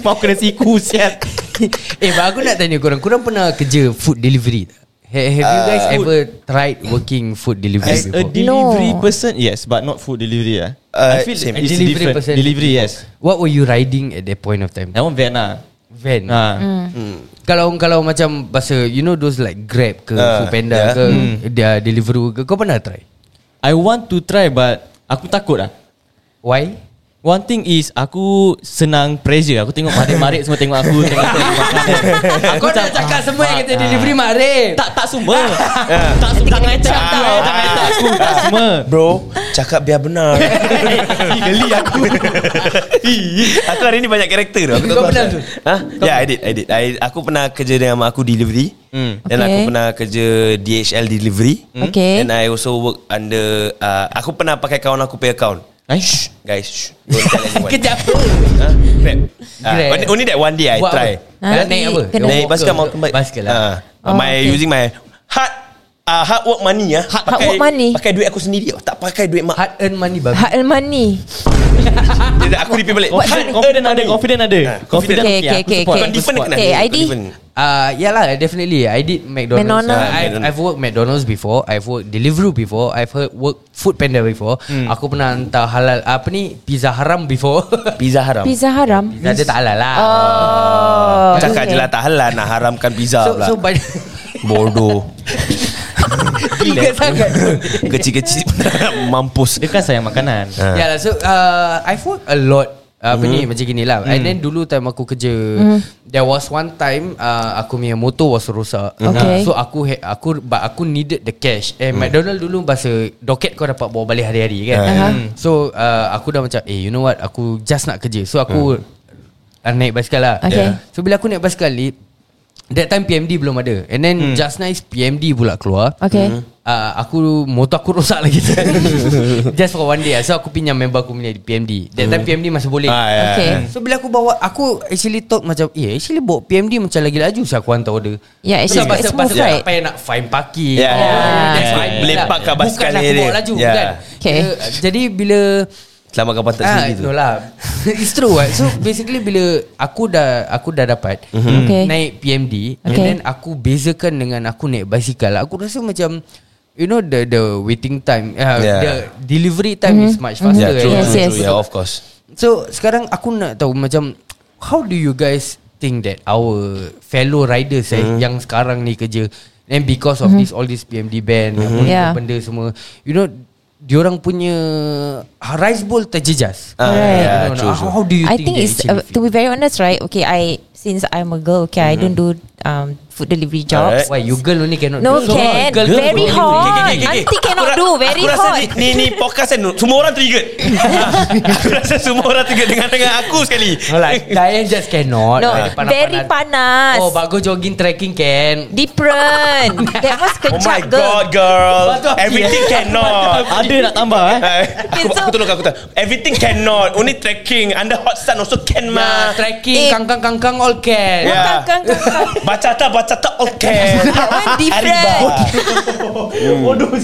Speaker 4: Mau kena siku siap
Speaker 3: eh, but aku nak tanya korang, korang pernah kerja food delivery tak? Ha- Have you guys ever tried working food delivery
Speaker 4: Uh, As a
Speaker 3: before?
Speaker 4: delivery
Speaker 5: No.
Speaker 4: person Yes But not food delivery eh.
Speaker 2: Uh,
Speaker 4: I feel
Speaker 2: same.
Speaker 4: it's
Speaker 3: Delivery
Speaker 4: different
Speaker 3: person.
Speaker 4: Delivery yes
Speaker 3: What were you riding at that point of time?
Speaker 4: That one van lah
Speaker 3: Van.
Speaker 2: Mm.
Speaker 3: Hmm.
Speaker 4: Ah.
Speaker 5: Mm.
Speaker 3: Kalau kalau macam bahasa you know those like Grab ke
Speaker 4: Uh,
Speaker 2: Ah,
Speaker 3: Foodpanda
Speaker 2: yeah.
Speaker 3: ke
Speaker 4: Hmm.
Speaker 3: dia Deliveroo ke kau pernah try?
Speaker 4: I want to try but Aku takut lah
Speaker 3: Why?
Speaker 4: One thing is Aku senang pressure Aku tengok marik-marik semua tengok aku tengok aku
Speaker 3: Kau dah cakap semua yang kerja delivery Marif.
Speaker 4: Tak tak semua Tak semua Jangan attack aku
Speaker 2: Ah.
Speaker 4: eh. Jangan attack aku Tak semua
Speaker 2: Bro Cakap biar benar Geli aku Aku hari ni banyak karakter tau. Aku tak
Speaker 3: Kau
Speaker 2: tahu
Speaker 3: pernah
Speaker 2: asal.
Speaker 3: tu?
Speaker 2: Ha? Yeah I did I did I, Aku pernah kerja dengan mak aku delivery
Speaker 4: Hmm.
Speaker 2: Dan aku
Speaker 5: Okay.
Speaker 2: pernah kerja DHL delivery
Speaker 5: Okay.
Speaker 2: And I also work under uh, Aku pernah pakai kawan aku pay account
Speaker 4: Eh, shh.
Speaker 2: Guys shh, Don't tell anyone
Speaker 3: Kerja apa?
Speaker 2: Ha? Grab Ah,
Speaker 3: Grab.
Speaker 2: only- Only that one day I
Speaker 3: Buat
Speaker 2: try
Speaker 3: Apa?
Speaker 5: Ah,
Speaker 3: naik apa?
Speaker 5: kena
Speaker 2: Naik
Speaker 3: Walker
Speaker 2: basikal
Speaker 3: ke? lah.
Speaker 4: Uh.
Speaker 2: mountain bike
Speaker 3: Basikal lah.
Speaker 2: Ah,
Speaker 5: Oh,
Speaker 2: My
Speaker 5: okay.
Speaker 2: using my Hard uh, hard work money ah.
Speaker 5: Hard-
Speaker 2: pakai,
Speaker 5: hard work money.
Speaker 2: Pakai duit aku sendiri. ah. Tak pakai duit mak.
Speaker 3: Hard earn money babi.
Speaker 5: Hard earn money
Speaker 2: Dia- aku repeat balik.
Speaker 5: What-
Speaker 2: Hard
Speaker 4: Confident
Speaker 2: earn
Speaker 4: ada
Speaker 2: money.
Speaker 4: Confident ada
Speaker 2: Ah,
Speaker 4: Confident
Speaker 5: Okay, okay,
Speaker 4: okay, aku
Speaker 5: okay,
Speaker 4: support.
Speaker 5: okay.
Speaker 2: Kau different nak.
Speaker 5: Okay, ID.
Speaker 3: Uh, yeah lah, definitely. I did McDonald's. Uh,
Speaker 5: McDonald's.
Speaker 3: I've,
Speaker 2: McDonald's.
Speaker 3: I've worked McDonald's before. I've worked Deliveroo before. I've heard work Food Panda before.
Speaker 2: Hmm.
Speaker 3: Aku pernah hantar halal apa ni pizza haram before.
Speaker 2: Pizza haram.
Speaker 5: Pizza haram
Speaker 3: pizza dia tak halal lah.
Speaker 5: Oh
Speaker 2: Cakap je
Speaker 5: okay.
Speaker 2: lah tak halal nak haramkan pizza
Speaker 3: so
Speaker 2: pula.
Speaker 3: so by
Speaker 2: Bodoh.
Speaker 3: Gila sangat.
Speaker 2: Kecil-kecil pun tak nak mampus.
Speaker 4: Dia kan sayang makanan
Speaker 2: Ah. Mm-hmm.
Speaker 3: Yeah lah so uh, I've worked a lot uh, Apa ni macam gini lah
Speaker 2: Mm.
Speaker 3: And then dulu time aku kerja
Speaker 5: Mm-hmm.
Speaker 3: There was one time uh, Aku punya motor was rosak
Speaker 2: Mm-hmm.
Speaker 5: Okay.
Speaker 3: So aku ha- aku But aku needed the cash And McDonald dulu Bahasa docket kau dapat bawa balik hari-hari kan
Speaker 2: Mm. Ah.
Speaker 5: Uh-huh.
Speaker 3: So uh, aku dah macam Eh you know what Aku just nak kerja So
Speaker 2: Mm.
Speaker 3: aku uh, Naik basikal lah
Speaker 5: Okay. Yeah.
Speaker 3: So bila aku naik basikal ni That time PMD belum ada And then
Speaker 2: Mm.
Speaker 3: just nice PMD pula keluar
Speaker 5: Okay. Mhm.
Speaker 3: uh, Aku Motor aku rosak lagi Just for one day lah. So aku pinjam member aku punya di PMD That time PMD masih boleh Eh.
Speaker 2: Ah, ya,
Speaker 5: Okay.
Speaker 2: ya.
Speaker 3: So bila aku bawa Aku actually talk macam Eh actually bawa PMD macam lagi laju Saya aku hantar order
Speaker 5: Yeah, actually
Speaker 3: Sebab
Speaker 5: it's
Speaker 3: pasal-
Speaker 5: smooth,
Speaker 3: pasal
Speaker 5: right?
Speaker 3: Tak payah nak fine parking
Speaker 2: Yeah.
Speaker 5: Yeah.
Speaker 3: That's why I
Speaker 2: Boleh
Speaker 3: bilang,
Speaker 2: Ya. park kat basikal
Speaker 3: Bukan aku
Speaker 2: area
Speaker 3: bawa
Speaker 2: dia. Ya.
Speaker 3: laju
Speaker 2: Yeah.
Speaker 3: Bukan
Speaker 5: Okay.
Speaker 3: Dia- Jadi bila
Speaker 2: Selamatkan pantat
Speaker 3: Ah,
Speaker 2: sendiri tu.
Speaker 3: no lah It's true right? So basically bila Aku dah Aku dah dapat
Speaker 2: Mhm.
Speaker 5: Okay.
Speaker 3: Naik PMD And
Speaker 5: Okay.
Speaker 3: then aku bezakan dengan Aku naik basikal Aku rasa macam You know the the waiting time
Speaker 2: Yeah.
Speaker 3: uh, The delivery time is much faster
Speaker 2: Yeah, Ya, true,
Speaker 3: and
Speaker 5: Mhm. Yes,
Speaker 2: true,
Speaker 5: yes.
Speaker 2: true. Yeah, of course.
Speaker 3: So sekarang aku nak tahu macam How do you guys think that our fellow riders
Speaker 2: Hmm.
Speaker 3: eh, Yang sekarang ni kerja And because of this all this PMD ban
Speaker 2: Hmm.
Speaker 3: apa ni
Speaker 5: Hmm. Yeah.
Speaker 3: Benda semua You know Diorang punya ah, Rice bowl terjejas
Speaker 2: Ah,
Speaker 5: Alright.
Speaker 2: yeah,
Speaker 3: No, no, no.
Speaker 2: true,
Speaker 3: how,
Speaker 2: true.
Speaker 3: how do you
Speaker 5: I
Speaker 3: think,
Speaker 5: think
Speaker 3: they
Speaker 5: it's
Speaker 3: actually
Speaker 5: uh, to
Speaker 3: feel?
Speaker 5: be very honest, right? Okay, I since I'm a girl, okay, I don't
Speaker 3: Mm-hmm.
Speaker 5: do um food delivery jobs.
Speaker 2: Alright.
Speaker 3: Why you girl only cannot
Speaker 5: No,
Speaker 3: do
Speaker 5: can. Very
Speaker 2: Okay,
Speaker 3: only.
Speaker 5: hot.
Speaker 2: okay, okay, okay.
Speaker 5: Aunty cannot
Speaker 2: Aku ra-
Speaker 5: do, very
Speaker 2: aku rasa
Speaker 5: hot.
Speaker 2: Ni, ni, ni podcast kan Semua orang triggered Aku rasa semua orang triggered Dengan-dengan aku sekali
Speaker 3: No
Speaker 5: Oh,
Speaker 3: lah Diane just cannot
Speaker 5: No,
Speaker 3: Ah, dia
Speaker 5: very panas.
Speaker 3: Oh bagus jogging trekking can
Speaker 5: Different. that was
Speaker 2: Oh my
Speaker 5: kejap,
Speaker 2: god
Speaker 5: girl.
Speaker 2: girl
Speaker 3: Batu api,
Speaker 2: Everything cannot
Speaker 4: Ada nak tambah eh
Speaker 2: Eh,
Speaker 5: Okay,
Speaker 2: aku,
Speaker 5: so-
Speaker 2: aku tolong aku tak. Everything cannot. Only trekking. Under hot sun also can
Speaker 3: Ma,
Speaker 2: mah.
Speaker 3: trekking,
Speaker 5: Eh.
Speaker 3: kangkang kangkang all can.
Speaker 2: Yeah.
Speaker 5: Kang, kang, kang, kang.
Speaker 2: Baca tak baca tak all can.
Speaker 5: one different.
Speaker 2: Ariba. Bodoh.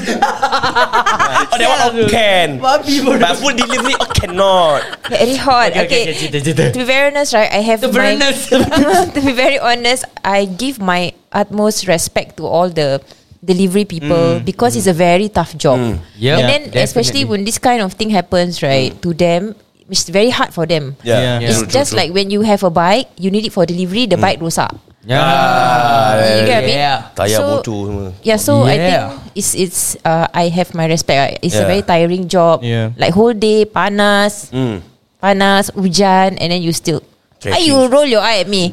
Speaker 2: Oh that one all can.
Speaker 3: Babi bodoh.
Speaker 2: But full delivery all cannot.
Speaker 5: Very hot. Okay,
Speaker 3: okay, okay, cerita, cerita.
Speaker 5: To be very honest, right? I have
Speaker 3: To be
Speaker 5: my-
Speaker 3: honest.
Speaker 5: to be very honest, I give my utmost respect to all the delivery people because it's a very tough job.
Speaker 3: Mm. Yeah,
Speaker 5: and then
Speaker 3: definitely.
Speaker 5: especially when this kind of thing happens, right? To them, it's very hard for them.
Speaker 2: Yeah.
Speaker 4: Yeah.
Speaker 5: It's just like when you have a bike, you need it for delivery. The bike rosak.
Speaker 3: Yeah.
Speaker 2: Ah.
Speaker 5: You
Speaker 3: Hmm.
Speaker 5: get what I mean?
Speaker 3: Uh, Yeah.
Speaker 2: Tayar
Speaker 5: So-
Speaker 2: bocor semua.
Speaker 5: Yeah, so I think
Speaker 3: Yeah.
Speaker 5: it's it's uh, I have my respect. right? It's a
Speaker 2: Yeah.
Speaker 5: very tiring job.
Speaker 4: Yeah.
Speaker 5: Like whole day panas,
Speaker 2: Hmm.
Speaker 5: panas, hujan, and then you still.
Speaker 2: Trekking.
Speaker 5: Ay, you roll your eye at me.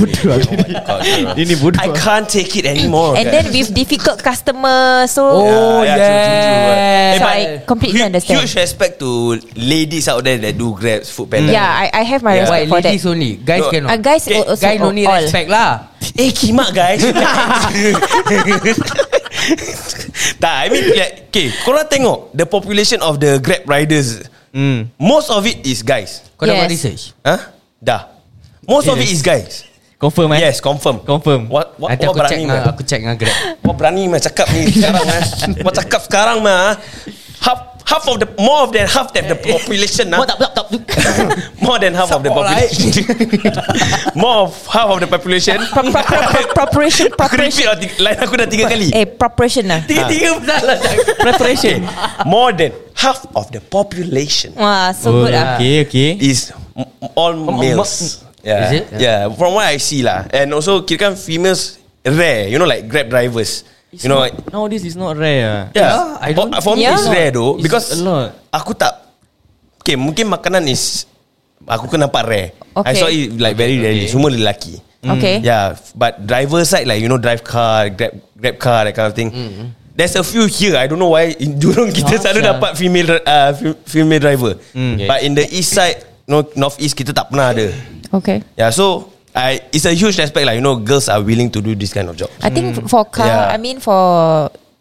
Speaker 4: Ini bodoh
Speaker 2: I can't take it anymore.
Speaker 5: and then with difficult customer, so
Speaker 3: Oh
Speaker 2: Yeah,
Speaker 3: yeah.
Speaker 2: yeah, true, true, true, right.
Speaker 5: so
Speaker 2: but
Speaker 5: I
Speaker 2: Huge-
Speaker 5: completely understand.
Speaker 2: Huge respect to ladies out there that do grabs, food panda.
Speaker 5: yeah, I, I have my
Speaker 2: Yeah.
Speaker 3: Why
Speaker 5: respect for that.
Speaker 3: ladies only? Guys
Speaker 2: No.
Speaker 3: cannot.
Speaker 5: Uh, guys
Speaker 2: Okay,
Speaker 5: also
Speaker 3: guys only
Speaker 5: all.
Speaker 3: respect lah.
Speaker 2: Eh kimak guys Tak I mean like, Okay korang tengok The population of the Grab riders
Speaker 4: Hmm.
Speaker 2: Most of it is guys
Speaker 3: Kau dah
Speaker 5: Yes.
Speaker 3: buat research?
Speaker 2: Huh? Dah Most of it is guys
Speaker 4: Confirm eh
Speaker 2: Yes confirm
Speaker 4: Confirm.
Speaker 2: What, what,
Speaker 3: Nanti
Speaker 2: what
Speaker 3: aku check
Speaker 2: berani
Speaker 3: dengan
Speaker 2: man.
Speaker 3: aku check dengan Grab.
Speaker 2: What berani man cakap ni sekarang man What cakap sekarang man ah. Half Half of the More of than half of the population ah.
Speaker 4: Buat tak tak tak
Speaker 2: More than half of the
Speaker 3: Support lah, eh.
Speaker 2: population More of half of the population
Speaker 5: Pro- pro- pro- pro- Preparation,
Speaker 2: Aku
Speaker 5: preparation.
Speaker 2: repeat lah tiga- Line aku dah tiga kali
Speaker 5: Eh, preparation lah.
Speaker 2: Tiga-tiga besar lah Preparation More than half of the population
Speaker 5: Wah, so
Speaker 4: Oh,
Speaker 5: good ah.
Speaker 4: Okay okay
Speaker 2: Is m- all males Yeah.
Speaker 3: Is it?
Speaker 2: Yeah From what I see lah And also kira kan females Rare You know like grab drivers You know like,
Speaker 4: Nowadays is not rare ah.
Speaker 2: Yeah,
Speaker 3: I don't
Speaker 2: For, for me
Speaker 5: think-
Speaker 2: it's
Speaker 5: Yeah.
Speaker 2: rare though
Speaker 4: It's
Speaker 2: Because
Speaker 4: a lot.
Speaker 2: Aku tak Okay mungkin makanan is Aku kena nampak rare I
Speaker 5: Okay. Mm.
Speaker 2: saw it like very rarely Semua lelaki
Speaker 5: Okay.
Speaker 2: Yeah, f- but driver side like you know drive car, grab grab car that kind of thing. Mm-hmm. There's a few here. I don't know why in Jurong kita selalu
Speaker 4: sia.
Speaker 2: dapat female uh, fe- female driver. Mm.
Speaker 3: Okay.
Speaker 2: But in the east side, no north east kita tak pernah ada.
Speaker 5: Okay.
Speaker 2: Yeah, so I it's a huge respect like you know girls are willing to do this kind of job.
Speaker 5: I think f- for car,
Speaker 2: Yeah.
Speaker 5: I mean for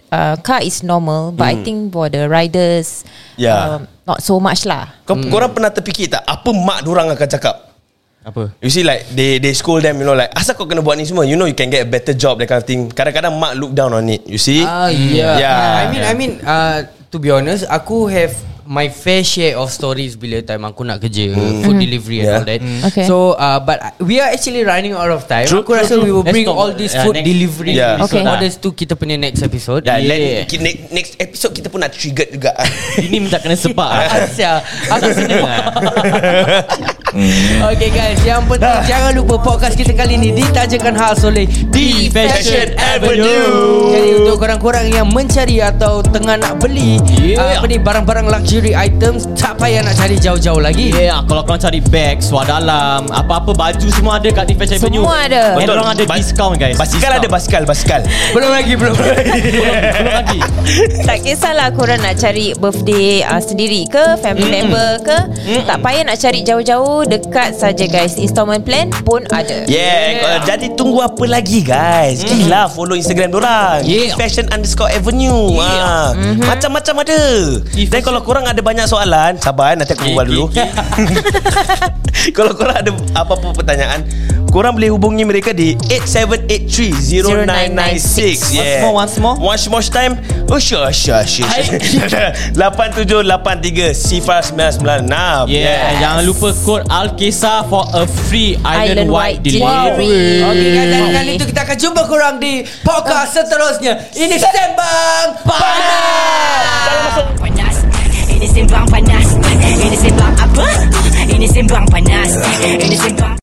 Speaker 5: uh, car is normal, but I think for the riders,
Speaker 2: Yeah.
Speaker 5: um, not so much lah.
Speaker 2: Kau mm. korang pernah terfikir tak apa mak dorang akan cakap?
Speaker 4: Apa?
Speaker 2: You see like they they scold them you know like asal kau kena buat ni semua you know you can get a better job that kind of thing. Kadang-kadang mak look down on it. You see?
Speaker 3: Ah yeah.
Speaker 2: Yeah.
Speaker 3: I mean I mean uh, to be honest aku have my fair share of stories bila time aku nak kerja food delivery
Speaker 2: Hmm. Yeah. Hmm.
Speaker 3: and all that.
Speaker 5: Okay.
Speaker 3: So uh, but I- we are actually running out of time.
Speaker 2: True,
Speaker 3: aku
Speaker 2: true,
Speaker 3: rasa
Speaker 2: true.
Speaker 3: we will
Speaker 4: Let's
Speaker 3: bring
Speaker 4: talk
Speaker 3: all
Speaker 4: about-
Speaker 3: these
Speaker 4: yeah,
Speaker 3: food
Speaker 4: next-
Speaker 3: delivery
Speaker 2: Yeah.
Speaker 5: Okay.
Speaker 3: episode lah. orders tu kita punya next episode.
Speaker 2: Yeah, yeah.
Speaker 4: Yeah.
Speaker 2: Let, ki- ne- next episode kita pun nak triggered juga.
Speaker 4: Ini minta kena sepak ah.
Speaker 3: Asia Aku senang lah Okay guys Yang penting Jangan lupa podcast kita kali ni Ditajakan khas oleh
Speaker 2: Di Fashion Avenue.
Speaker 3: Jadi untuk korang-korang Yang mencari Atau tengah nak beli
Speaker 4: Yeah.
Speaker 3: yeah. Apa ni Barang-barang luxury items Tak payah nak cari jauh-jauh lagi
Speaker 4: Yeah, Eh, ah, kalau korang cari bag, suar dalam, apa-apa baju semua ada kat Defense
Speaker 5: Semua
Speaker 4: Avenue.
Speaker 5: ada.
Speaker 4: And
Speaker 2: Betul.
Speaker 4: korang ada
Speaker 2: Ba-
Speaker 4: discount guys.
Speaker 2: Basikal ada
Speaker 4: Discount.
Speaker 2: basikal, basikal.
Speaker 3: Belum lagi Belum lagi
Speaker 4: Belum lagi.
Speaker 5: Tak kisahlah korang nak cari birthday uh, sendiri ke Family mm. member ke mm. Tak payah nak cari jauh-jauh Dekat saja guys Installment plan pun ada
Speaker 2: Yeah, yeah. jadi tunggu apa lagi guys?
Speaker 4: Hmm.
Speaker 2: Gila follow Instagram dorang.
Speaker 3: Yeah.
Speaker 2: Fashion underscore avenue. Yeah. Ha. Mm-hmm. Macam-macam ada. Dan kalau korang ada banyak soalan, sabar eh, nanti aku
Speaker 4: Okay,
Speaker 2: bual dulu.
Speaker 4: okay,
Speaker 2: kalau korang ada apa-apa pertanyaan, korang boleh hubungi mereka di 87830996.
Speaker 4: Once more, once more.
Speaker 2: Once more time. Oh, sure, sure, sure. sure. 8783 sifar 996.
Speaker 4: Yeah, jangan lupa kod Alkesa for a free
Speaker 5: Island
Speaker 4: island-wide
Speaker 5: wide
Speaker 4: delivery.
Speaker 5: delivery
Speaker 3: Okay guys Dan dengan itu kita akan jumpa korang di Podcast seterusnya Ini Sembang Panas
Speaker 1: panas Ini sembang panas Ini sembang apa? Ini sembang panas Ini sembang